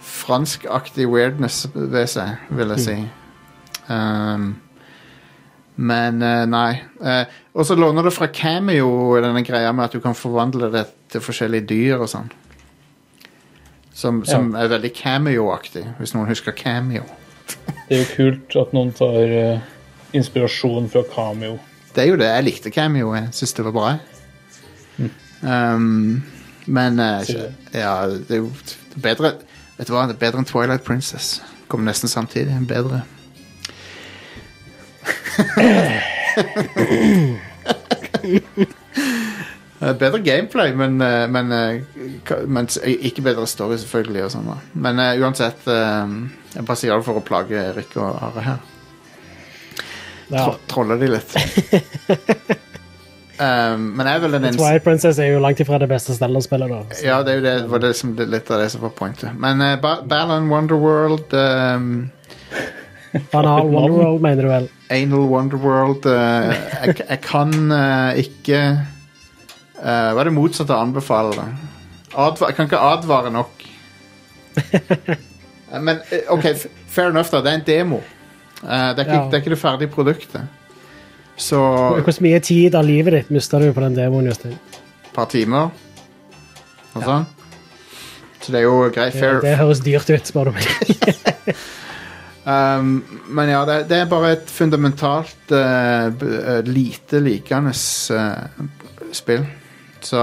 franskaktig weirdness ved seg, vil jeg si. Um, men eh, nei. Eh, og så låner det fra Cameo, denne greia med at du kan forvandle det til forskjellige dyr og sånn. Som, som er veldig cameo-aktig, hvis noen husker cameo.
Det er jo kult at noen tar eh, inspirasjon fra Cameo.
Det er jo det. Jeg likte cameo. Jeg syns det var bra. Um, men eh,
Sier det.
Ja, det er jo bedre Vet du hva, det er bedre enn Twilight Princess. Kom nesten samtidig. Bedre. Eh, bedre gameplay, men, eh, men, eh, ka- men s- ikke bedre story, selvfølgelig. Og sånn, da. Men eh, uansett eh, Jeg bare sier det for å plage Erik og Are her.
ja.
Tro troller de litt. um, men jeg er vel den eneste
Twilight Princess er jo langt ifra det beste stedet å spille, da. Så-
Ja, det er jo det, var det som, det, litt av det som var pointet. Men uh, ba Balan Wonderworld, um,
Banal Wonderworld, mener du vel?
Anal Wonderworld uh, jeg, jeg kan uh, ikke uh, Hva er det motsatte å anbefale? da? Adva jeg kan ikke advare nok. Uh, men uh, OK, f- fair enough, da. Det er en demo. Uh, det, er ikke,
Ja.
det er ikke det ferdige produktet. Så
Hvor mye tid av livet ditt mista du på den demoen, Justin?
et par timer. Og sånn. Så det er jo greit.
Det,
Fair.
det høres dyrt ut, spør du meg.
Um, men ja, det, det er bare et fundamentalt eh, b- eh, lite likende eh, spill. Så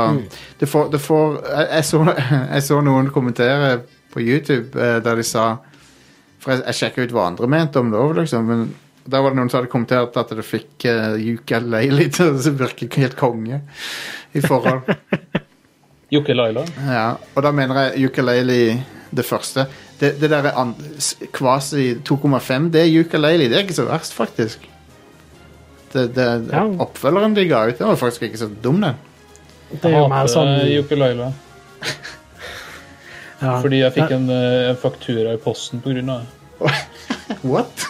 det får, det får jeg, jeg, så, jeg så noen kommentere på YouTube eh, der de sa For jeg, jeg sjekka ut hva andre mente om det òg, liksom. Men der var det noen som hadde kommentert at det fikk uh, Yuka Leili til å virke helt konge i forhold.
Jokke Laila.
Ja, og da mener jeg ukulele det første. Det, det der er an- s- quasi 2,5, det er ukulele. Det er ikke så verst, faktisk. Det, det,
Ja.
Oppfølgeren de ga ut, den var faktisk ikke så dum, den.
Det er jo mer sånn
eh,
Jokke Laila.
ja.
Fordi jeg fikk
Ja.
en, eh, en faktura i posten pga. det.
What?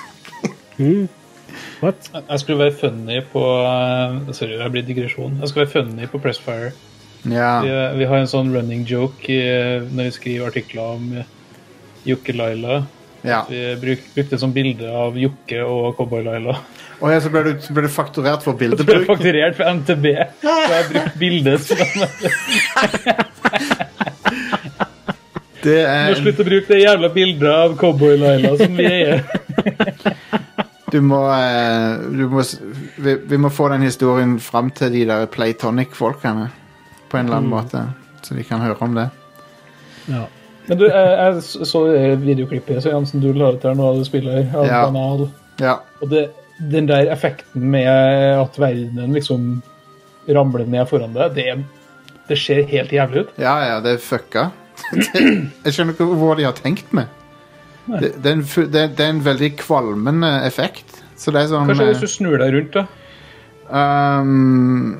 What?
Jeg- Jeg skulle være funny på eh, Sorry, det blir digresjon. Jeg skulle være funny på Pressfire. Vi,
Ja.
vi har en sånn running joke eh, når vi skriver artikler om eh, Jokke Laila.
ja.
Vi bruk, brukte sånn bilde av Jokke og Cowboy Laila.
Og her så ble du, så ble du fakturert for
Det ble
bildebruk.
fakturert på NTB. Så jeg har brukt bildet som
Det
Må
er,
slutte å bruke det jævla bildet av Cowboy Laila som vi eier.
du må, eh, du må s- vi, vi må få den historien fram til de der Playtonic-folkene. På en eller annen måte. Så de kan høre om det.
Ja.
Men du, jeg, jeg så det videoklippet så Jansen, du la ut der nå, du spiller av
Ja.
Banal.
Ja.
Og det, den der effekten med at verdenen liksom ramler ned foran deg, det, det ser helt jævlig ut.
Ja, ja, det er fucka. Det- Jeg skjønner ikke hvor de har tenkt med. Det, det, er en, fu- det, det er en veldig kvalmende effekt. Så det er sånn
Kanskje
eh,
hvis du snur deg rundt, da.
ehm,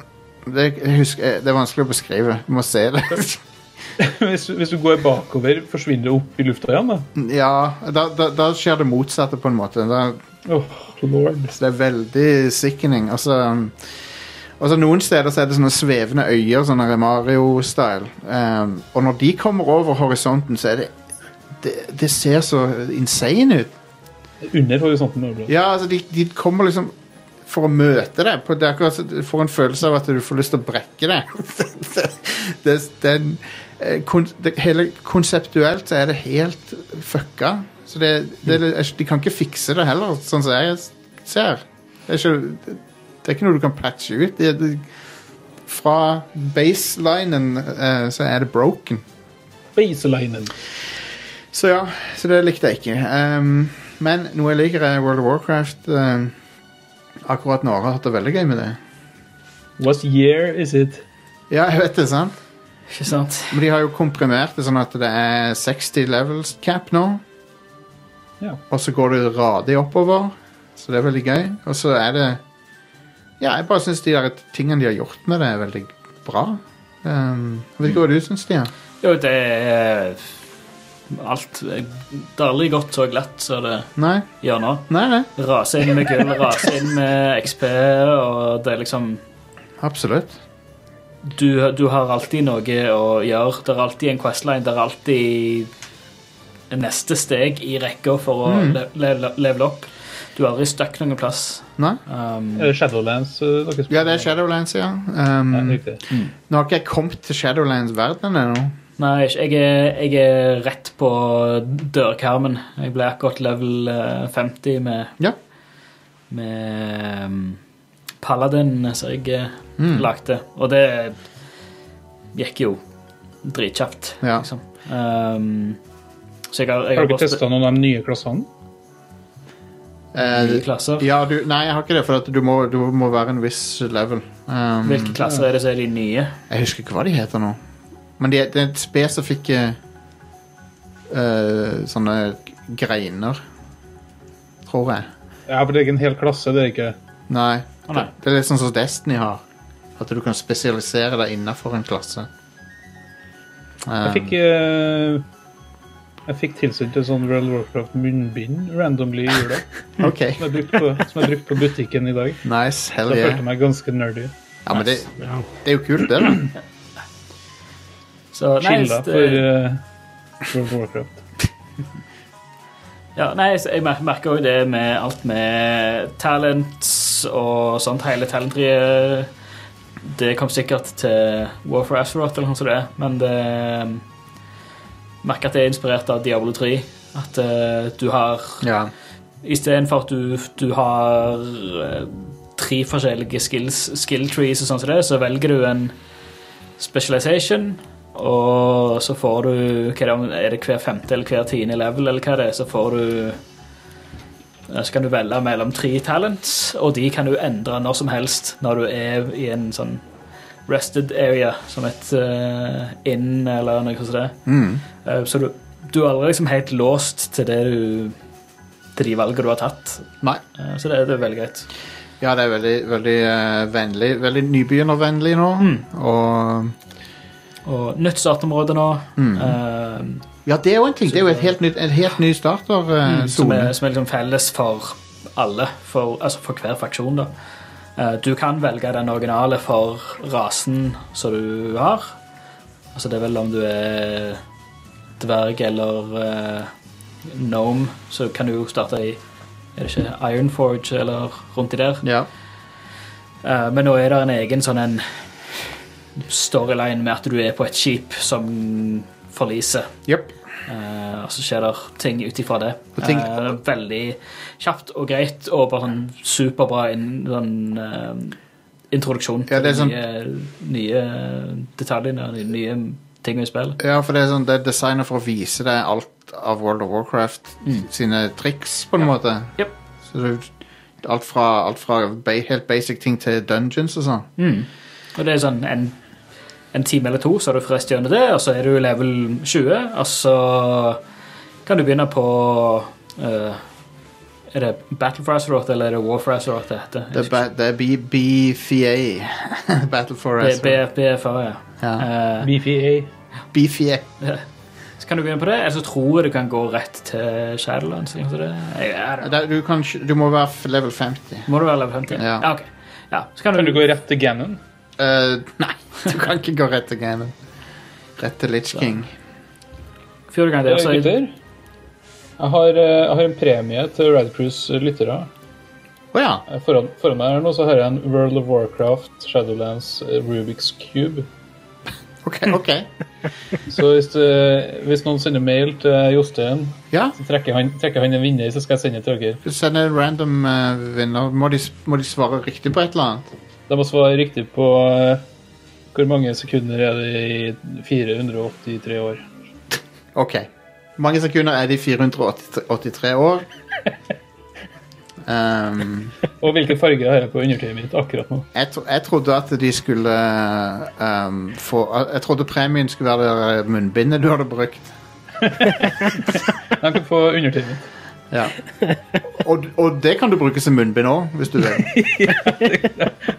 det, jeg husker, eh, det er vanskelig å beskrive. Du må se det.
Hvis, hvis du går bakover, forsvinner du opp i lufta igjen, da.
ja, da, da, da skjer det motsatte, på en måte. Da,
Åh, lord.
så det er veldig sickening. Og så um, og så noen steder så er det sånne svevende øyer, sånne Mario-style. Ehm, og når de kommer over horisonten, så er det Det, det ser så insane ut.
Under horisonten. nå, bro.
Ja, altså de, de kommer liksom for å møte deg. På, det er akkurat, så- du får en følelse av at du får lyst til å brekke deg. det, det, det, er en, eh, kon, det, hele konseptuelt så er det helt fucka. Så det, det, er- de kan ikke fikse det heller, sånn som jeg ser. Det er ikke, det er ikke noe du kan patche ut. Det, det, fra baselinen eh, så er det broken.
Baselinen.
Så ja, så det likte jeg ikke. Ehm, men noe jeg liker, er World of Warcraft. ehm, akkurat nå har jeg hatt det veldig gøy med det.
What year is it?
Ja, jeg vet det, sant?
Ikke sant?
Men de har jo komprimert det sånn at det er 60 levels cap nå.
Ja.
Og så går det radig oppover, så det er veldig gøy. Og så er det Ja, jeg bare syns de der tingene de har gjort med det, er veldig bra. Ehm, jeg vet ikke hva du syns, Stian?
Jo, det er alt Det er aldri gått så glatt som det
Nei?
gjør nå.
Nei, nei.
Rase inn med gull, rase inn med XP, og det er liksom
Absolutt.
du, du har alltid noe å gjøre. Det er alltid en questline. Det er alltid neste steg i rekka for å le- le- levele opp. Du er aldri stuck noen plass.
Nei?
Um,
Er det Shadowlands eh, dere spiller?
Ja, det er Shadowlands, ja. Ehm,
Ja, riktig.
Nå har ikke jeg kommet til Shadowlands-verdenen ennå.
nei, ikke- jeg er, jeg er rett på dørkarmen. Jeg ble akkurat level eh, 50 med,
Ja.
med um, Paladin, som jeg eh,
Mm.
lagde. Og det gikk jo dritkjapt,
Ja.
liksom. Um, så jeg har,
Har
jeg
dere
har bare sp-
testa noen av de nye klassene?
nye
Eh,
klasser.
ja du, nei, jeg har ikke det, for at du, må, du må være en viss level. Um,
Hvilke klasser er det som er de nye?
Jeg husker ikke hva de heter nå. Men det de er spesifikke eh, sånne greiner, tror jeg.
Ja, for det er ikke en hel klasse, det er ikke
Nei.
Å, nei.
Det er litt sånn som Destiny har. At du kan spesialisere deg innafor en klasse.
Jeg fikk eh, Jeg fikk tilsendt et sånn World of Warcraft munnbind randomly i jula.
Um, OK.
Som jeg brukte på, som jeg brukte på butikken i dag.
Nice. Hell
Da følte
yeah.
jeg meg ganske nerdy.
Ja, men det,
Ja.
det er jo kult, det, da.
Så, nei,
Chilla
det-
for eh, World of Warcraft.
ja, nei, så jeg mer- merker òg det med alt med talents og sånt. Hele talentriet Det kom sikkert til War for Azeroth eller noe sånt, det er, men det merker at det er inspirert av Diablo 3. At eh, du har
Ja.
Istedenfor at du, du har eh, tre forskjellige skills, skill trees og sånn som det, så velger du en specialization, og så får du hva er det, om- Er det hver femte eller hver tiende level, eller hva det er, så får du eh, Så kan du velge mellom tre talents, og de kan du endre når som helst når du er i en sånn rested area, som et eh, inn eller noe sånt. som det.
Mm.
Eh, Så du, du er aldri liksom helt låst til det du til de valgene du har tatt.
Nei.
Eh, Så det, det er veldig greit.
Ja, det er veldig, veldig eh, vennlig. Veldig nybegynnervennlig nå.
Mm.
Og
Og nytt startområde nå,
Mm.
eh,
Ja, det er jo en ting. Det er jo et helt nytt, en helt ny eh,
som
startersone.
er, som er liksom felles for alle, for, altså for hver faksjon. da. Eh, Du kan velge den originale for rasen som du har. Altså det er vel om du er dverg eller eh, gnome, så kan du jo starte i er det ikke Ironforge eller rundt i der.
ja.
Eh, men nå er det en egen sånn en storyline med at du er på et skip som forliser.
Jep.
Eh, og så skjer det ting ut ifra det.
Og ting-
Eh, veldig kjapt og greit og bare sånn superbra inn, sånn, eh, introduksjon
Ja, det er sånn-
til nye, nye detaljer, nye, nye ting i spillet.
Ja, for det er, sånn, det er designet for å vise deg alt av World of Warcraft sine triks, på en måte.
Mm. Jep.
Så du, alt fra, alt fra ba helt basic ting til dungeons og sånn.
Mm. Og det er sånn en, en time eller to, så er du frest gjennom det, og så er du level 20, og så kan du begynne på eh, Er det Battle for Azeroth eller er det War for Azeroth det heter?
Det er, ba det er B- BFA. Battle for
Det er
Azure.
B- E BFA, ja.
Ja. E
Eh,
BFA.
BFA.
så kan du begynne på det, eller så tror jeg du kan gå rett til Shadowlands. eller noe sånt. Jeg- jeg- jeg-
Det, du, kan, ikke- du må være f- level 50.
Må du være level 50?
Ja.
ok. Ja, så kan du,
Kan du gå rett til Ganon?
Eh, nei, du kan ikke gå rett til gamen. Rett til Litch King.
Fjorte gang der,
Eh,
så
Gutter? Jeg har, eh, jeg har en premie til Red Cruise lyttere.
Å ja.
Eh, Foran, foran meg her nå så har jeg en World of Warcraft, Shadowlands, eh, Rubiks Cube.
OK. ok
Så hvis, eh, hvis noen sender mail til Jostein,
Ja,
så trekker han, trekker han en vinner, så skal jeg sende til dere.
du sender en random eh, vinner. Må de, s- må de svare riktig på et eller annet?
De må svare riktig på eh, hvor mange sekunder er det i 483 år.
OK. Hvor mange sekunder er det i 483 år? Ehm,
Og hvilken farge har jeg på undertøyet mitt akkurat nå?
jeg, tro, jeg trodde at de skulle ehm, få Jeg trodde premien skulle være det munnbindet du hadde brukt.
Jeg kan få undertøyet mitt.
Ja. Og, og det kan du bruke som munnbind òg, hvis du vil.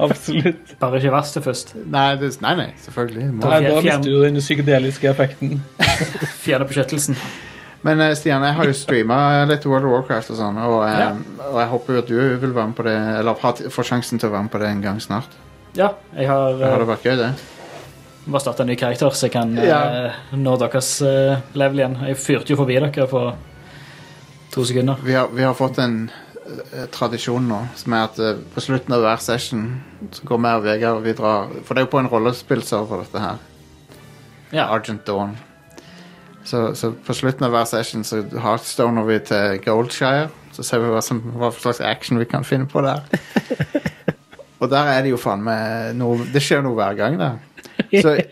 Absolutt.
bare ikke verst til først.
Nei, det, nei, nei selvfølgelig. Må.
Nei, da mister du den psykedeliske effekten.
Fjerne beskyttelsen.
Men eh, Stian, jeg har jo streama litt World of Warcraft og sånn, og, eh, og jeg håper jo at du vil være med på det, eller har t- får sjansen til å være med på det en gang snart.
Ja, jeg har
Det hadde
eh,
vært gøy, det.
bare starta en ny karakter, så jeg kan eh,
Ja.
nå deres eh, level igjen. Jeg fyrte jo forbi dere på to sekunder.
Vi har, vi har fått en eh, tradisjon nå, som er at eh, på slutten av hver session så går vi og Vegard og vi drar For det er jo på en rollespillserver, dette her.
Ja.
Argent Dawn. Så, så på slutten av hver session så heartstoner vi til Goldshire. Så ser vi hva, som, hva slags action vi kan finne på der. Og der er det jo faen meg noe Det skjer noe hver gang, der. Så i,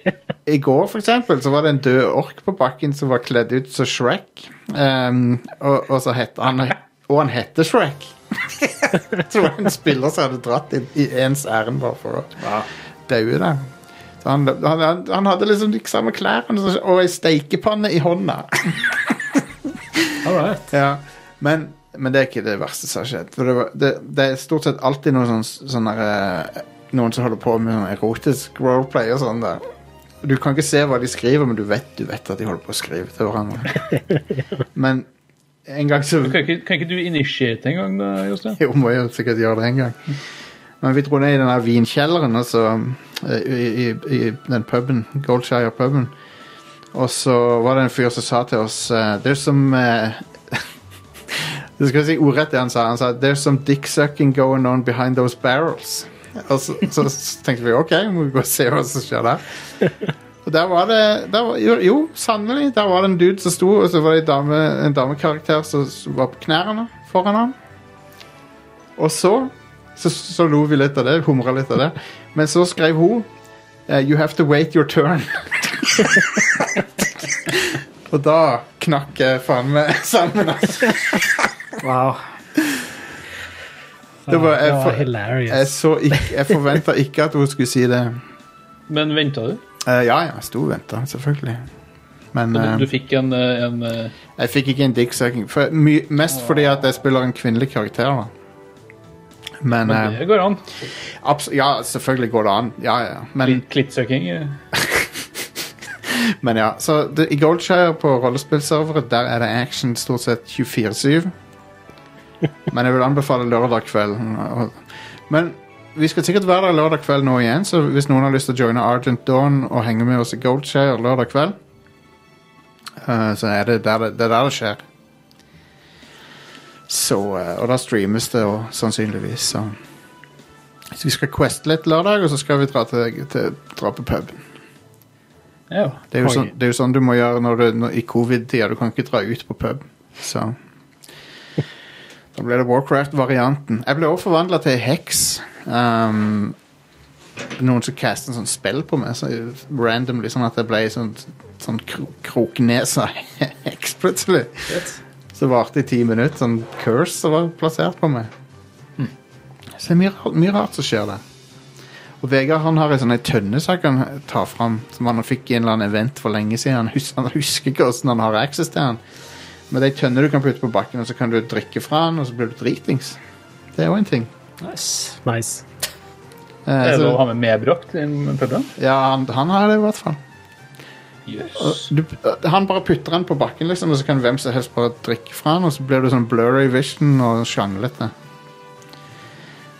i går, for eksempel, så var det en død ork på bakken som var kledd ut som Shrek. Ehm, og, og så het han Og han heter Shrek! så var det en spiller som hadde dratt i, i ens ærend bare for å daue der. Så han, han, han, han hadde liksom de samme klærne som- og ei steikepanne i hånda.
All right.
Ja, men, men det er ikke det verste som har skjedd. For det, var, det, det er stort sett alltid noen sånn, sånn der, eh, Noen som holder på med sånn erotisk roleplay og sånn der. Du kan ikke se hva de skriver, men du vet, du vet at de holder på å skrive til hverandre. Men en gang så
Kan ikke, kan ikke du initiate en gang, da, Jostein?
jo, må jo sikkert gjøre det en gang. Men vi dro ned i den der vinkjelleren, altså. eh, I, i, I den puben. Goldshire puben. Og så var det en fyr som sa til oss eh, There's some eh, Det skal jeg si ordrett det han sa. Han sa There's some dick sucking going on behind those barrels. Og så, så tenkte vi OK, må vi gå og se hva som skjer der. Og der var det der var, jo, jo, sannelig. Der var det en dude som sto, og så var det en, dame, en damekarakter som var på knærne foran ham. Og så så, så lo vi litt av det, humra litt av det. Men så skrev hun eh, You have to wait your turn. Og da knakk jeg faen meg sammen. altså.
Wow.
Det var,
Det
jeg
var
Eh, for, eh, jeg
hilarious.
så ikke, jeg forventa ikke at hun skulle si det.
Men venta du?
Eh, ja, ja, jeg sto og venta, selvfølgelig. Men
Du,
eh,
du fikk en, eh, en eh,
jeg fikk ikke en dicksucking. For, my, mest fordi at jeg spiller en kvinnelig karakter, da. Men eh,
Det går an.
abs Ja, selvfølgelig går det an. Ja, ja. Men,
Klittsøking. eh.
Men ja, så det, i Goldshire på rollespillservere, der er det action stort sett 24-7. Men jeg vil anbefale lørdag kveld. Og- Men vi skal sikkert være der lørdag kveld nå igjen, så hvis noen har lyst til å joine Argent Dawn og henge med oss i Goldshire lørdag kveld, eh, så er det der det, det, er der det skjer. Så, eh, og da streames det og, sannsynligvis. Så. så vi skal queste litt lørdag, og så skal vi dra, til, til, dra på puben.
Ja.
Det er, jo
Oi.
sånn, det er jo sånn du må gjøre når du, når, i covid-tida. Du kan ikke dra ut på pub. Så Da ble det Warcraft-varianten. Jeg ble også forvandla til heks. Um, noen som castet en sånn spill på meg, så randomly, sånn at jeg ble sånn, sånn kro kroknesa-heks plutselig. Så varte det i ti minutter, sånn curse som var plassert på meg. Så det er mye, ra- mye rart som skjer der. Og Vegard han har en sånn en tønne som han kan ta fram, som han fikk i en eller annen event for lenge siden. Han, hus han husker ikke hvordan han har access til den. Men det er en tønne du kan putte på bakken, og så kan du drikke fra den, og så blir du dritings. Det er jo en ting.
Nice.
Nice.
Eh,
Er det
så-
lov å ha med medbrakt i puben?
ja, han, han har det i hvert fall.
Yes.
du, øh, han bare putter den på bakken, liksom, og så kan hvem som helst bare drikke fra den, og så blir det sånn blurry vision og sjanglete.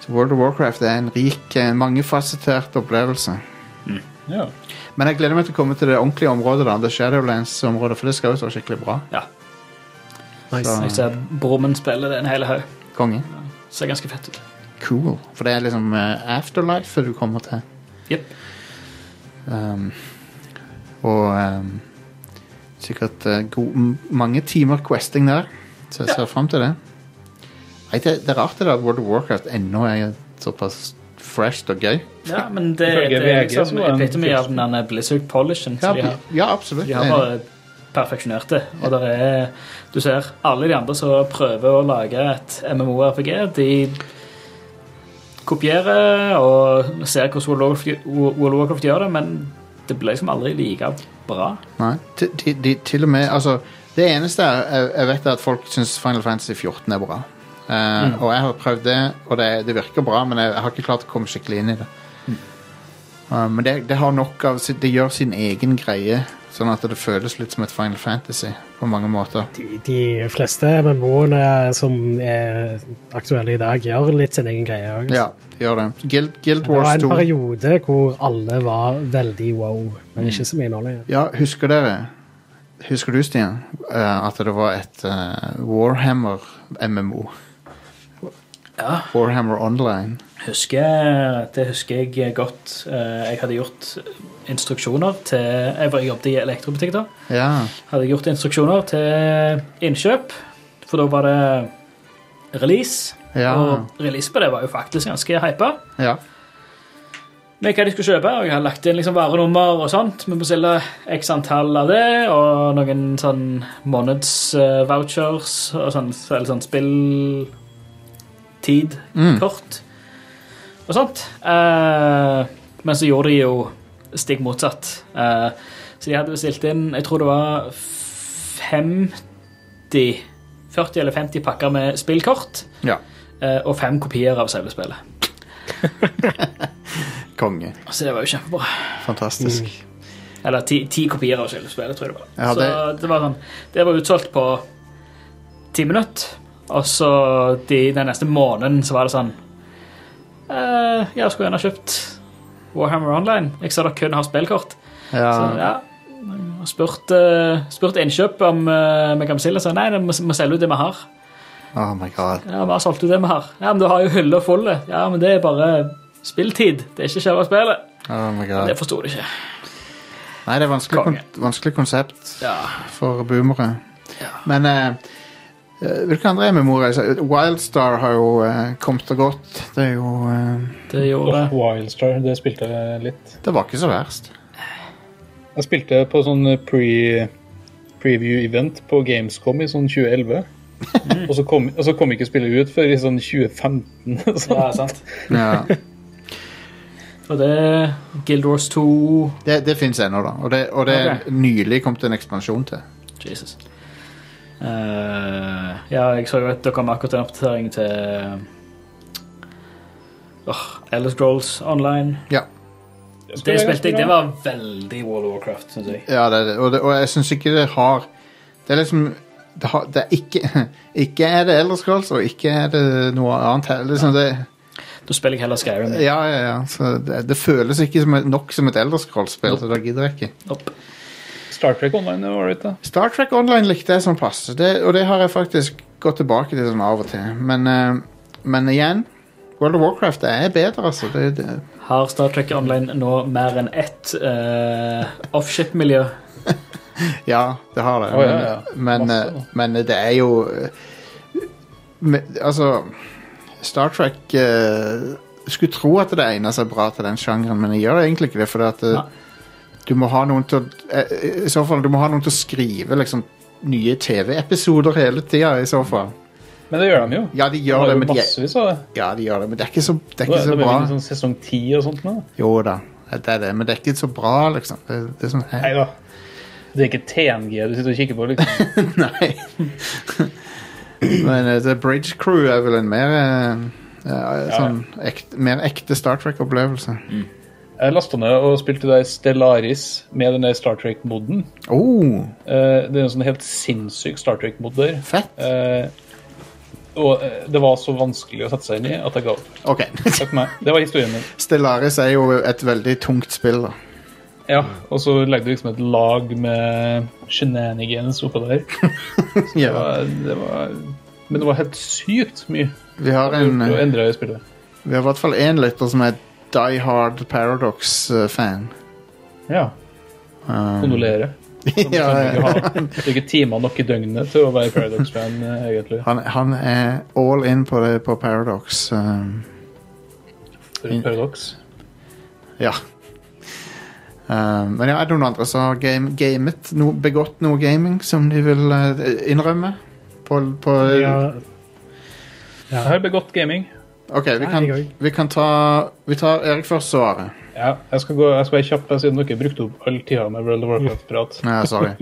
Så World of Warcraft er en rik, eh, mangefasettert opplevelse.
Ja.
Men jeg gleder meg til å komme til det ordentlige området, da, The Shadowlands-området, for det skal jo være skikkelig bra.
Ja.
nice.
Jeg ser Brummen spiller det en hel haug.
Konge.
Ser ganske fett ut.
Cool. For det er liksom eh, afterlife du kommer til.
Jep.
Um, og um, sikkert uh, go- m- mange timer questing der, så jeg ser frem til det. Nei, det. Det er rart det der at World of Warcraft ennå er såpass fresht og gøy.
Ja, men det,
Ifølge
det er
VG
liksom
så var den
epitome av den der Blizzard Polishen.
Ja,
som de har.
ja absolutt.
De har
Enig.
bare perfeksjonert det. Og der er Du ser alle de andre som prøver å lage et MMO-RPG, de kopierer og ser hvordan World of Warcraft- World of Warcraft gjør det, men det ble liksom aldri like bra.
Nei, til, til, de- til og med altså, Det eneste er, jeg, jeg vet er at folk syns Final Fantasy 14 er bra. Eh,
Mm.
Og jeg har prøvd det, og det, det virker bra, men jeg, jeg har ikke klart å komme skikkelig inn i det.
Mm.
Eh, men det, det har nok av si- Det gjør sin egen greie, sånn at det føles litt som et Final Fantasy på mange måter.
De, de fleste MMO-ene som er aktuelle i dag, gjør litt sin egen greie òg.
Ja, det gjør det. Guild, Guild
Det var
Wars
en
2.
periode hvor alle var veldig wow, men ikke så mye nå lenger.
Ja, husker dere Husker du, Stian, eh, at det var et eh, Warhammer-MMO?
Ja.
Warhammer Online.
Husker, det husker jeg godt. Eh, Jeg hadde gjort instruksjoner til Jeg var- jeg jobbet i elektrobutikk da.
Ja.
Hadde jeg gjort instruksjoner til innkjøp, for da var det release.
Ja.
Og release på det var jo faktisk ganske hypa.
Ja.
med hva de skulle kjøpe. og Jeg har lagt inn liksom varenummer og sånt. Vi bestiller x antall av det, og noen sånn månedsvouchers og sånn, eller sånn
Mm.
spilltidkort og sånt. Eh, men så gjorde de jo stikk motsatt. Eh, så de hadde bestilt inn jeg tror det var 50 40 eller 50 pakker med spillkort
ja.
eh, og fem kopier av selve spillet.
Konge.
Så det var jo kjempebra.
Fantastisk.
Mm. Eller ti, ti kopier av selve spillet, tror jeg det var.
Ja, det-
Så det var sånn Det var utsolgt på ti minutter. Og så de, den neste måneden så var det sånn eh, Jeg skulle gjerne ha kjøpt Warhammer Online. Jeg ser dere kun har spillkort.
Ja.
Så ja og Spurt, eh, spurt innkjøp om eh, vi kan bestille, så nei, vi må, må selge ut det vi har.
Oh my god.
Ja, vi har solgt ut det vi har. Ja, men du har jo hylla fulle. Ja, men det er bare spilltid. Det er ikke selve spillet.
Oh my
Det
god.
forsto de ikke.
Nei, det er vanskelig, kon
Konge.
vanskelig konsept
Ja.
for boomere. Men eh, eh, hvilke andre MMO-er er det? Wildstar har jo eh, kommet og gått. Det er jo eh,
Det gjorde
Og
det.
Wildstar, det spilte jeg litt.
Det var ikke så verst.
Jeg spilte på sånn pre preview event på Gamescom i sånn 2011.
Mm.
og, så kom, og så kom ikke spillet ut før i sånn 2015. Så.
Ja, sant.
Ja.
Og det Guild Wars 2
Det, det fins ennå, da. Og det, og det er
Ok.
nylig kommet en ekspansjon til.
Jesus. Eh, ja, jeg så jo at det kom akkurat en oppdatering til eh, Åh, Elder Scrolls Online.
Ja.
Det spilte jeg. Det var veldig World of Warcraft, syns jeg.
Ja, det, er det. og, det, og jeg syns ikke det har Det er liksom det, har, det er ikke Ikke er det Elders Scrolls, og ikke er det noe annet heller. Liksom det,
Da spiller jeg heller Skyrim.
ja, ja, ja. Så det, det føles ikke som, et- nok som et Elders Scrolls-spill, så da gidder jeg ikke.
Opp.
Star Trek Online var det, da.
Star Trek Online likte jeg som passe, det, og det har jeg faktisk gått tilbake til sånn av og til. Men, eh, men igjen, World of Warcraft er bedre, altså. Det, det,
Har Star Trek Online nå mer enn ett eh, offship-miljø?
Ja, det har det.
Å, ja, ja.
Men, men,
Masse,
eh, men det er jo eh, men, Altså Star Trek eh, skulle tro at det egner seg bra til den sjangeren, men jeg gjør egentlig ikke det. For at, eh,
Nei.
du må ha noen til å eh, I så fall, du må ha noen til å skrive liksom, nye TV-episoder hele tida, i så fall.
Men det gjør de jo.
Ja, de
De
gjør
har
det,
jo
men de, er-
massevis av det.
ja, de gjør det, men det er ikke så, det er
Nå
ikke
er sånn-
så
det
bra.
vel sånn sesong 10 og sånt nå?
Jo da, det er det, men det er ikke så bra, liksom. Det, det er sånn,
Nei da. Det er ikke TNG du sitter og kikker på, liksom.
Nei. Men eh, The Bridge Crew er vel en mer eh, eh, sånn ekte, mer ekte Star Trek-opplevelse.
Jeg lasta ned og spilte der Stellaris med den der Star Trek-moden.
Oh,
Eh, det er en sånn helt sinnssyk Star Trek-mod der.
fett!
Eh, og eh, det var så vanskelig å sette seg inn i at jeg ga opp.
Ok.
Takk for meg. Det var historien min.
Stellaris er jo et veldig tungt spill, da.
Ja, Og så legger du liksom et lag med shenanigans oppå der. Det var, det var, men det var helt sykt mye
Vi har, en,
å
eh,
endre i spillet.
vi har i hvert fall én lytter som er Die Hard Paradox-fan.
Ja. Kondolerer.
ja,
Du
ja.
har du har ikke timer nok i døgnet til å være Paradox-fan, eh, egentlig.
han, han er all in på, det, på Paradox. Um,
Paradox.
Ja. Eh, men ja, er det noen andre som har game, gamet, no, begått noe gaming som de vil eh, innrømme? På, på,
Ja,
Jeg har begått gaming.
ok, vi kan,
jeg òg.
vi kan ta Vi tar Erik først, så Are.
Ja, jeg skal, gå, jeg skal være kjapp, eh, siden dere brukte opp all tida med World of Warcraft-prat.
Nei, sorry.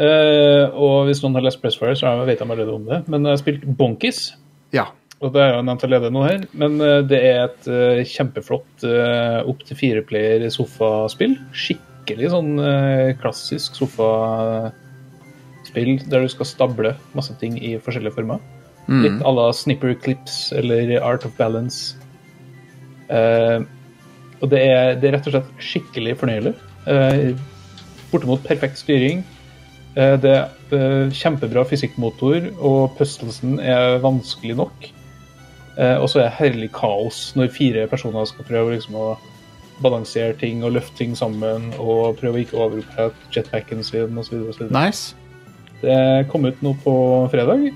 Eh, og hvis noen har lest Pressfire, så vet de allerede om det. Men jeg har spilt Bonkies,
Ja.
og det er jo nevnt allerede nå her. Men eh, det er et eh, kjempeflott eh, opp til fire player sofaspill. Skikkelig sånn eh, klassisk sofaspill der du skal stable masse ting i forskjellige former. Litt à la Snipper Clips eller Art of Balance. Eh, og det er, det er rett og slett skikkelig fornøyelig. Eh, bortimot perfekt styring. Eh, det er eh, kjempebra fysikkmotor, og puzzlesen er vanskelig nok. Eh, og så er det herlig kaos når fire personer skal prøve liksom, å balansere ting og løfte ting sammen og prøve å ikke overopphete jetpacken sin osv.
Nice.
Det kom ut nå på fredag.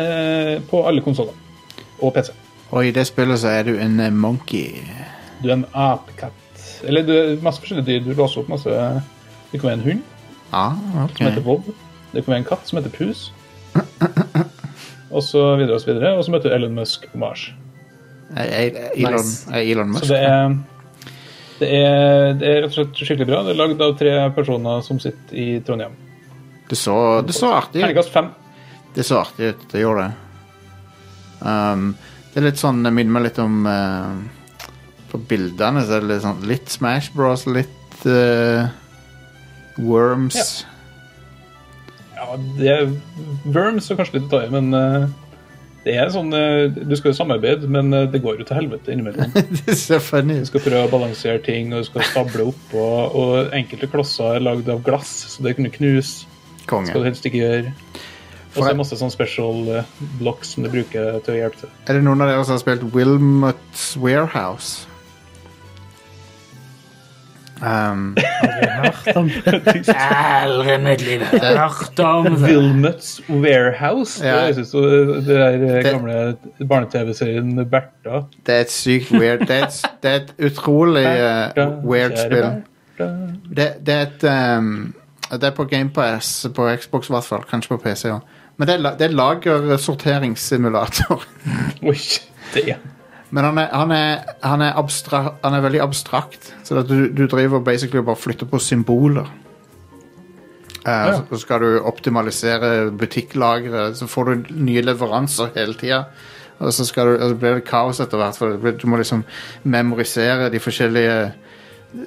Eh, på alle konsoller. Og PC.
Og i det spillet så er du en eh, monkey.
Du er en apekatt. Eller du er masse forskjellige dyr. Du låser opp masse Det kan være en hund
Ja, Ah, ok.
som heter Bob. Det kan være en katt som heter Pus. Og så videre og så videre. Og så møter du Elon Musk på Mars.
Er, er, er Elon,
Nice.
er Elon Musk.
Så det er, det, er, det er rett og slett skikkelig bra. Det er lagd av tre personer som sitter i Trondheim.
Det så, det så artig ut.
Terningkast fem.
Det så artig ut. Det gjorde det. Um, det er litt sånn Det minner meg litt om eh, På bildene så er det litt sånn Litt Smash Bros, litt eh, Worms.
Ja, det er Worms er kanskje litt å ta i, men eh, det er sånn eh, Du skal jo samarbeide, men eh, det går jo til helvete innimellom.
det ser funny
Du
ut.
skal prøve å balansere ting, og du skal stable opp, og, og enkelte klosser er lagd av glass, så det kunne knuse. Det skal
Konge.
du helst ikke gjøre. Og så er det masse sånn special eh, blocks som du bruker til å hjelpe til.
Er det noen av dere som har spilt Wilmots Warehouse? Um,
Aldri i mitt liv har jeg hørt om det.
Wilmots Warehouse.
Ja.
Det høres ut som det der eh,
Det-
gamle barne-TV-serien Bertha.
det er et sykt weird Det er et, det er et utrolig eh,
Bertha,
weird
kjære
spill.
Bertha. Det
Det, det er et um, Det er på GamePass, på Xbox i hvert fall. Kanskje på PC òg. Men det er, la- det er lagersorteringssimulator.
Oi, det
Men han er, han er, han er, abstra, han er veldig abstrakt. Så at du, du driver basically og bare flytter på symboler. Eh,
ja.
Så skal du optimalisere butikklageret, så får du nye leveranser hele tida. Og så, skal du, og så blir det kaos etter hvert, for det blir- du må liksom memorisere de forskjellige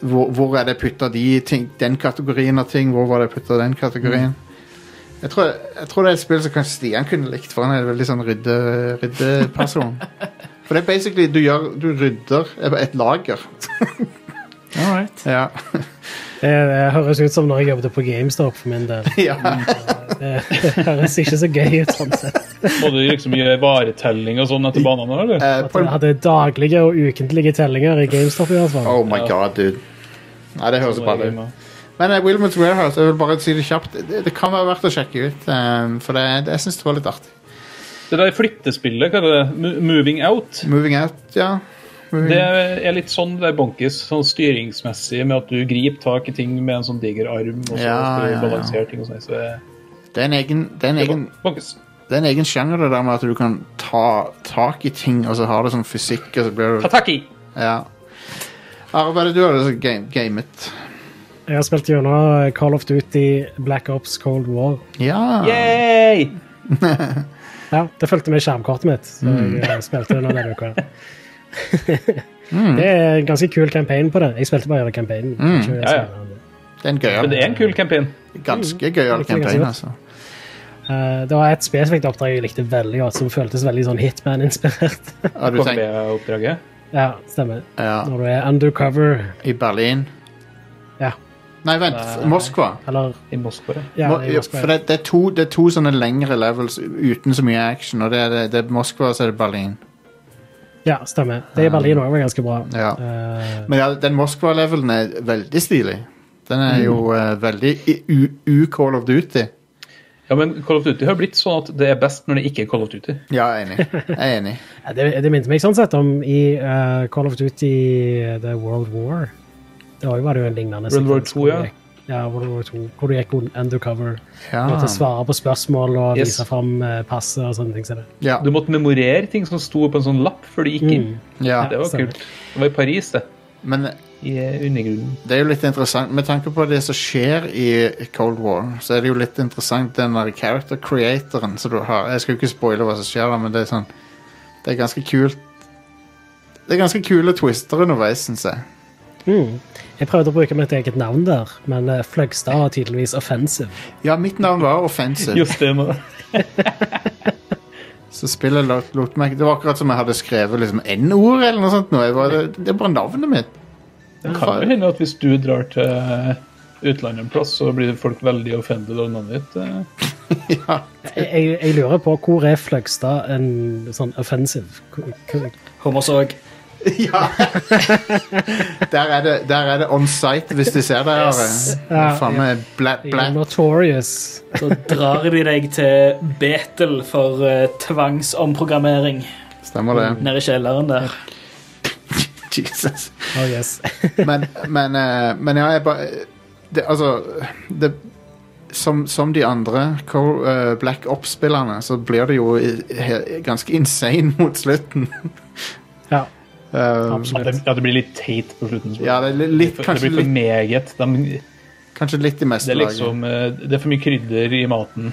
Hvor, hvor er det putta de ting, den kategorien av ting? Hvor var det putta den kategorien? Jeg, tror, jeg tror det er et spill som kanskje Stian kunne likt, for han er en veldig sånn rydde- ryddeperson. For det er basically du, gjør, du rydder et lager. Ja.
Det, det høres ut som når jeg jobbet på GameStop for min del.
ja.
Det, det høres ikke så gøy ut sånn sett.
Må du liksom gjøre varetelling og sånn etter banene, eller?
Eh,
At
på
jeg
en,
hadde daglige og ukentlige tellinger i GameStop i hvert fall.
oh my
Ja.
god, dude. Nei, det høres
Må
bra
jeg
ut.
innrømme.
Men eh, Wilmots Warehouse, jeg vil bare si det kjapt, det, det kan være verdt å sjekke ut. eh, for det, det, jeg syns det var litt artig.
Det der flyttespillet, hva er det? Mo- Moving Out?
Moving out, ja. Moving
Det er litt sånn det der bonkis, sånn styringsmessig, med at du griper tak i ting med en sånn diger arm, og så
Ja,
skal du
ja, ja.
balansere ting og sånn. Så det
Det er en egen, det er en
er
egen,
bonkis.
det er en egen sjanger, det der med at du kan ta tak i ting, og så har det sånn fysikk, og så blir du
Tataki!
Ja. Arbeidet du har det så game, gamet.
Jeg har spilt gjennom eh, Call of Duty Black Ops Cold War.
Ja.
Yay!
Ja, Det fulgte med skjermkortet mitt, så
Mm.
jeg eh, spilte det nå denne uka.
Mm.
Det er en ganske kul campaign på det. Jeg spilte bare gjennom campaignen. Ikke
Ja,
så mye
ja.
om det.
Det er en gøyal,
Men det er en kul campaign.
ganske gøyal
Det er Mm. ganske
campaign,
godt.
altså.
Eh, det var et spesifikt oppdrag jeg likte veldig godt, som føltes veldig sånn Hitman-inspirert.
Ja, du tenker
KB-oppdraget.
ja, stemmer.
ja,
Når du er undercover,
i Berlin
Ja.
Nei, vent.
Nei.
Moskva.
eller
I Moskva.
ja,
ja.
Mo-
i Moskva.
for det, det, er to, det er to sånne lengre levels uten så mye action, og det er, det, det er Moskva og så er det Berlin.
Ja, stemmer. Det i Berlin òg var ganske bra.
Ja.
Eh,
Men ja, den Moskva-levelen er veldig stilig. Den er jo
Mm.
eh, veldig i- u- u-Call of Duty.
Ja, men Call of Duty har blitt sånn at det er best når det ikke er Call of Duty.
Ja, jeg er enig. Jeg er enig.
det, det minte meg sånn sett om i eh, Call of Duty eh, The World War. Det var jo, var det jo en lignende
World War
sekvens hvor
2,
du
ja.
gikk- ja. World War 2, hvor du gikk un- undercover.
Ja.
Måtte svare på spørsmål og
Ah. Yes.
vise fram eh, passet og sånne ting. som det.
Ja.
Du måtte memorere ting som sto på en sånn lapp før du gikk inn.
Mm. ja.
Det var
stemmer.
kult. Det var i Paris, det.
Men
I eh, undergrunnen.
det er jo litt interessant Med tanke på det som skjer i Cold War, så er det jo litt interessant den der character creatoren som du har. Jeg skal jo ikke spoile hva som skjer, da, men det er sånn Det er ganske kult. Det er ganske kule twister underveis, syns jeg.
Mm. Jeg prøvde å bruke mitt eget navn der, men eh, Fløgstad var tydeligvis offensive.
Ja, mitt navn var Offensive,
Just det. men-
så spillet lot, lot meg Det var akkurat som jeg hadde skrevet liksom N-ord eller noe sånt. nå. Jeg var, det, det er bare navnet mitt.
Det kan vel hende at hvis du drar til eh, utlandet en plass, så blir folk veldig offended av navnet ditt. eh.
Ja.
Jeg, jeg, jeg lurer på hvor er Fløgstad en sånn offensive? Hvor- hvor-
Hummersåg.
Ja. der, er det, der er det on site, hvis de ser deg. Are.
Ja,
Faen meg black,
You're
black.
Notorious.
Så drar de deg til Betel for eh, tvangsomprogrammering
Stemmer det.
nede i kjelleren der.
Jesus.
Oh yes.
Men, men, eh, men ja, jeg bare det, Altså det, som, som de andre Co- eh, Black Ops-spillerne, så blir det jo i- he- ganske insane mot slutten.
Ja,
Eh,
At det,
absolutt.
at det blir litt teit på slutten. så-
ja, det er li- litt,
For- det
kanskje,
blir for
litt,
meget. De,
kanskje litt i
det,
meste
er
laget.
liksom, eh, det er for mye krydder i maten.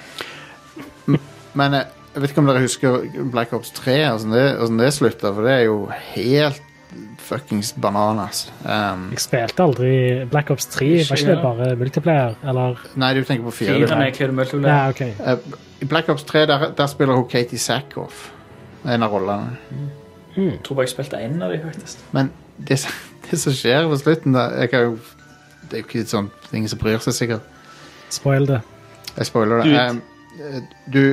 Men eh, jeg vet ikke om dere husker Black Ops 3 og sånn det, og sånn det slutta, for det er jo helt fuckings bananas. Um,
Jeg spilte aldri Black Ops 3. Var ikke det bare multiplayer, eller?
nei, du tenker på 4.
Firene er kun multiplayer.
Ja, OK.
I Black Ops 3 der, der spiller hun Katie Sackhoff, en av rollene.
Jeg tror bare jeg spilte én av de faktisk.
Men det, som- det som skjer på slutten da, jeg kan jo, Det er jo ikke sånn ingen som bryr seg, sikkert.
Spoil det.
Jeg spoiler
Du-
det. Um, eh, du,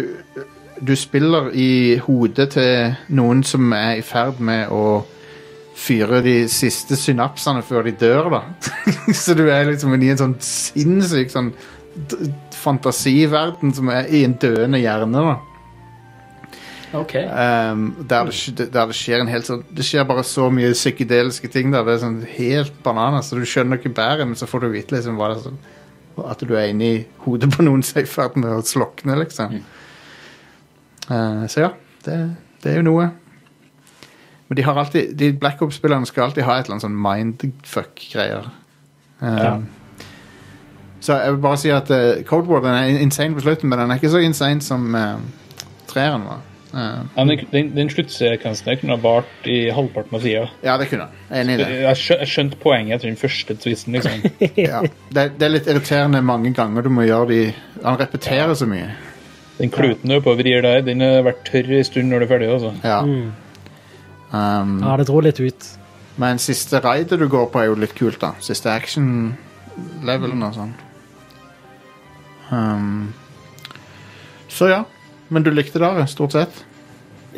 du spiller i hodet til noen som er i ferd med å fyre de siste synapsene før de dør, da. Så du er liksom i en sånn sinnssyk sånn d- fantasiverden som er i en døende hjerne, da.
Ok.
Um, der, det, sk- der det skjer en helt sånn Det skjer bare så mye psykedeliske ting der. Det er sånn helt bananas, så du skjønner ikke bæret, men så får du vite liksom hva det er som At du er inni hodet på noen som er i ferd med å slokne, liksom. Uh, så ja, det, det er jo noe. Men de har alltid De Black Ops-spillerne skal alltid ha et eller annet sånn mindfuck-greier. Um, Så jeg vil bare si at uh, Cold War den er insane på slutten, men den er ikke så insane som uh, treeren var. Uh,
Ja, men Den, den sluttsekvensen der kunne ha vart i halvparten av tida.
Ja, det kunne han. Enig i det.
Jeg skjø- jeg skjønte poenget etter den første twisten. liksom.
Ja. Det, det er litt irriterende mange ganger du må gjøre de Han repeterer så mye.
Den kluten du er på og vrir der, den har vært tørr en stund når du er ferdig. altså.
Ja. Um,
Ja, det dro litt ut.
men siste raidet du går på, er jo litt kult, da. Siste action-levelen og sånn. Um, så ja. Men du likte det, Are, stort sett?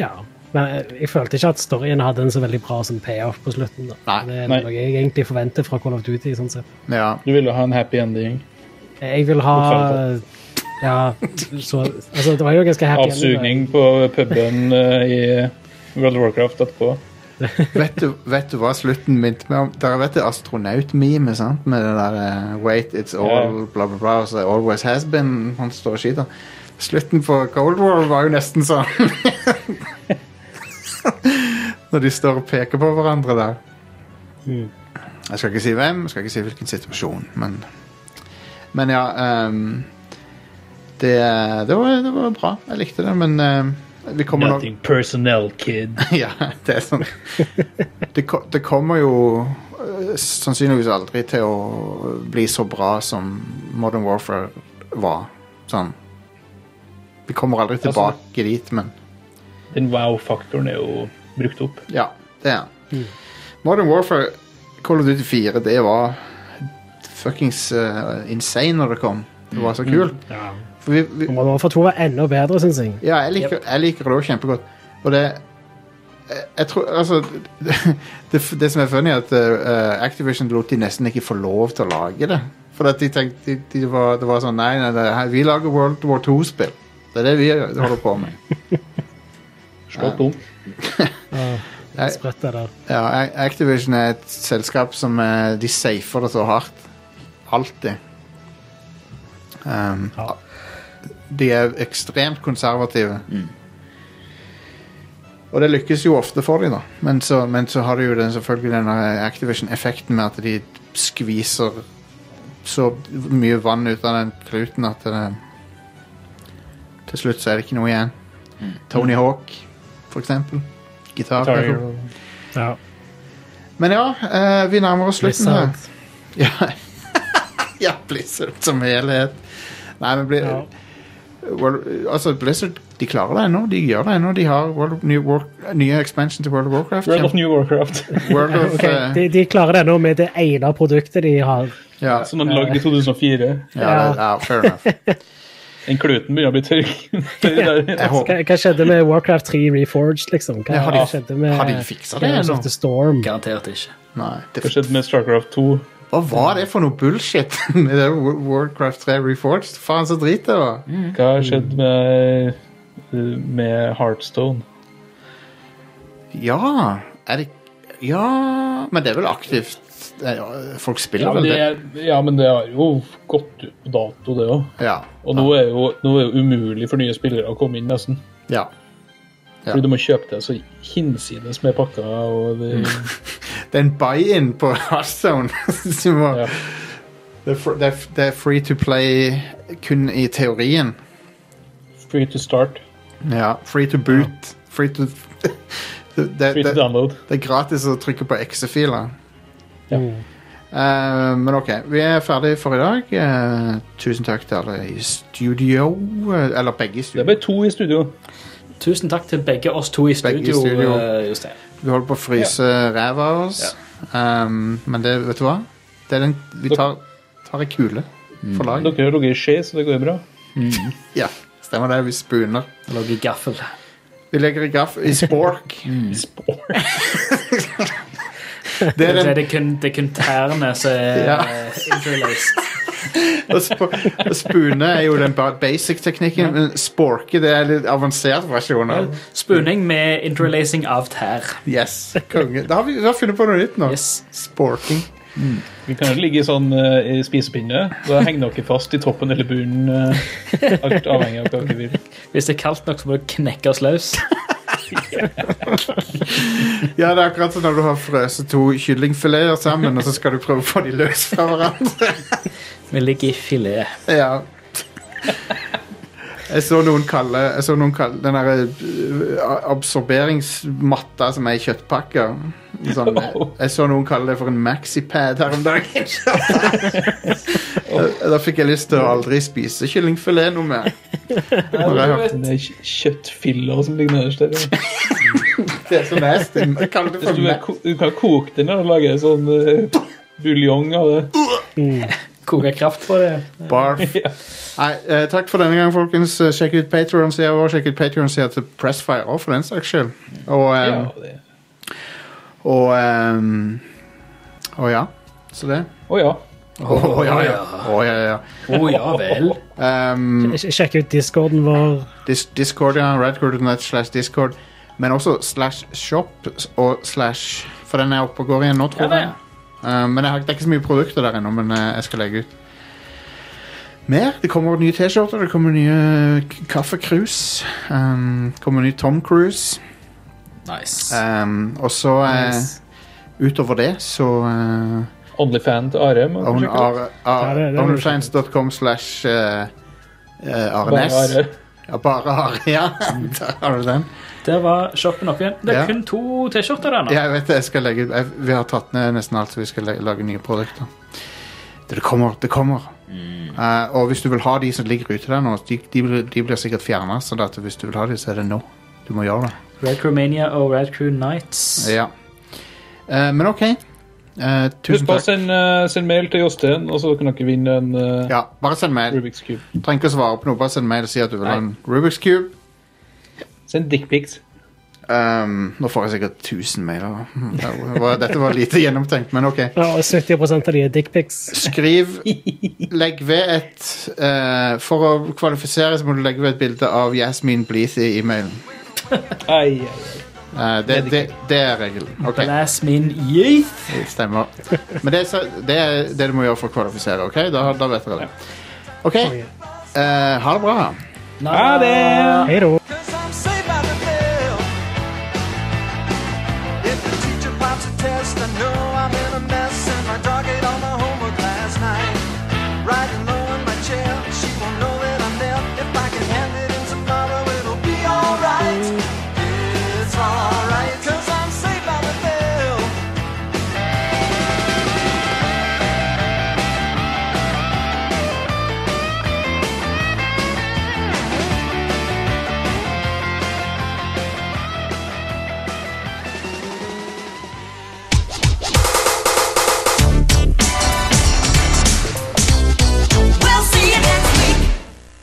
Ja. Men jeg- jeg følte ikke at storyen hadde en så veldig bra sånn payoff på slutten. da.
Nei.
Det er
Nei.
noe jeg egentlig forventer fra Call of Duty. sånn sett.
Ja.
Du ville ha en happy ending.
Jeg vil ha Ja, så, altså, det var jo ganske happy. ending, da.
Avsugning på puben eh, i World of Warcraft etterpå.
Vet du, vet du hva slutten minte meg om? Dere vet det astronaut-meme, sant? Med det der eh, Wait, it's all,
Ja.
bla, bla, bla. Så det always has been. Han står og skyter. Slutten på Cold War var jo nesten sånn. Når de står og peker på hverandre der. Jeg skal ikke si hvem, jeg skal ikke si hvilken situasjon, men Men ja. ehm, det, det, var, det var bra. Jeg likte det, men ehm, vi kommer nok
Nothing personnel, kid.
ja, det er sånn Det, ko- det kommer jo øh, sannsynligvis aldri til å bli så bra som Modern Warfare var. Sånn. Vi kommer aldri
Altså-
tilbake dit, men
Den wow-faktoren er jo brukt opp.
ja, det er den. Modern Warfare Call of Duty 4, det var fuckings øh, insane når det kom. Det var så kult. For vi, vi,
Modern Warfare 2 var enda bedre, syns jeg.
Ja, jeg liker, jeg liker det òg kjempegodt. Og det jeg, jeg tror, altså, det, det som er funny, er at eh, Activision lot de nesten ikke få lov til å lage det. For at de tenkte de, de var, Det var sånn Nei, nei, det, her- vi lager World War II-spill. Det er det vi eh, holder på med.
Slått om.
Jeg,
Sprøtt det der.
ja, A- Activision er et selskap som eh, de safer det så hardt. Alltid. Um,
Ja.
De er ekstremt konservative. Og det lykkes jo ofte for dem, da. Men så, men så har de jo den, selvfølgelig denne Activision-effekten med at de skviser så mye vann ut av den kluten at det, til slutt så er det ikke noe igjen. Tony Hawk, for eksempel. Gitar.
Tar
derfor.
jo-
Ja.
Men ja, eh, vi nærmer oss slutten her.
Blizzard.
Ja. ja, Blizzard som helhet. Nei, men blir,
Ja.
World, altså Blizzard de klarer det ennå. De gjør det ennå. De har World of, New War, nye expansion til World of Warcraft.
World of New Warcraft.
World of,
Ok,
eh,
de, de klarer det nå med det ene produktet de har.
ja,
Som den lagde i 2004.
ja, det, ja, fair enough.
Den kluten begynner å bli tørr. Det er der.
Jeg håper
Hva, hva skjedde med Warcraft 3 Reforged, liksom? Hva
Ja, har de-
skjedde med
har de fiksa det
Heroes
nå?
of the Storm?
Garantert ikke.
Nei,
Hva
det,
skjedde med Starcraft 2?
hva var det for noe bullshit med det Wo- Warcraft 3 Reforged? Faen, så drit det var.
Hva har skjedd med, med Heartstone?
Ja, er det Ja Men det er vel aktivt? Det er jo- Folk spiller
Ja men,
vel
det,
det?
er- ja, men det har jo gått ut på dato, det òg.
Ja.
Og nå er, jo, nå er jo umulig for nye spillere å komme inn, nesten.
ja. Ja.
Fordi du må kjøpe deg så hinsides med pakker. Og det,
Det er en buy-in på Hearthstone. som må,
Ja.
det, er fr- det, er, f- det er free to play kun i teorien.
free to start,
Ja, free to boot. Free to det, det,
free to
det,
download.
det er gratis å trykke på X-filer.
Ja.
Eh, men ok, vi er ferdig for i dag. Eh, tusen takk til alle i studio. eh, Eller begge i
Det er
studio.
bare to i studio.
Tusen takk til begge oss to i
Begge i
studio,
studio.
eh, Jostein.
Vi holder på å fryse ræva av oss. Um, men det, vet du hva? Det er den, vi tar, tar ei kule for lag.
Mm. Dere har ligget i skje, så det går jo bra.
Ja, stemmer det. Vi spooner.
Jeg Lå i gaffel.
Vi legger i gaff i spork.
Mm.
Spår.
Det
Det
er
er,
den,
kun, det er kun tærne som er
Ja.
eh, interlaced.
og sp- og spune er jo den ba- basic teknikken, men sporke det er litt avansert versjon av.
Spuning med interlacing av tær.
Yes, konge. Da har vi, da har vi funnet på noe nytt nå.
Yes.
Sporking.
Vi kan jo ligge i sånn eh, i spisepinne. Da henger dere fast i toppen eller bunnen. eh, alt avhengig av hva dere vil.
Hvis det er kaldt nok, så må du knekke oss løs.
Ja, det er akkurat som når du har frøset to kyllingfileter sammen, og så skal du prøve å få de løs fra hverandre.
Vi ligger i filet.
Ja. Jeg så noen kalle, jeg så noen kalle den derre øh, absorberingsmatta som er i kjøttpakker. Sånn, jeg, jeg så noen kalle det for en maxipad her om dagen. Da- da fikk jeg lyst til å aldri spise kyllingfilet noe mer. Når jeg hørte
Det er kj- kjøttfiller som ligger nederst der. ja.
det er så nasty. Jeg kaller det
Hvis
for
du, vil
ma-
ko- du kan koke den og lage sånn eh, buljong av det.
Koke kraft på det.
barf. Nei, eh, takk for denne gang, folkens. Eh, Sjekk ut Patrion-sida vår. Sjekk ut Patrion-sida til Pressfire òg, for den saks skyld. Og, eh,
Ja, det.
og, eh, og ja. Så det.
Å ja.
Å, ja, ja. Å, ja, ja.
Å ja vel.
Um,
Sj- Sjekk ut discorden vår.
dis Discord, ja. Radcord.net slash Discord. Men også slash shop og slash For den er oppe og går igjen nå, tror
Ja,
jeg. Um, men jeg har, det er ikke så mye produkter der ennå, men eh, jeg skal legge ut mer. Det kommer nye T-skjorter, det kommer nye k- kaffekrus. Um, det kommer ny Tom Cruise.
Nice.
Um, og så eh,
Nice.
utover det så eh,
Onlyfan til Are. må du sjekke ut.
Ja, det- det må du
Onlyfans.com slash eh, eh,
Bare
Arnes.
Are.
Ja, bare Are, ja. Der har du den.
Der var shoppen opp igjen. Det er
Ja.
kun to T-skjorter der nå.
Ja, jeg vet det, jeg skal legge, jeg, vi har tatt ned nesten alt, så vi skal le- lage nye produkter. Det det kommer, det kommer. Eh, og hvis du vil ha de som ligger ute der nå, de, de, blir- de blir sikkert fjernet, så at hvis du vil ha de, så er det nå. Du må gjøre det.
Red Crew Mania og Red Crew Nights.
Ja. Eh, men ok. Eh, tusen
Husk på å
takk.
sende eh, sende mail til Jostein, og så kan dere vinne en eh,
Ja, bare send mail.
Rubiks Cube.
Trenger ikke å svare på noe, bare send mail og si at du vil ha en Rubik's Cube.
Send dickpics.
Ehm, nå får jeg sikkert 1000 mailer. Hmm, det var- Dette var lite gjennomtenkt, men ok.
Ja, og 70 av de er dickpics.
Skriv Legg ved et eh, For å kvalifisere så må du legge ved et bilde av Yasmin Bleeth i e-mailen.
Ai, ai, ai.
Eh, det, det, det er regelen. Ok,
Blast min yeath.
det stemmer. Men det er, så, det er det du må gjøre for å kvalifisere, OK? Da, da vet dere det. OK. eh, ha det bra.
Ha det!
Hei da.
Cause I'm saved by the bell. If the teacher pops a test, I know